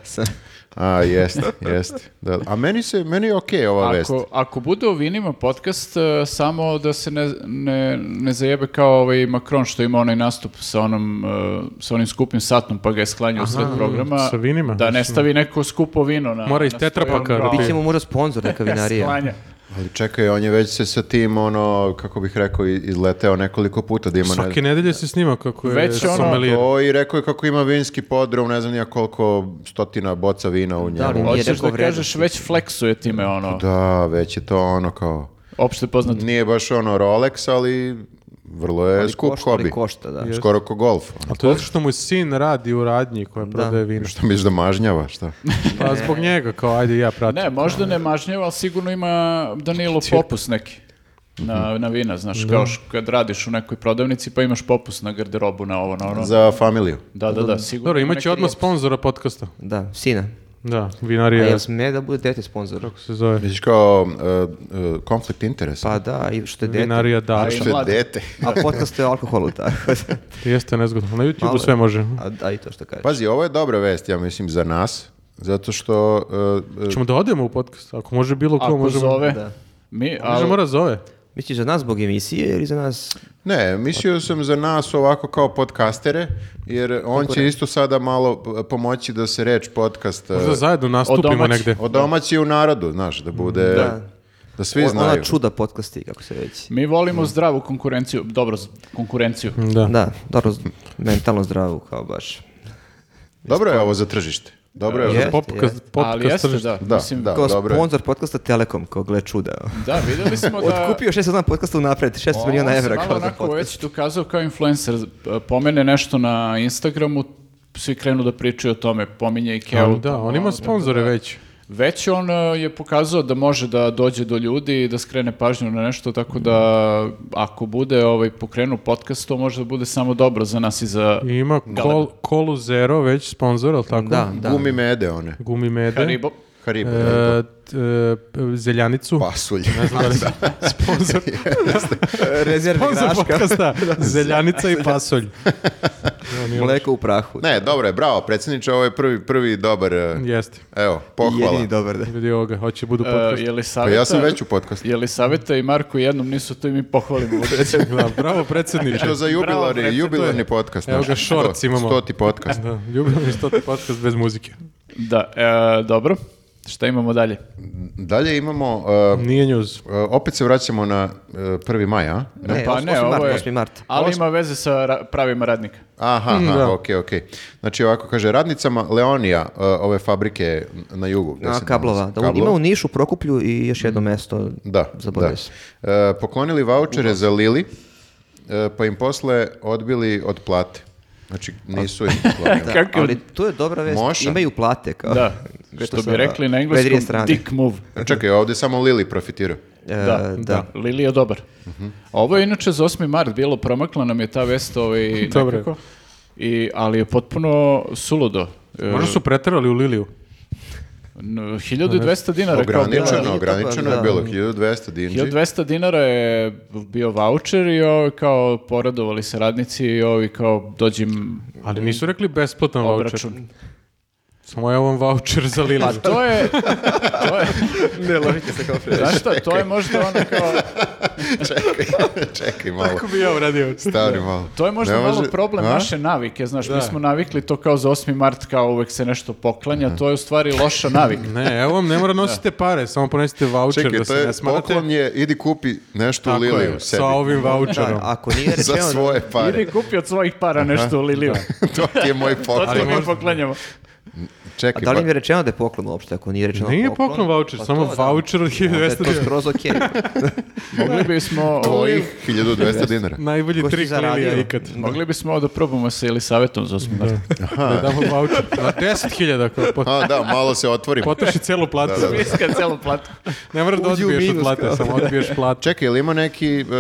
[SPEAKER 3] A, jeste, jeste. Da. A meni, se, meni je okej ova vest.
[SPEAKER 4] Ako, ako bude o vinima podcast, e, samo da se ne, ne, ne zajebe kao ovaj Macron što ima onaj nastup sa, onom, e, sa onim skupim satnom pa ga je sklanjao sred programa.
[SPEAKER 1] sa vinima,
[SPEAKER 4] Da ne
[SPEAKER 1] mislim.
[SPEAKER 4] stavi neko skupo vino na...
[SPEAKER 1] Mora iz
[SPEAKER 4] na
[SPEAKER 1] tetrapaka
[SPEAKER 4] svojom
[SPEAKER 1] da
[SPEAKER 4] glavu.
[SPEAKER 1] pije.
[SPEAKER 2] Biće mu možda sponsor neka vinarija.
[SPEAKER 4] Sklanja.
[SPEAKER 3] Ali čekaj, on je već se sa tim, ono, kako bih rekao, i- izleteo nekoliko puta da ima... ne-
[SPEAKER 1] Svake nedelje se snima kako je
[SPEAKER 4] Već ono-
[SPEAKER 1] sommelier.
[SPEAKER 3] To i rekao je kako ima vinski podrum, ne znam nija koliko stotina boca vina u
[SPEAKER 2] ali
[SPEAKER 3] njemu.
[SPEAKER 2] nije
[SPEAKER 4] Hoćeš
[SPEAKER 2] rekao
[SPEAKER 4] da
[SPEAKER 2] vrednost.
[SPEAKER 4] kažeš, već fleksuje time ono,
[SPEAKER 3] Da, već je to ono kao...
[SPEAKER 4] opšte poznato.
[SPEAKER 3] Nije baš ono Rolex, ali vrlo je
[SPEAKER 2] Ali
[SPEAKER 3] skup
[SPEAKER 2] košta, ali
[SPEAKER 3] hobi.
[SPEAKER 2] košta, da.
[SPEAKER 3] Skoro ko golf.
[SPEAKER 1] A to je zato što mu sin radi u radnji koja prodaje vino.
[SPEAKER 3] Što misliš da mažnjava, šta?
[SPEAKER 1] Pa zbog njega, kao ajde i ja pratim.
[SPEAKER 4] Pa Ne, možda ne mažnjava, ali sigurno ima Danilo popus neki.
[SPEAKER 1] Mhm.
[SPEAKER 4] Na, na vina, znaš, kao š- kad radiš u nekoj prodavnici pa imaš popus na garderobu, na ovo, na ono.
[SPEAKER 3] Za familiju.
[SPEAKER 4] Da, da, da, sigurno.
[SPEAKER 1] Dobro,
[SPEAKER 4] ima
[SPEAKER 1] imaće
[SPEAKER 4] neki-
[SPEAKER 1] odmah sponzora podcasta.
[SPEAKER 2] Da, sina.
[SPEAKER 1] Da,
[SPEAKER 2] A
[SPEAKER 1] vinarija
[SPEAKER 2] jel sme da bude dete sponsor?
[SPEAKER 1] se zove.
[SPEAKER 3] Misliš kao uh, uh, konflikt interesa.
[SPEAKER 2] Pa da, i što je dete.
[SPEAKER 1] Vinarija Daša.
[SPEAKER 3] što je
[SPEAKER 4] mlad.
[SPEAKER 3] dete.
[SPEAKER 2] A podcast je o alkoholu, tako da.
[SPEAKER 1] Jeste nezgodno. Na
[SPEAKER 2] Malo
[SPEAKER 1] YouTubeu
[SPEAKER 2] je.
[SPEAKER 1] sve može.
[SPEAKER 3] Pa-
[SPEAKER 2] A da, i to što kažeš.
[SPEAKER 3] Pazi, ovo je dobra vest, ja mislim, za nas. Zato što... e, e,
[SPEAKER 1] Ćemo da odemo u podcast, ako može bilo ko,
[SPEAKER 4] Ako
[SPEAKER 1] možemo...
[SPEAKER 4] zove,
[SPEAKER 2] da.
[SPEAKER 4] mi,
[SPEAKER 1] Može
[SPEAKER 4] ali,
[SPEAKER 1] mora zove.
[SPEAKER 2] Misliš za nas zbog emisije ili za nas?
[SPEAKER 3] ne, mislio sam za nas ovako kao podcastere, jer on će isto sada malo p- pomoći da se reč podcast... e,
[SPEAKER 1] Možda zajedno nastupimo
[SPEAKER 4] odomaći.
[SPEAKER 1] negde.
[SPEAKER 3] Odomaći u narodu, znaš, da bude... Da.
[SPEAKER 2] Da.
[SPEAKER 3] svi
[SPEAKER 2] Ona
[SPEAKER 3] znaju.
[SPEAKER 2] čuda podcasti, kako se već.
[SPEAKER 4] mi volimo
[SPEAKER 1] Mhm.
[SPEAKER 4] zdravu konkurenciju, dobro, z- konkurenciju.
[SPEAKER 1] Da.
[SPEAKER 2] Da, dobro, z- mentalno zdravu, kao baš.
[SPEAKER 3] Dobro je ovo za tržište. Dobro je ovo.
[SPEAKER 2] Je.
[SPEAKER 3] za-
[SPEAKER 1] Popka-
[SPEAKER 2] jeste.
[SPEAKER 1] podcast
[SPEAKER 4] ali jeste,
[SPEAKER 1] tržište.
[SPEAKER 4] da.
[SPEAKER 3] Da,
[SPEAKER 4] mislim,
[SPEAKER 3] da,
[SPEAKER 2] Kao
[SPEAKER 3] Pa dobro je.
[SPEAKER 2] sponsor podcasta Telekom, kao gle čuda.
[SPEAKER 4] da, videli smo da...
[SPEAKER 2] Otkupio 600 podcasta unapred, 600 miliona evra
[SPEAKER 4] kao
[SPEAKER 2] kao za
[SPEAKER 4] onako
[SPEAKER 2] podcast.
[SPEAKER 4] već dokazao kao influencer. Pomene nešto na Instagramu, svi krenu da pričaju o tome. Pominje i Ono, Keu.
[SPEAKER 1] Ali da, on ima sponzore već.
[SPEAKER 4] Već on e, je pokazao da može da dođe do ljudi i da skrene pažnju na nešto, tako da ako bude ovaj, pokrenu podcast, to može da bude samo dobro za nas i za
[SPEAKER 1] I ima kol, Kolu Zero već sponzor, ali tako?
[SPEAKER 2] Da, da.
[SPEAKER 3] Gumi mede one.
[SPEAKER 1] Gumi mede.
[SPEAKER 4] Haribo.
[SPEAKER 3] Haribo.
[SPEAKER 1] E,
[SPEAKER 3] da.
[SPEAKER 1] t- e, zeljanicu.
[SPEAKER 3] Pasulj.
[SPEAKER 1] Sponzor,
[SPEAKER 2] Rezervni
[SPEAKER 1] sponzor
[SPEAKER 2] graška.
[SPEAKER 1] Pa, podcasta. Zeljanica i pasolj.
[SPEAKER 2] Mleko u prahu.
[SPEAKER 3] ne, dobro je, bravo, predsjedniče, ovo je prvi, prvi dobar, e,
[SPEAKER 1] Jeste.
[SPEAKER 3] evo, pohvala.
[SPEAKER 2] Jedini dobar, da.
[SPEAKER 1] Vidi ovoga, hoće budu
[SPEAKER 4] E,
[SPEAKER 1] podcast.
[SPEAKER 4] je li
[SPEAKER 3] Pa
[SPEAKER 4] saveta,
[SPEAKER 3] ja sam već u podcastu.
[SPEAKER 4] Je li saveta i Marko jednom nisu to i mi pohvalimo.
[SPEAKER 1] Da, bravo predsjedniče.
[SPEAKER 3] To za
[SPEAKER 4] Bravo,
[SPEAKER 3] jubilarni,
[SPEAKER 4] predsjedniče, to
[SPEAKER 3] jubilarni
[SPEAKER 4] je-
[SPEAKER 3] podcast.
[SPEAKER 1] Evo
[SPEAKER 3] znaš,
[SPEAKER 1] ga, shorts
[SPEAKER 3] sto-
[SPEAKER 1] imamo.
[SPEAKER 3] Stoti podcast.
[SPEAKER 1] Da, ljubim mi stoti podcast bez muzike.
[SPEAKER 4] da, e, dobro. Šta imamo dalje?
[SPEAKER 3] Dalje imamo, e,
[SPEAKER 1] Nije njuz.
[SPEAKER 3] e, opet se vraćamo na e, 1. maj, a?
[SPEAKER 2] Ne,
[SPEAKER 4] Pa
[SPEAKER 2] os-
[SPEAKER 4] ne,
[SPEAKER 2] osmi
[SPEAKER 4] ovo
[SPEAKER 2] mart,
[SPEAKER 4] je-
[SPEAKER 2] osmi mart.
[SPEAKER 4] Ali ima veze sa ra- pravima radnika.
[SPEAKER 3] Aha, aha,
[SPEAKER 1] da.
[SPEAKER 3] ok, ok. Znači ovako kaže, radnicama Leonija, e, ove fabrike na jugu. gde
[SPEAKER 2] A,
[SPEAKER 3] se
[SPEAKER 2] kablova.
[SPEAKER 3] nalazi-
[SPEAKER 2] Da, ima u Nišu, Prokuplju i još jedno mesto.
[SPEAKER 3] Mm. Da,
[SPEAKER 2] Zaboravio
[SPEAKER 3] da.
[SPEAKER 2] sam.
[SPEAKER 3] E, poklonili vouchere za Lili, e, pa im posle odbili od plate. Znači, nisu im poklonili.
[SPEAKER 4] Kako-
[SPEAKER 2] Ali to je dobra vest.
[SPEAKER 3] Moša.
[SPEAKER 2] Imaju plate. Kao.
[SPEAKER 4] Da,
[SPEAKER 2] Gde to
[SPEAKER 4] što bi
[SPEAKER 2] sada?
[SPEAKER 4] rekli na
[SPEAKER 2] Vedrije
[SPEAKER 4] engleskom,
[SPEAKER 2] strane.
[SPEAKER 4] dick move.
[SPEAKER 3] Čekaj, ovdje samo Lili profitirao.
[SPEAKER 2] E,
[SPEAKER 4] Da, da. Lili je dobar. Ovo je inače za 8. mart bilo, promakla nam je ta vest ovaj,
[SPEAKER 1] Dobro.
[SPEAKER 4] nekako. I, ali je potpuno suludo. E,
[SPEAKER 1] Možda su preterali u Liliju.
[SPEAKER 4] n- 1200 dinara kao bila-
[SPEAKER 3] Ograničeno,
[SPEAKER 2] da.
[SPEAKER 3] ograničeno je
[SPEAKER 2] Da.
[SPEAKER 3] bilo, 1200 dinđi.
[SPEAKER 4] 1200 dinara je bio voucher i ovi kao poradovali se radnici i ovi kao dođim
[SPEAKER 1] Ali nisu rekli besplatan voucher.
[SPEAKER 4] obračun. Pa
[SPEAKER 1] Samo je ovom voucher za Liliju.
[SPEAKER 4] To je, to je,
[SPEAKER 2] Ne lovite se kao pre.
[SPEAKER 4] znaš šta, to je možda ono kao,
[SPEAKER 3] Čekaj malo,
[SPEAKER 1] bi ja uradio.
[SPEAKER 3] stari malo.
[SPEAKER 4] To je možda
[SPEAKER 3] Ne
[SPEAKER 4] malo
[SPEAKER 3] može-
[SPEAKER 4] problem
[SPEAKER 3] A?
[SPEAKER 4] naše navike, znaš, mi smo navikli to kao za 8. mart, kao uvek se nešto poklanja, to je u stvari loša navika.
[SPEAKER 1] Ne, evo vam ne mora nosite pare, samo ponesite voucher
[SPEAKER 3] Čekaj,
[SPEAKER 1] da
[SPEAKER 3] to
[SPEAKER 1] se
[SPEAKER 3] je
[SPEAKER 1] ne smarate.
[SPEAKER 3] poklon je, idi kupi nešto u
[SPEAKER 1] Tako je,
[SPEAKER 3] Liliju sebi.
[SPEAKER 1] Sa ovim voucherom.
[SPEAKER 2] Da, ako nije
[SPEAKER 3] Za
[SPEAKER 2] rečeno...
[SPEAKER 3] svoje pare.
[SPEAKER 4] Znači, ono, Idi kupi od svojih para nešto u Liliju.
[SPEAKER 3] to ti je moj
[SPEAKER 4] To ti
[SPEAKER 3] poklon.
[SPEAKER 4] mi poklanjamo.
[SPEAKER 2] A
[SPEAKER 3] Čekaj, pa-
[SPEAKER 2] da li im
[SPEAKER 3] ba-
[SPEAKER 2] je rečeno da je poklon uopšte, ako nije rečeno
[SPEAKER 1] Nije poklon voucher, samo
[SPEAKER 2] pa to da.
[SPEAKER 1] voucher od
[SPEAKER 2] Onda je
[SPEAKER 1] 1200
[SPEAKER 2] to
[SPEAKER 1] dinara.
[SPEAKER 2] skroz okej.
[SPEAKER 4] Mogli bismo,
[SPEAKER 3] tvojih 1200 dinara.
[SPEAKER 1] Najbolji
[SPEAKER 2] Ko si
[SPEAKER 1] trik
[SPEAKER 2] zaradio?
[SPEAKER 1] Lilija ikad.
[SPEAKER 4] mogli bismo ovo da probamo sa ili savjetom za 8. mart.
[SPEAKER 1] Da damo voucher. Na 10.000 kao pot-
[SPEAKER 3] A, da, malo se otvorim.
[SPEAKER 1] potroši celu platu.
[SPEAKER 3] Da, da, da.
[SPEAKER 4] Iska celu platu.
[SPEAKER 1] Ne moraš da
[SPEAKER 2] Uđi u
[SPEAKER 1] odbiješ od
[SPEAKER 2] minus,
[SPEAKER 1] plate,
[SPEAKER 2] kao.
[SPEAKER 1] samo odbiješ platu.
[SPEAKER 3] Čekaj, ili ima neki, e, e,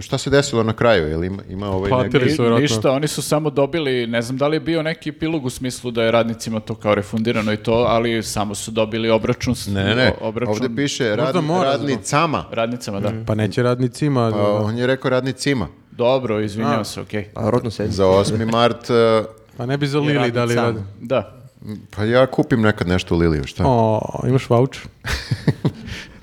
[SPEAKER 3] e, šta se desilo na kraju, ili ima, ima ovaj
[SPEAKER 1] Pa,
[SPEAKER 3] neki...
[SPEAKER 1] Ili su vjerojatno-
[SPEAKER 4] Ništa, oni su samo dobili, ne znam da li je bio neki epilog u smislu da je radnicima to kao refundirano i to, ali samo su dobili obračun. s-
[SPEAKER 3] Ne, ne, ne,
[SPEAKER 4] o- obračun
[SPEAKER 3] ovdje piše rad,
[SPEAKER 1] mora zbog-
[SPEAKER 3] radnicama.
[SPEAKER 4] radnicama, da.
[SPEAKER 1] Pa neće radnicima. ono,
[SPEAKER 3] Pa, on je rekao radnicima.
[SPEAKER 4] Dobro, izvinjavam se, okej.
[SPEAKER 2] A rodno se...
[SPEAKER 3] Za 8. mart, e,
[SPEAKER 1] Pa ne bi za Lili dali
[SPEAKER 2] radnica.
[SPEAKER 1] radi.
[SPEAKER 4] Da.
[SPEAKER 3] pa ja kupim nekad nešto u Liliju, šta?
[SPEAKER 1] O, imaš voucher.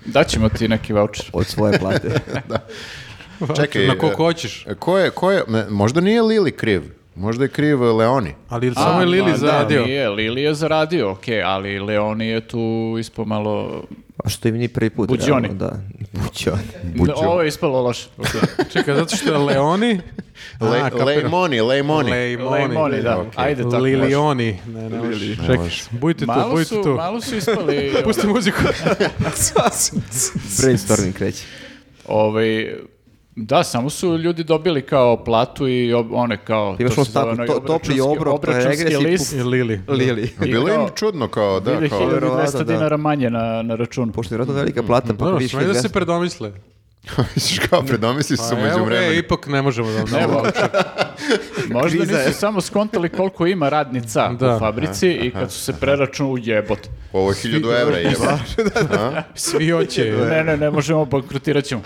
[SPEAKER 4] Daćemo ti neki voucher.
[SPEAKER 2] Od svoje plate.
[SPEAKER 3] Čekaj,
[SPEAKER 1] znači, Na koliko
[SPEAKER 3] e,
[SPEAKER 1] hoćeš.
[SPEAKER 3] E, Ko je, ko je, ne, možda nije Lili kriv, možda je kriv Leoni.
[SPEAKER 1] Ali samo je
[SPEAKER 4] A,
[SPEAKER 1] Lili
[SPEAKER 4] da,
[SPEAKER 1] zaradio.
[SPEAKER 4] Nije, Lili je zaradio, okej, ali Leoni je tu ispao malo...
[SPEAKER 2] A što im ni prvi put.
[SPEAKER 4] Buđoni.
[SPEAKER 2] realno, Da. Buđoni.
[SPEAKER 3] Buđo.
[SPEAKER 4] Ovo je ispalo loše.
[SPEAKER 1] Čekaj, zato što je Leoni...
[SPEAKER 3] Le,
[SPEAKER 1] A, kapiram.
[SPEAKER 3] Lejmoni, Lejmoni.
[SPEAKER 1] Lejmoni.
[SPEAKER 4] Leimoni, da. Ajde tako.
[SPEAKER 1] Lilioni. Ne, ne možeš. Čekaj, budite tu,
[SPEAKER 4] Malo
[SPEAKER 1] budite
[SPEAKER 4] su,
[SPEAKER 1] tu.
[SPEAKER 4] malo su ispali...
[SPEAKER 1] Pusti muziku.
[SPEAKER 2] Brainstorming kreće.
[SPEAKER 4] ovaj, da, samo su ljudi dobili kao platu i ob- one kao...
[SPEAKER 2] Imaš
[SPEAKER 4] to
[SPEAKER 2] onu
[SPEAKER 4] se zove
[SPEAKER 2] stavku,
[SPEAKER 4] onaj
[SPEAKER 2] to- topli
[SPEAKER 4] obračunski-
[SPEAKER 2] obrok,
[SPEAKER 4] obračunski
[SPEAKER 2] regres i
[SPEAKER 4] list.
[SPEAKER 1] I Lili.
[SPEAKER 2] Lili.
[SPEAKER 4] I
[SPEAKER 3] pa Bilo im
[SPEAKER 4] kao-
[SPEAKER 3] čudno kao, da,
[SPEAKER 4] Ide
[SPEAKER 3] kao...
[SPEAKER 4] 1200
[SPEAKER 2] da.
[SPEAKER 4] dinara manje na, na račun.
[SPEAKER 2] Pošto je vjerojatno velika plata, pa ako
[SPEAKER 1] Dobro,
[SPEAKER 2] vidiš
[SPEAKER 1] smije da se
[SPEAKER 2] 1200.
[SPEAKER 1] predomisle.
[SPEAKER 3] Misliš kao, predomisli su
[SPEAKER 1] Pa
[SPEAKER 3] među
[SPEAKER 1] evo, e,
[SPEAKER 3] vremenu.
[SPEAKER 1] ipak ne možemo da vam damo
[SPEAKER 4] Evo,
[SPEAKER 1] voucher.
[SPEAKER 4] možda
[SPEAKER 2] Kriza je.
[SPEAKER 4] nisu samo skontali koliko ima radnica
[SPEAKER 1] Da.
[SPEAKER 4] u fabrici i kad su se preračunu u jebot.
[SPEAKER 3] Ovo je 1000 evra je.
[SPEAKER 1] Svi hoće.
[SPEAKER 4] Ne, ne, ne možemo, bankrotirat ćemo.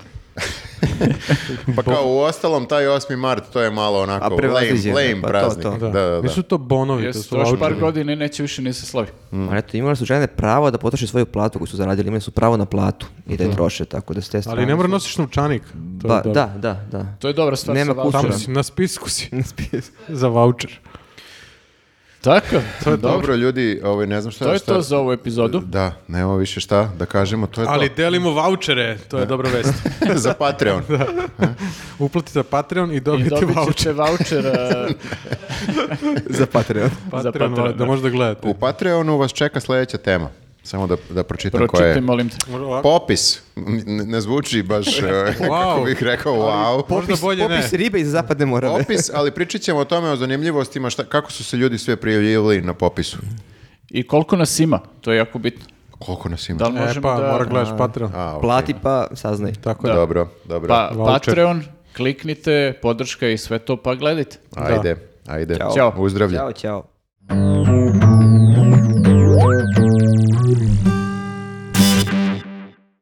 [SPEAKER 3] Pa kao u ostalom, taj 8. mart, to je malo
[SPEAKER 2] A
[SPEAKER 3] onako lame,
[SPEAKER 2] prevaziđeno,
[SPEAKER 3] lame
[SPEAKER 2] pa to,
[SPEAKER 3] praznik.
[SPEAKER 2] to.
[SPEAKER 3] Da, da, da.
[SPEAKER 1] Nisu to bonovi, to
[SPEAKER 4] Jesu,
[SPEAKER 1] su
[SPEAKER 4] to još par
[SPEAKER 1] vaučeri.
[SPEAKER 4] godina i neće više ni se slavi.
[SPEAKER 1] pa-
[SPEAKER 2] Ma Mm, eto, imali su žene pravo da potroše svoju platu koju su zaradili, imali su pravo na platu i da je troše, tako da s te strane...
[SPEAKER 1] Mhm. Ali ne mora
[SPEAKER 2] su-
[SPEAKER 1] nosiš novčanik. To je
[SPEAKER 3] Pa,
[SPEAKER 2] Ba-
[SPEAKER 1] dobro.
[SPEAKER 2] da, da, da.
[SPEAKER 4] To je dobra stvar
[SPEAKER 2] Nema
[SPEAKER 4] sa
[SPEAKER 2] kuće.
[SPEAKER 1] Tamo
[SPEAKER 4] voucherom.
[SPEAKER 1] si, na spisku si. Za voucher.
[SPEAKER 4] Tako, to je dobro.
[SPEAKER 3] Dobro, ljudi, ovaj, ne znam šta...
[SPEAKER 4] To je
[SPEAKER 3] šta-
[SPEAKER 4] to za ovu epizodu.
[SPEAKER 3] Da, nemamo više šta da kažemo, to je
[SPEAKER 1] Ali
[SPEAKER 3] to.
[SPEAKER 1] delimo vouchere, to je dobra vest.
[SPEAKER 3] za Patreon.
[SPEAKER 1] Uplatite Patreon i
[SPEAKER 4] I
[SPEAKER 1] dobijete
[SPEAKER 4] dobit
[SPEAKER 1] voucher.
[SPEAKER 4] ćete voucher e,
[SPEAKER 2] Za Patreon.
[SPEAKER 4] za
[SPEAKER 1] Patreon,
[SPEAKER 4] Patreon.
[SPEAKER 1] da možda gledate.
[SPEAKER 3] U Patreonu vas čeka sljedeća tema. Samo da, da pročitam koja
[SPEAKER 4] Pročitaj,
[SPEAKER 3] je.
[SPEAKER 4] molim te.
[SPEAKER 1] Ovako.
[SPEAKER 3] Popis. N- Ne zvuči baš, eh, kako bih rekao, wow.
[SPEAKER 1] Možda bolje ne.
[SPEAKER 2] popis ribe iz zapadne morave.
[SPEAKER 3] Popis, ali pričat ćemo o tome, o zanimljivostima, šta, kako su se ljudi sve prijavljivali na popisu.
[SPEAKER 4] I koliko nas ima, to je jako bitno.
[SPEAKER 3] Koliko nas ima?
[SPEAKER 4] Da li
[SPEAKER 1] E
[SPEAKER 4] možemo
[SPEAKER 1] pa,
[SPEAKER 4] da...
[SPEAKER 1] mora gledaš Patreon.
[SPEAKER 3] A, ok.
[SPEAKER 2] Plati pa saznaj.
[SPEAKER 1] Tako da.
[SPEAKER 3] Dobro, dobro.
[SPEAKER 4] Pa,
[SPEAKER 1] Voucher.
[SPEAKER 4] Patreon, kliknite, podrška i sve to, pa gledajte.
[SPEAKER 3] Ajde, ajde.
[SPEAKER 2] Ćao.
[SPEAKER 4] Ćao.
[SPEAKER 3] Uzdravlje.
[SPEAKER 2] Ćao, ćao.